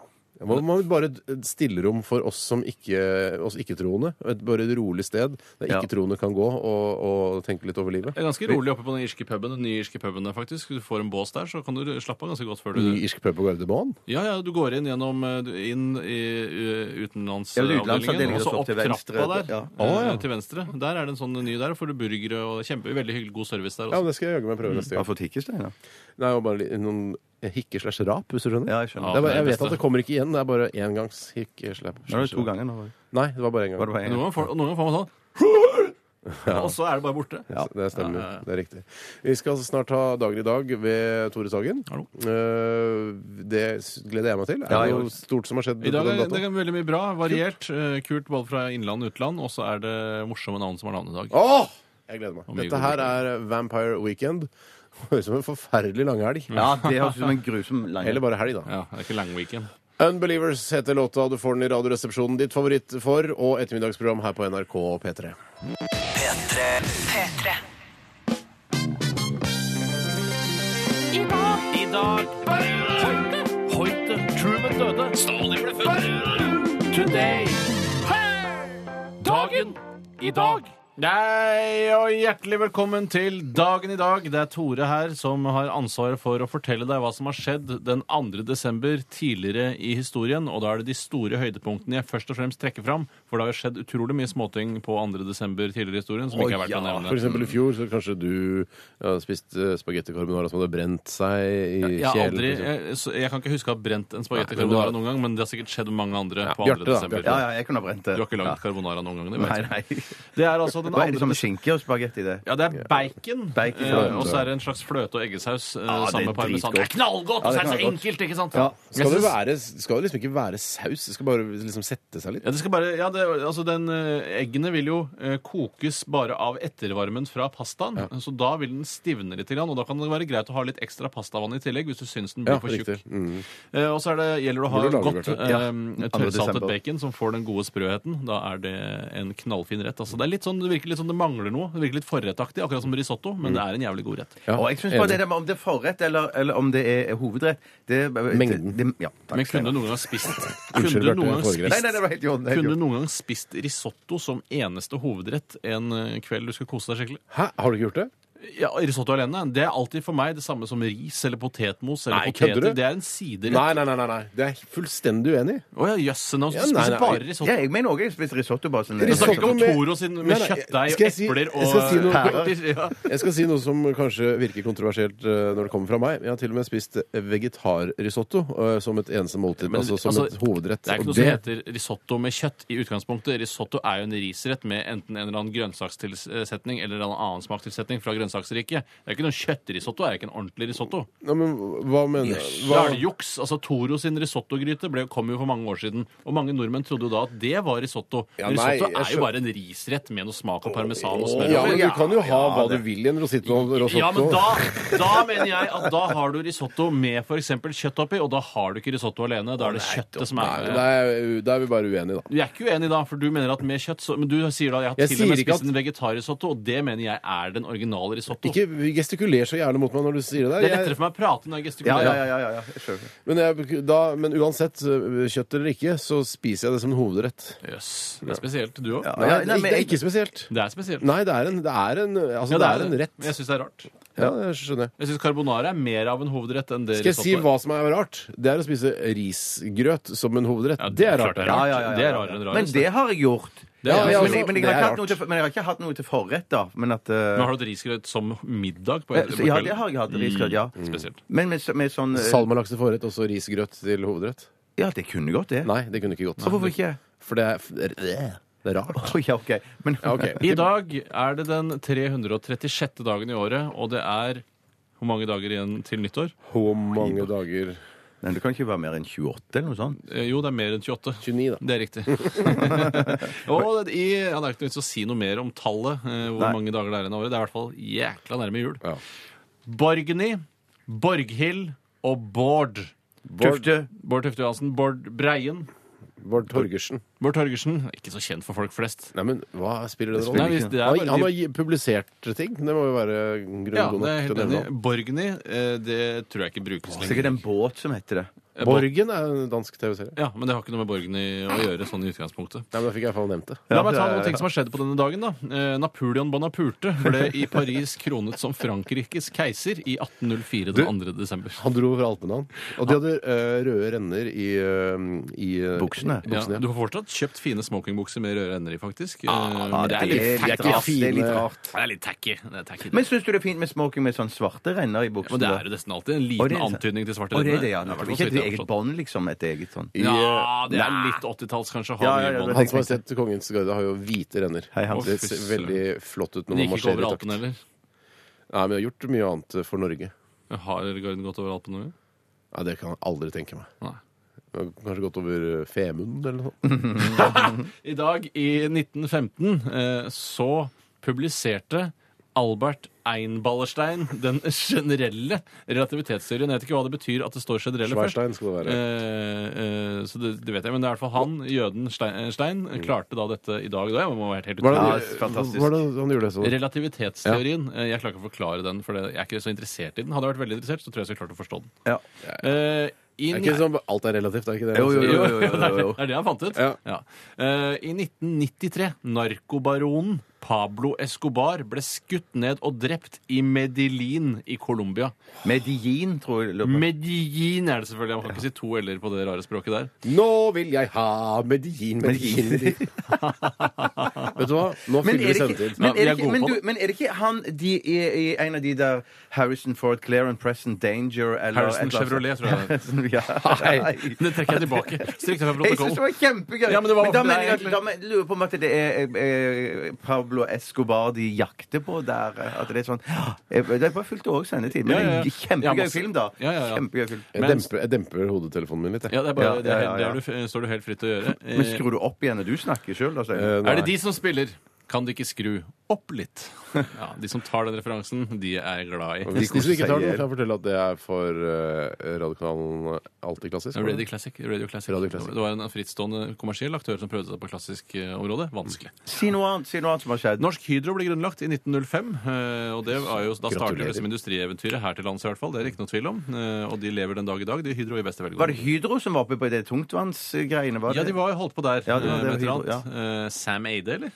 Speaker 6: Man må bare et stillerom for oss som ikke, oss ikke-troende. Et bare et rolig sted der
Speaker 5: Ja.
Speaker 6: ikke-troende kan gå og, og tenke litt over livet.
Speaker 4: Det er ganske rolig oppe på den irske puben. Den nye irske puben der, faktisk. Du får en bås der, så kan du slappe av ganske godt før
Speaker 6: Ny
Speaker 4: du
Speaker 6: irsk pub på Gardermoen.
Speaker 4: Ja, ja, du går inn gjennom eh, du- inn i eh,
Speaker 5: Ja, utenlandsavdelingen,
Speaker 4: utenlandsavdelingen, og så
Speaker 5: og så
Speaker 4: opp
Speaker 5: til
Speaker 4: trappa
Speaker 5: venstre.
Speaker 4: der.
Speaker 5: Ja.
Speaker 4: eh, Til venstre. Der er det en sånn ny der. Får du burgere og kjempe, veldig hyggelig god service
Speaker 6: Ja,
Speaker 4: der
Speaker 6: men
Speaker 4: også.
Speaker 6: det skal jeg jaggu meg prøve neste
Speaker 5: Har
Speaker 6: gang.
Speaker 5: fått hikkestein, da?
Speaker 6: Nei, og bare li- noen hikke slash rap, hvis du skjønner.
Speaker 5: Ja, jeg
Speaker 6: Det er
Speaker 5: skjønner.
Speaker 4: Ja, det
Speaker 6: bare,
Speaker 4: er
Speaker 6: jeg
Speaker 4: det
Speaker 6: vet
Speaker 4: beste.
Speaker 6: at det kommer ikke igjen. Det er bare engangs hikke slash
Speaker 5: Nå er det to ganger nå.
Speaker 6: Nei, det var bare én
Speaker 5: Var det
Speaker 6: gang.
Speaker 5: bare en
Speaker 4: Noen
Speaker 5: gang?
Speaker 4: ganger får, og noen ganger får man sånn Og så er det bare borte.
Speaker 6: Ja, det stemmer.
Speaker 4: Ja, ja, ja.
Speaker 6: Det er riktig. Vi skal snart ha Dagen i dag ved Tore Sagen.
Speaker 4: Hallo.
Speaker 6: Eh, Det s- gleder jeg meg til. Er
Speaker 5: Ja,
Speaker 6: det
Speaker 5: jo.
Speaker 6: noe stort som har skjedd?
Speaker 4: I dag
Speaker 6: på den
Speaker 4: er det
Speaker 6: datoen?
Speaker 4: er veldig mye bra. Variert. eh, Kult både fra innland og utland. Og så er det morsomme navn som har navnedag.
Speaker 6: Åh! Jeg gleder meg.
Speaker 4: Og mye
Speaker 6: Dette
Speaker 4: god
Speaker 6: her er Vampire Weekend. Høres ut som en forferdelig lang helg.
Speaker 5: Ja, det høres ut som en grusom lang
Speaker 6: Eller bare helg, da.
Speaker 4: Ja, det er ikke lang weekend.
Speaker 6: Unbelievers heter låta. Du får den i Radioresepsjonen. Ditt favoritt for og ettermiddagsprogram her på NRK P3.
Speaker 2: P3.
Speaker 1: P3.
Speaker 4: I dag Hoite. Truman døde. Stalin ble født. today. Dagen i dag. Nei, og Hjertelig velkommen til dagen i dag. Det er Tore her som har ansvaret for å fortelle deg hva som har skjedd den 2. desember tidligere i historien. Og da er det de store høydepunktene jeg først og fremst trekker fram. For det har jo skjedd utrolig mye småting på 2. desember tidligere i historien som ikke er verdt å nevne.
Speaker 6: For eksempel i fjor så kanskje du ja, eh, spiste spagetti carbonara som hadde brent seg i kjelen. liksom.
Speaker 4: Jeg, har aldri,
Speaker 5: liksom.
Speaker 6: for eksempel.
Speaker 4: jeg, så jeg kan ikke huske å ha brent en spagetti
Speaker 6: Nei, men du har-
Speaker 4: carbonara noen gang, men det har sikkert skjedd mange andre på 2.
Speaker 6: Bjarte da,
Speaker 4: desember.
Speaker 5: Ja, ja, jeg kunne ha brent det.
Speaker 4: Du har ikke lagd carbonara noen gang? Det,
Speaker 5: Nei,
Speaker 4: vet jeg.
Speaker 5: nei.
Speaker 4: det er altså den
Speaker 5: Hva er det
Speaker 4: andre
Speaker 5: som er skinke og spagetti, det?
Speaker 4: ja, det er bacon,
Speaker 5: Bacon,
Speaker 4: eh,
Speaker 5: ja, ja.
Speaker 4: og så er det en slags fløte- og eggesaus eh,
Speaker 5: det er
Speaker 4: sammen med parmesan.
Speaker 5: dritgodt.
Speaker 4: Det er knallgodt!
Speaker 5: Ja,
Speaker 4: og
Speaker 5: det
Speaker 4: så er
Speaker 5: er
Speaker 4: det så
Speaker 5: knallgodt.
Speaker 4: enkelt, ikke sant?
Speaker 6: Skal
Speaker 4: Jeg
Speaker 6: det,
Speaker 4: synes-
Speaker 6: være, skal det liksom ikke være saus? Det skal bare liksom sette seg litt?
Speaker 4: Ja, det skal bare, ja, det, altså den eh, Eggene vil jo eh, kokes bare av ettervarmen fra pastaen. Så da vil den stivne litt, grann, og da kan det være greit å ha litt ekstra pastavann i tillegg hvis du syns den blir
Speaker 6: Ja,
Speaker 4: for tjukk.
Speaker 6: riktig. Mm.
Speaker 4: Eh, og så er det, gjelder det å ha
Speaker 6: Burde du lage
Speaker 4: godt
Speaker 6: det,
Speaker 4: eh,
Speaker 5: Ja,
Speaker 4: tørrsaltet
Speaker 5: desember.
Speaker 4: bacon som får den gode sprøheten. Da er det en knallfin rett. Altså, det, er litt sånn, det virker litt som det mangler noe. Det virker litt forrettaktig, akkurat som risotto, men det er en jævlig god rett.
Speaker 6: Mm. Ja,
Speaker 5: Og jeg synes bare
Speaker 6: enig.
Speaker 5: det der med om det er forrett eller, eller om det er hovedrett det,
Speaker 6: Mengden.
Speaker 5: Det, det, ja, takk.
Speaker 4: Men kunne du noen gang spist
Speaker 6: Unnskyld,
Speaker 4: Kunne du
Speaker 6: Bjarte,
Speaker 4: noen gang
Speaker 6: jeg foregrep.
Speaker 5: Nei, nei, det var
Speaker 4: spist
Speaker 5: helt i orden. det er helt i
Speaker 4: kunne du
Speaker 5: orden.
Speaker 4: noen gang spist risotto som eneste hovedrett en eh, kveld du skal kose deg skikkelig?
Speaker 6: Hæ? Har du ikke gjort det?
Speaker 4: Ja, Risotto alene det er alltid for meg det samme som ris eller potetmos. eller
Speaker 6: Nei, kødder
Speaker 4: poteter.
Speaker 6: du?
Speaker 4: Det er en siderett.
Speaker 6: Nei, nei, nei. nei, nei. Det er jeg fullstendig uenig. i.
Speaker 4: Å ja, jøss. nå
Speaker 6: Ja,
Speaker 4: skal du
Speaker 6: nei,
Speaker 4: spise
Speaker 6: nei.
Speaker 4: bare risotto.
Speaker 5: Ja, jeg mener òg jeg spiser risotto. bare sånn.
Speaker 4: Vi
Speaker 6: Risotto
Speaker 4: snakker ikke om
Speaker 6: med-
Speaker 4: Toro sin med
Speaker 6: Nei, nei,
Speaker 4: kjøttdeig og
Speaker 6: skal jeg si-
Speaker 4: epler og
Speaker 6: jeg skal si noe-
Speaker 4: pærer. Ja.
Speaker 6: Jeg skal si noe som kanskje virker kontroversielt eh, når det kommer fra meg. Jeg har til og med spist vegetarrisotto eh, som et eneste måltid.
Speaker 4: Men,
Speaker 6: altså som
Speaker 4: altså,
Speaker 6: et hovedrett.
Speaker 4: Det er ikke
Speaker 6: Og
Speaker 4: noe som heter risotto med kjøtt i utgangspunktet. Risotto er jo en risrett med enten en eller annen grønnsakstilsetning eller en annen smaktilsetning fra grønnsaksriket. Det er ikke noen kjøttrisotto, er ikke en ordentlig risotto.
Speaker 6: Nei, men hva mener
Speaker 4: Da
Speaker 6: hva...
Speaker 4: er det juks. Altså, Toro sin risottogryte ble- kom jo for mange år siden, og mange nordmenn trodde jo da at det var risotto.
Speaker 6: Ja,
Speaker 4: Men
Speaker 6: nei,
Speaker 4: risotto
Speaker 6: jeg
Speaker 4: er jo
Speaker 6: skjø-
Speaker 4: bare en risrett med noe smak av parmesan og smør.
Speaker 6: Ja, men du
Speaker 5: Ja,
Speaker 6: kan jo ha
Speaker 5: ja,
Speaker 6: hva
Speaker 5: det-
Speaker 6: du vil i en rosito risotto.
Speaker 4: Ja, men da, da mener jeg at da har du risotto med f.eks. kjøtt oppi, og da har du ikke risotto alene. Da er det kjøttet som
Speaker 6: Nei,
Speaker 4: er
Speaker 6: da er, da er vi bare uenige, da.
Speaker 4: Du er ikke uenig da, for du mener at med kjøtt så, Men du sier da jeg har
Speaker 6: Jeg
Speaker 4: til og med
Speaker 6: sier ikke
Speaker 4: spist
Speaker 6: at-
Speaker 4: en vegetarrisotto, og det mener jeg er den originale risotto.
Speaker 6: Ikke gestikuler så gjerne mot meg når du sier det
Speaker 4: Det
Speaker 6: der.
Speaker 4: er lettere for meg å prate når jeg
Speaker 5: Ja,
Speaker 4: gestikulerer.
Speaker 5: ja, ja, ja, ja. jeg skjønner.
Speaker 6: men, jeg, da, men uansett, øh, kjøtt eller ikke, så spiser jeg det som en hovedrett.
Speaker 4: Jøss. Det er spesielt, du òg.
Speaker 5: Ja,
Speaker 6: Nei,
Speaker 5: ja,
Speaker 6: det,
Speaker 5: nei,
Speaker 6: er,
Speaker 5: men
Speaker 6: det er
Speaker 5: jeg-
Speaker 6: ikke spesielt.
Speaker 4: Det er spesielt.
Speaker 6: Nei, det er en, det er en, altså,
Speaker 4: Ja,
Speaker 6: det er en
Speaker 4: Men jeg
Speaker 6: rett.
Speaker 4: syns det er rart.
Speaker 6: Ja, det skjønner jeg.
Speaker 4: Jeg syns carbonara er mer av en hovedrett enn det
Speaker 6: Skal jeg si
Speaker 4: risotto er. sånn
Speaker 6: hva som er rart? Det er å spise risgrøt som en hovedrett.
Speaker 4: Ja,
Speaker 6: det er rart.
Speaker 4: klart
Speaker 6: det er
Speaker 4: Det er,
Speaker 6: rart.
Speaker 5: Ja, ja, ja, ja.
Speaker 4: Det er rarere enn rarest.
Speaker 5: Men det har jeg gjort.
Speaker 4: Det er-
Speaker 5: men,
Speaker 4: ja,
Speaker 5: men,
Speaker 6: altså,
Speaker 5: men,
Speaker 6: det er
Speaker 5: jeg har ikke hatt
Speaker 6: rart.
Speaker 5: noe til, men jeg har ikke hatt noe til forrett, da. Men at eh,
Speaker 4: Men har du hatt risgrøt som middag på,
Speaker 5: eh,
Speaker 4: på
Speaker 5: så- Ja, det har jeg hatt. Risgrøt, ja.
Speaker 4: Spesielt.
Speaker 5: Men med, så- med sånn eh,
Speaker 6: Salmalaks til forrett og så risgrøt til hovedrett?
Speaker 5: Ja, det kunne godt, det.
Speaker 6: Nei, det kunne ikke gått.
Speaker 5: Så hvorfor ikke?
Speaker 6: For det er, det er rart.
Speaker 5: Å, ja, OK. Men
Speaker 6: Ja, ok.
Speaker 4: I dag er det den 336. dagen i året, og det er hvor mange dager igjen til nyttår?
Speaker 6: Hvor mange dager
Speaker 5: Men det kan ikke være mer enn 28 eller noe sånt.
Speaker 4: Eh, Jo, det er mer enn 28.
Speaker 6: 29, da.
Speaker 4: Det er riktig. og det- i, ja, det er ikke noe vits å si noe mer om tallet, eh, hvor
Speaker 5: Nei.
Speaker 4: mange dager det er igjen av året. Det er i hvert fall jækla nærme jul.
Speaker 6: Ja.
Speaker 4: Borgny, Borghild og Bård.
Speaker 5: Tufte.
Speaker 4: Bård Tufte Johansen, Bård Breien,
Speaker 6: Bård Torgersen.
Speaker 4: Bård Torgersen. Ikke så kjent for folk flest.
Speaker 6: Nei, men hva spiller det
Speaker 4: Nei,
Speaker 6: rollen?
Speaker 4: hvis det er
Speaker 6: Han,
Speaker 4: bare
Speaker 6: han
Speaker 4: de-
Speaker 6: har gi- publisert ting. Det må jo være grunn
Speaker 4: Ja,
Speaker 6: god
Speaker 4: det er
Speaker 6: nok
Speaker 4: helt
Speaker 6: til å nevne
Speaker 4: enig.
Speaker 6: ham.
Speaker 4: Borgny, eh, det tror jeg ikke brukes lenger.
Speaker 5: Sikkert en båt som heter det.
Speaker 4: Eh, Borg-
Speaker 6: Borgen er en dansk TV-serie.
Speaker 4: Ja, men det har ikke noe med Borgny å gjøre, sånn i utgangspunktet.
Speaker 6: Nei, men Da fikk jeg i hvert fall nevnt det.
Speaker 4: La meg ta noen ting som har skjedd på denne dagen. da. Eh, Napoleon Bonaparte ble i Paris kronet som Frankrikes keiser i 1804 den 2. desember.
Speaker 6: Han dro fra Alpene, han. Og de hadde eh, røde renner i, eh, i eh,
Speaker 5: Buksene.
Speaker 4: Ja,
Speaker 6: buksene, ja.
Speaker 4: du har fortsatt kjøpt fine smokingbukser med røde renner i, faktisk. Eh,
Speaker 5: Ja,
Speaker 4: men det, er litt,
Speaker 5: Ah, er litt
Speaker 6: tacky.
Speaker 5: rart, det er litt
Speaker 6: Fine-
Speaker 5: rart.
Speaker 4: det er litt tacky. Det er tacky.
Speaker 5: Men syns du det er fint med smoking med sånn svarte renner i
Speaker 4: men
Speaker 5: buksene?
Speaker 4: det er jo nesten alltid en
Speaker 5: Å, det
Speaker 4: liten
Speaker 5: er sant.
Speaker 4: antydning til svarte
Speaker 5: Å, det er det, ja.
Speaker 4: Det er i hvert fall
Speaker 5: Ikke
Speaker 4: så
Speaker 5: et
Speaker 4: vidt jeg har
Speaker 5: eget
Speaker 4: forstått.
Speaker 5: bånd, liksom. Et eget sånn.
Speaker 4: Ja, det er litt 80-talls kanskje å ha
Speaker 5: Ja, ja,
Speaker 4: mye
Speaker 5: ja,
Speaker 4: bånd.
Speaker 5: det-
Speaker 6: Hans Majestet Kongens Garde har jo hvite renner.
Speaker 5: Hei, Hans.
Speaker 6: det ser veldig flott ut når
Speaker 4: Den
Speaker 6: man
Speaker 4: gikk ikke
Speaker 6: marsjerer
Speaker 4: over
Speaker 6: i takt.
Speaker 4: Alpene heller.
Speaker 6: Nei, men jeg har gjort mye annet for Norge.
Speaker 4: Har Garden gått over Alpene? eller?
Speaker 6: Nei, det kan jeg aldri tenke meg.
Speaker 4: Nei.
Speaker 6: Jeg har Kanskje gått over eh, Femund eller noe.
Speaker 4: I dag, i 1915, eh, så publiserte Albert Einballerstein den generelle relativitetsteorien. Jeg vet ikke hva det betyr at det står generelle først.
Speaker 6: Schweirstein skal det være.
Speaker 4: Eh, eh, så det, det vet jeg, men det er i hvert fall han, jøden Stein, eh, Stein
Speaker 6: Mm.
Speaker 4: klarte da dette i dag. Det må ha vært helt
Speaker 6: Hvordan,
Speaker 4: utrolig.
Speaker 5: Ja, det er fantastisk.
Speaker 6: hvordan han gjorde det sånn?
Speaker 4: Relativitetsteorien. eh, Jeg klarer ikke å forklare den, for det- jeg er ikke så interessert i den. Hadde jeg vært veldig interessert, så tror jeg jeg skulle klart å forstå den.
Speaker 5: Ja.
Speaker 4: Eh, i
Speaker 6: Er
Speaker 4: ni-
Speaker 6: ikke det sånn, alt er relativt, er ikke det?
Speaker 5: Jo, jo, jo. jo, jo, jo, jo.
Speaker 4: Det er det han fant ut.
Speaker 6: Ja.
Speaker 4: Ja. Eh, I 1993. Narkobaronen Pablo Escobar ble skutt ned og drept i Medellin i Colombia.
Speaker 5: Medellin, tror jeg. lurer på.
Speaker 4: Medellin er det selvfølgelig. Man kan ikke si to l-er på det rare språket der.
Speaker 6: Nå vil jeg ha Medellin, Medellin, Medellin. Vet du hva? Nå fyller vi
Speaker 5: Men er, det ikke,
Speaker 6: sendetid.
Speaker 5: men,
Speaker 4: Ja, vi
Speaker 5: er
Speaker 4: er
Speaker 5: det ikke,
Speaker 4: gode
Speaker 5: men,
Speaker 4: på
Speaker 5: du,
Speaker 4: det.
Speaker 5: men er det ikke han de, i, i en av de der Harrison Ford, Claire and Preston Danger eller
Speaker 4: Harrison
Speaker 5: et eller
Speaker 4: Chevrolet,
Speaker 5: annet
Speaker 4: tror jeg det er.
Speaker 5: sånt? ja.
Speaker 4: Det trekker jeg tilbake. Strikt fra
Speaker 5: Jeg syns det
Speaker 4: protokollen.
Speaker 5: var kjempegøy.
Speaker 4: Ja, men det var-
Speaker 5: da
Speaker 4: Nei,
Speaker 5: mener jeg at,
Speaker 4: egentlig-
Speaker 5: da men- lurer jeg på om at det er eh, eh, Pablo Escobar de jakter på der. eh, At det er sånn Jeg, jeg bare fulgte òg sendetiden. Men
Speaker 4: Ja, ja, ja.
Speaker 5: en Kjempegøy
Speaker 4: Ja, masse-
Speaker 5: film, da.
Speaker 4: Ja, ja, ja.
Speaker 5: Kjempegøy film.
Speaker 6: Jeg
Speaker 4: Men-
Speaker 6: demper, jeg demper hodetelefonen min litt, jeg.
Speaker 4: Ja, det er bare,
Speaker 5: Ja,
Speaker 4: det, er,
Speaker 5: ja, ja,
Speaker 4: det
Speaker 5: ja.
Speaker 4: er du, f- står du helt fritt til å gjøre. Eh,
Speaker 5: Men skrur du opp igjen når du snakker sjøl?
Speaker 6: Eh,
Speaker 4: er det
Speaker 6: nei.
Speaker 4: de som spiller? Kan de ikke skru opp litt? Ja, De som tar den referansen, de er jeg glad i.
Speaker 6: Hvis de som ikke tar den,
Speaker 5: sier-
Speaker 6: kan jeg fortelle at det er for uh, radiokanalen Alltid Klassisk.
Speaker 4: Radio Classic. Radio Classic.
Speaker 6: Radio Classic.
Speaker 4: Det var en frittstående kommersiell aktør som prøvde seg på klassisk eh, område. Vanskelig.
Speaker 5: Si noe annet si noe annet som har skjedd.
Speaker 4: Norsk Hydro ble grunnlagt i 1905. eh, og det var jo, Da startet
Speaker 6: Gratulerer.
Speaker 4: det som industrieventyret her til lands, i hvert fall. Det er det ikke noe tvil om. Eh, og de lever den dag i dag, de Hydro i beste
Speaker 5: Var det
Speaker 4: velgående.
Speaker 5: Hydro som var oppe på det tungtvannsgreiene? var
Speaker 4: Ja,
Speaker 5: det?
Speaker 4: de var holdt på der.
Speaker 5: Ja, det var
Speaker 4: eh,
Speaker 5: det
Speaker 4: med et eller
Speaker 5: Hydro,
Speaker 4: annet. Eh, Sam Eide, eller?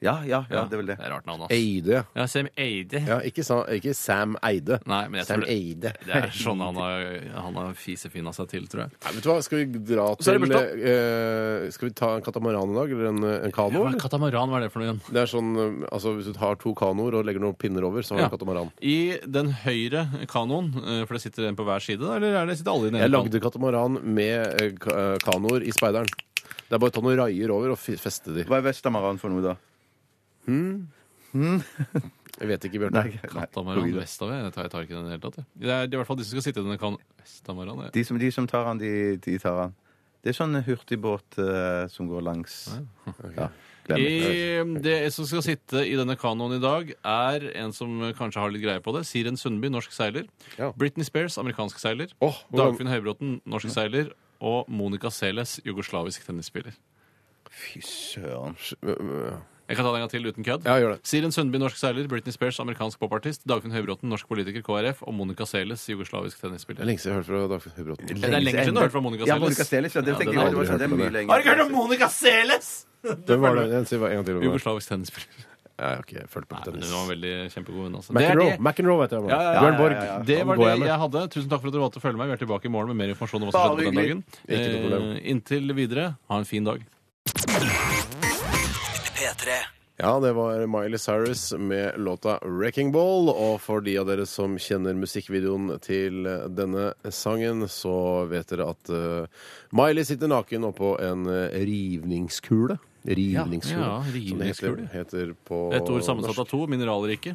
Speaker 5: Ja, ja, ja, det er vel det.
Speaker 4: Det er rart navn, altså.
Speaker 6: Eide, ja.
Speaker 4: Ja, Sam Eide.
Speaker 6: ja ikke, sa, ikke Sam Eide.
Speaker 4: Nei, men jeg
Speaker 6: Sam
Speaker 4: tror det-
Speaker 6: Eide.
Speaker 4: Det er sånn han har, han har fisefina seg til, tror jeg.
Speaker 6: Nei, vet du hva, Skal vi dra
Speaker 4: Så er
Speaker 6: til
Speaker 4: det
Speaker 6: eh, Skal vi ta en katamaran i dag, eller en, en kano?
Speaker 4: Hva er
Speaker 6: eller?
Speaker 4: katamaran, hva er det for noe igjen?
Speaker 6: Det er sånn, eh, altså Hvis du har to kanoer og legger noen pinner over, så har
Speaker 4: Ja.
Speaker 6: du en katamaran.
Speaker 4: I den høyre kanoen, eh, for det sitter en på hver side, da, eller er det sitter alle i den
Speaker 6: Jeg
Speaker 4: ene kanoen?
Speaker 6: lagde katamaran med eh, ka- eh, kanoer i speideren. Det er bare å ta noen raier over og fi- feste de.
Speaker 5: Hva er Vestamaran for noe, da?
Speaker 6: Jeg vet ikke, Bjørte.
Speaker 4: Katamaran Vestavet? Jeg tar, jeg tar ikke den i det hele tatt. jeg. Det er i hvert fall de som skal sitte i denne kanoen. Vestamaran, ja.
Speaker 5: De som, de som tar han, de, de tar han. Det er sånn hurtigbåt eh, som går langs ja, glem det.
Speaker 4: I, det som skal sitte i denne kanoen i dag, er en som kanskje har litt greie på det. Siren Sundby, norsk seiler.
Speaker 6: Ja.
Speaker 4: Britney Spears, amerikansk seiler.
Speaker 6: Åh, hvordan-
Speaker 4: Dagfinn Høybråten, norsk seiler. Og Monica Seles, jugoslavisk tennisspiller.
Speaker 5: Fy søren.
Speaker 6: eh,
Speaker 4: Jeg kan ta det en gang til uten kødd.
Speaker 6: Ja, gjør det.
Speaker 4: Siren Sundby, norsk seiler. Britney Spears, amerikansk popartist. Dagfinn Høybråten, norsk politiker, KrF. Og Monica Seles, jugoslavisk
Speaker 6: Det er
Speaker 4: tennisspiller.
Speaker 6: lenge siden jeg har hørt fra Dagfinn Høybråten.
Speaker 4: Det er lenge siden du har hørt fra Monica
Speaker 5: Ja, Monica
Speaker 4: Seles.
Speaker 5: Seles. Ja,
Speaker 4: Ja,
Speaker 5: det tenkte
Speaker 4: den
Speaker 5: jeg
Speaker 4: har
Speaker 5: det var
Speaker 6: jeg
Speaker 5: sånn, det er
Speaker 6: aldri
Speaker 5: mye
Speaker 6: hørt
Speaker 5: lenger.
Speaker 4: Har du ikke hørt om Monica Seles?!
Speaker 6: Hvem var det? En, si hva- en gang til. Nei,
Speaker 4: Jugoslavisk tennisspiller.
Speaker 6: jeg har ikke fulgt med
Speaker 4: Nei,
Speaker 6: på
Speaker 4: men
Speaker 6: tennis.
Speaker 4: hun var veldig kjempegod, hun, altså. Det er
Speaker 6: McEnroe.
Speaker 4: det-
Speaker 6: McEnroe heter han.
Speaker 4: Ja, ja, ja,
Speaker 6: Bjørn
Speaker 5: ja,
Speaker 6: Borg.
Speaker 5: ja, ja.
Speaker 4: Det
Speaker 6: Han
Speaker 4: var
Speaker 6: går
Speaker 4: det
Speaker 6: jeg med.
Speaker 4: jeg hadde. Tusen takk for at dere valgte å følge meg. Vi er tilbake i morgen med mer informasjon om hva som
Speaker 5: Bare
Speaker 4: skjedde på den dagen.
Speaker 6: Ikke noe problem.
Speaker 4: Eh, Inntil videre, ha en fin dag.
Speaker 2: P3.
Speaker 6: Ja, det var Miley Cyrus med låta 'Wrecking Ball'. Og for de av dere som kjenner musikkvideoen til denne sangen, så vet dere at eh, Miley sitter naken oppå en eh, rivningskule. Rivningskule.
Speaker 4: Ja, ja,
Speaker 6: som det heter,
Speaker 4: rivningskule.
Speaker 6: heter på
Speaker 4: Et ord sammensatt
Speaker 6: norsk.
Speaker 4: av to, mineralrike.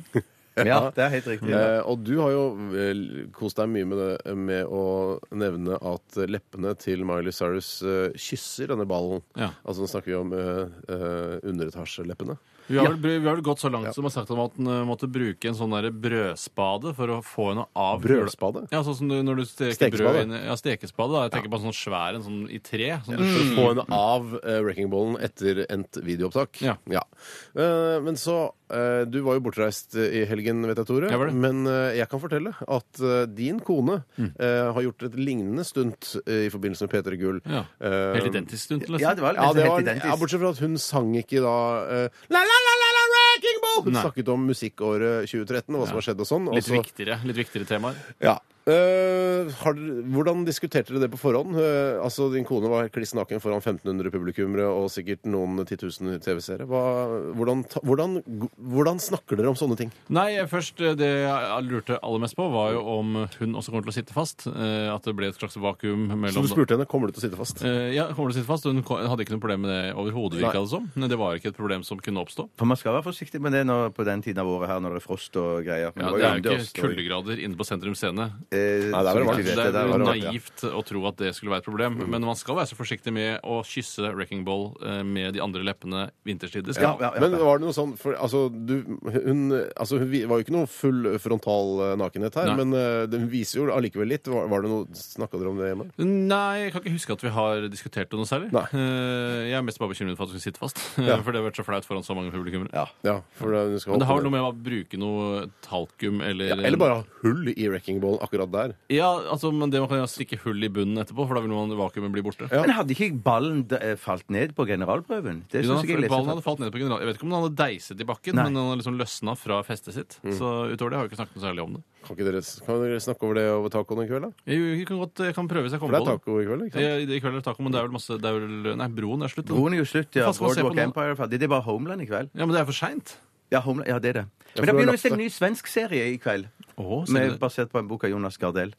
Speaker 5: Ja, det er helt riktig.
Speaker 6: Eh, og du har jo vel kost deg mye med det med å nevne at leppene til Miley Cyrus eh, kysser denne ballen.
Speaker 4: Ja.
Speaker 6: Altså nå snakker vi om eh, eh, underetasjeleppene.
Speaker 4: Vi har, vel, vi har vel gått så langt som har sagt om at den eh, måtte bruke en sånn der brødspade for å få henne av kula.
Speaker 6: Brødspade?
Speaker 4: Ja, sånn som du, når du steker
Speaker 6: Stekespade.
Speaker 4: brød inn i- Ja, stekespade. Da. Jeg tenker på en sånn svær en sånn i tre. Sånn,
Speaker 6: For
Speaker 4: du-
Speaker 6: å få henne av eh, Wrecking Ballen etter endt videoopptak.
Speaker 4: Ja.
Speaker 6: Eh, men så eh, Du var jo bortreist eh, i helgen, vet jeg, Tore.
Speaker 4: Jeg var det.
Speaker 6: Men eh, jeg kan fortelle at eh, din kone
Speaker 4: Mm.
Speaker 6: eh, har gjort et lignende stunt eh, i forbindelse med P3 Gull.
Speaker 4: Ja.
Speaker 6: Eh,
Speaker 4: Helt identisk liksom. stund, nesten.
Speaker 5: Ja, det var
Speaker 6: Ja,
Speaker 5: nesten
Speaker 6: det var,
Speaker 5: helt identisk.
Speaker 6: ja, bortsett fra at hun sang ikke da eh, La, la, la, la, la, Wrecking Ball! Hun
Speaker 4: Nei.
Speaker 6: snakket om musikkåret 2013 og hva som har skjedd og sånn. og
Speaker 4: Litt
Speaker 6: så-
Speaker 4: viktigere, litt viktigere temaer.
Speaker 6: Ja. Eh, har, dere- hvordan diskuterte dere det på forhånd? Eh, altså, Din kone var kliss naken foran 1500 publikummere og sikkert noen 10 000 TV-seere. Hva- Hvordan, ta- hvordan, hvordan snakker dere om sånne ting?
Speaker 4: Nei, først eh, det jeg lurte aller mest på, var jo om hun også kommer til å sitte fast. eh, At det ble et slags vakuum
Speaker 6: Så
Speaker 4: mellom
Speaker 6: du spurte henne kommer du til å sitte fast.
Speaker 4: Eh, ja, kommer du til å sitte fast? Hun ko- hadde ikke noe problem med det overhodet. virket
Speaker 6: Nei.
Speaker 4: det som. Men Det var ikke et problem som kunne oppstå.
Speaker 5: For Man skal være forsiktig med det når, på den tiden av året her når det er frost og greier. Men
Speaker 4: Ja,
Speaker 5: var
Speaker 4: det er
Speaker 5: jo
Speaker 4: jo
Speaker 5: innendørs,
Speaker 4: ikke kuldegrader inne på Sentrum Scene.
Speaker 5: og- eh,
Speaker 6: Nei, det er vel
Speaker 5: så vidt vi
Speaker 6: varmt.
Speaker 5: vet,
Speaker 4: Det er
Speaker 5: der
Speaker 4: jo
Speaker 5: var det varmt, ja. Mm.
Speaker 4: naivt å tro at det skulle være et problem. Men man skal være så forsiktig med å kysse Wrecking Ball eh, med de andre leppene vinterstid. Det
Speaker 5: Ja,
Speaker 4: skal man.
Speaker 5: ja, ja.
Speaker 6: Men var det noe sånn for, altså, du, hun, altså, hun vi- var jo ikke noe full frontal eh, nakenhet her,
Speaker 4: Nei.
Speaker 6: men eh, hun viser jo allikevel litt. Var, var det noe, Snakka dere om det hjemme?
Speaker 4: Nei, jeg kan ikke huske at vi har diskutert det noe særlig.
Speaker 6: Nei.
Speaker 4: Eh, Jeg er mest bare bekymret for at hun sitter fast. For det har vært så flaut foran så mange publikummere.
Speaker 6: Ja, for det, hun skal
Speaker 4: Men det har
Speaker 6: holde på
Speaker 4: vel noe med å bruke noe talkum eller
Speaker 6: med- Eller bare ha hull i wrecking ball akkurat akkurat der.
Speaker 4: Ja, altså, men det man kan gjøre er å stikke hull i bunnen etterpå, for da vil man vakuumet bli borte.
Speaker 5: Men hadde ikke ballen da- eh, falt ned på generalprøven? Det
Speaker 4: Jo,
Speaker 5: synes
Speaker 4: han-
Speaker 5: jeg jeg
Speaker 4: ballen
Speaker 5: leste.
Speaker 4: hadde falt ned på general... Jeg vet ikke om den hadde deiset i bakken,
Speaker 5: Nei.
Speaker 4: men den hadde liksom løsna fra festet sitt. Så utover det har vi ikke snakket noe særlig om det.
Speaker 6: Kan, ikke dere, kan dere snakke over det over tacoen i kveld, da?
Speaker 4: Jeg, jeg kan godt jeg kan prøve hvis jeg
Speaker 6: For det
Speaker 4: kommer
Speaker 6: er
Speaker 4: på det.
Speaker 6: taco i kveld, ikke sant?
Speaker 4: Ja, I kveld er det taco, men det er vel masse det er vel, Nei, broen er slutt. da.
Speaker 5: Broen er jo slutt, ja.
Speaker 4: Hva skal man se på
Speaker 5: Boardwalk
Speaker 4: nå?
Speaker 5: Empire er ferdig. Det er bare Homeland i kveld.
Speaker 4: Ja, men det er for seint.
Speaker 5: Ja, Homeland, ja det er det. Men
Speaker 6: du
Speaker 5: det
Speaker 6: har
Speaker 5: begynner
Speaker 6: lagt
Speaker 5: visst en
Speaker 6: det.
Speaker 5: ny svensk serie i kveld.
Speaker 4: Oh,
Speaker 5: Med, basert på en bok av Jonas Gardell.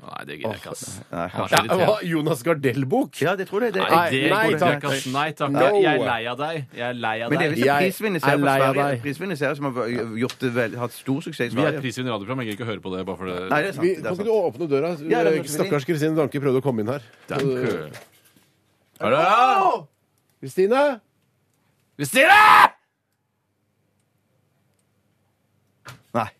Speaker 4: Nei, det gidder jeg ikke, ass.
Speaker 5: Nei,
Speaker 4: Han er
Speaker 5: kanskje
Speaker 6: Ja,
Speaker 4: så irriterende.
Speaker 6: hva? Jonas Gardell-bok?
Speaker 5: Ja, det tror jeg det.
Speaker 4: Nei, det
Speaker 6: Nei,
Speaker 4: gidder jeg
Speaker 6: takk.
Speaker 4: ikke, ass. Nei takk.
Speaker 6: No.
Speaker 4: Jeg, jeg er lei av deg. Jeg er lei av
Speaker 5: Men det er
Speaker 4: deg.
Speaker 5: visst en
Speaker 6: Jeg
Speaker 5: prisvinnende
Speaker 6: er
Speaker 5: serie fra
Speaker 6: lei av
Speaker 5: Sverige.
Speaker 6: deg.
Speaker 5: Prisvinnende serie som har gjort det vel, hatt stor suksess i
Speaker 4: Vi er
Speaker 5: Sverige.
Speaker 4: prisvinnende radioprogram. Jeg gidder ikke å høre på det bare for det.
Speaker 5: Nei, det er sant.
Speaker 6: Vi,
Speaker 5: det
Speaker 6: kan
Speaker 5: er
Speaker 6: ikke du
Speaker 5: sant.
Speaker 6: åpne døra? Eh,
Speaker 5: Ja, det er
Speaker 6: Stakkars Kristine Danke prøvde å komme inn her.
Speaker 4: Danke.
Speaker 6: Hallo! Kristine?
Speaker 4: Kristine!
Speaker 5: Nei.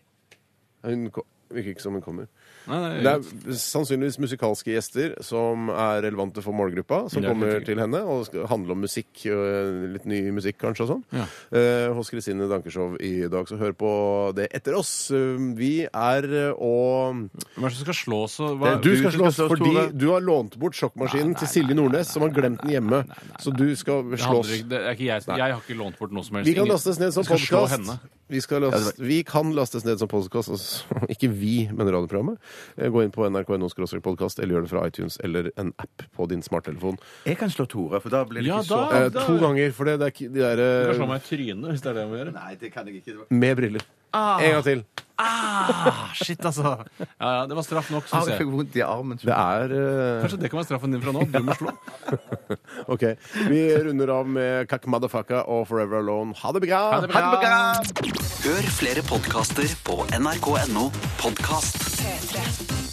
Speaker 6: Hun ko- virker ikke som hun kommer.
Speaker 4: Nei, nei,
Speaker 6: Det er sannsynligvis musikalske gjester som er relevante for målgruppa, som
Speaker 4: Det er
Speaker 6: kommer
Speaker 4: klart.
Speaker 6: til henne og skal handle om musikk, øh, litt ny musikk kanskje og sånn.
Speaker 4: Ja.
Speaker 6: Eh, hos Kristine Dankershow i dag, så hør på det etter oss. Eh, Vi er øh, og eh,
Speaker 4: Hvem er det som skal slå oss? og
Speaker 6: Du
Speaker 4: hva-
Speaker 6: skal slå oss
Speaker 5: slå oss,
Speaker 6: fordi
Speaker 5: Tore.
Speaker 6: du har lånt bort sjokkmaskinen til Silje Nordnes, som har glemt den hjemme. Så du skal
Speaker 4: Det handler
Speaker 6: slås.
Speaker 4: ikke- det er ikke jeg, som- jeg har ikke lånt bort noe som helst.
Speaker 6: Vi kan
Speaker 4: Ingen-
Speaker 6: lastes ned som
Speaker 4: Jeg skal slå
Speaker 6: podkast.
Speaker 4: henne.
Speaker 6: Vi, skal last, vi kan lastes ned som podkast. Altså, ikke vi, men radioprogrammet. Eh, Gå inn på nrk.no podkast, eller gjør det fra iTunes eller en app på din smarttelefon.
Speaker 5: Jeg kan slå Tore, for da blir det
Speaker 4: Ja,
Speaker 5: ikke så
Speaker 4: da- sånn
Speaker 6: Eh, to ganger, for det, det er eh, ikke de
Speaker 4: Du kan slå
Speaker 6: derre
Speaker 4: meg i trynet hvis det er det jeg må gjøre.
Speaker 5: Nei, det kan jeg ikke.
Speaker 6: Med briller. En gang til.
Speaker 4: Ah, shit, altså. Ja, ja, det var straff nok,
Speaker 5: Au,
Speaker 6: Ah,
Speaker 4: syns
Speaker 5: jeg
Speaker 4: jeg.
Speaker 5: fikk vondt i armen.
Speaker 6: Det er eh,
Speaker 4: Kanskje det kan være straffen din fra nå. Du må slå.
Speaker 6: OK. Vi runder av med Kak Madafaka og Forever Alone. Ha det bra!
Speaker 4: Ha det bra.
Speaker 2: Hør flere podkaster på nrk.no podkast.
Speaker 1: 3.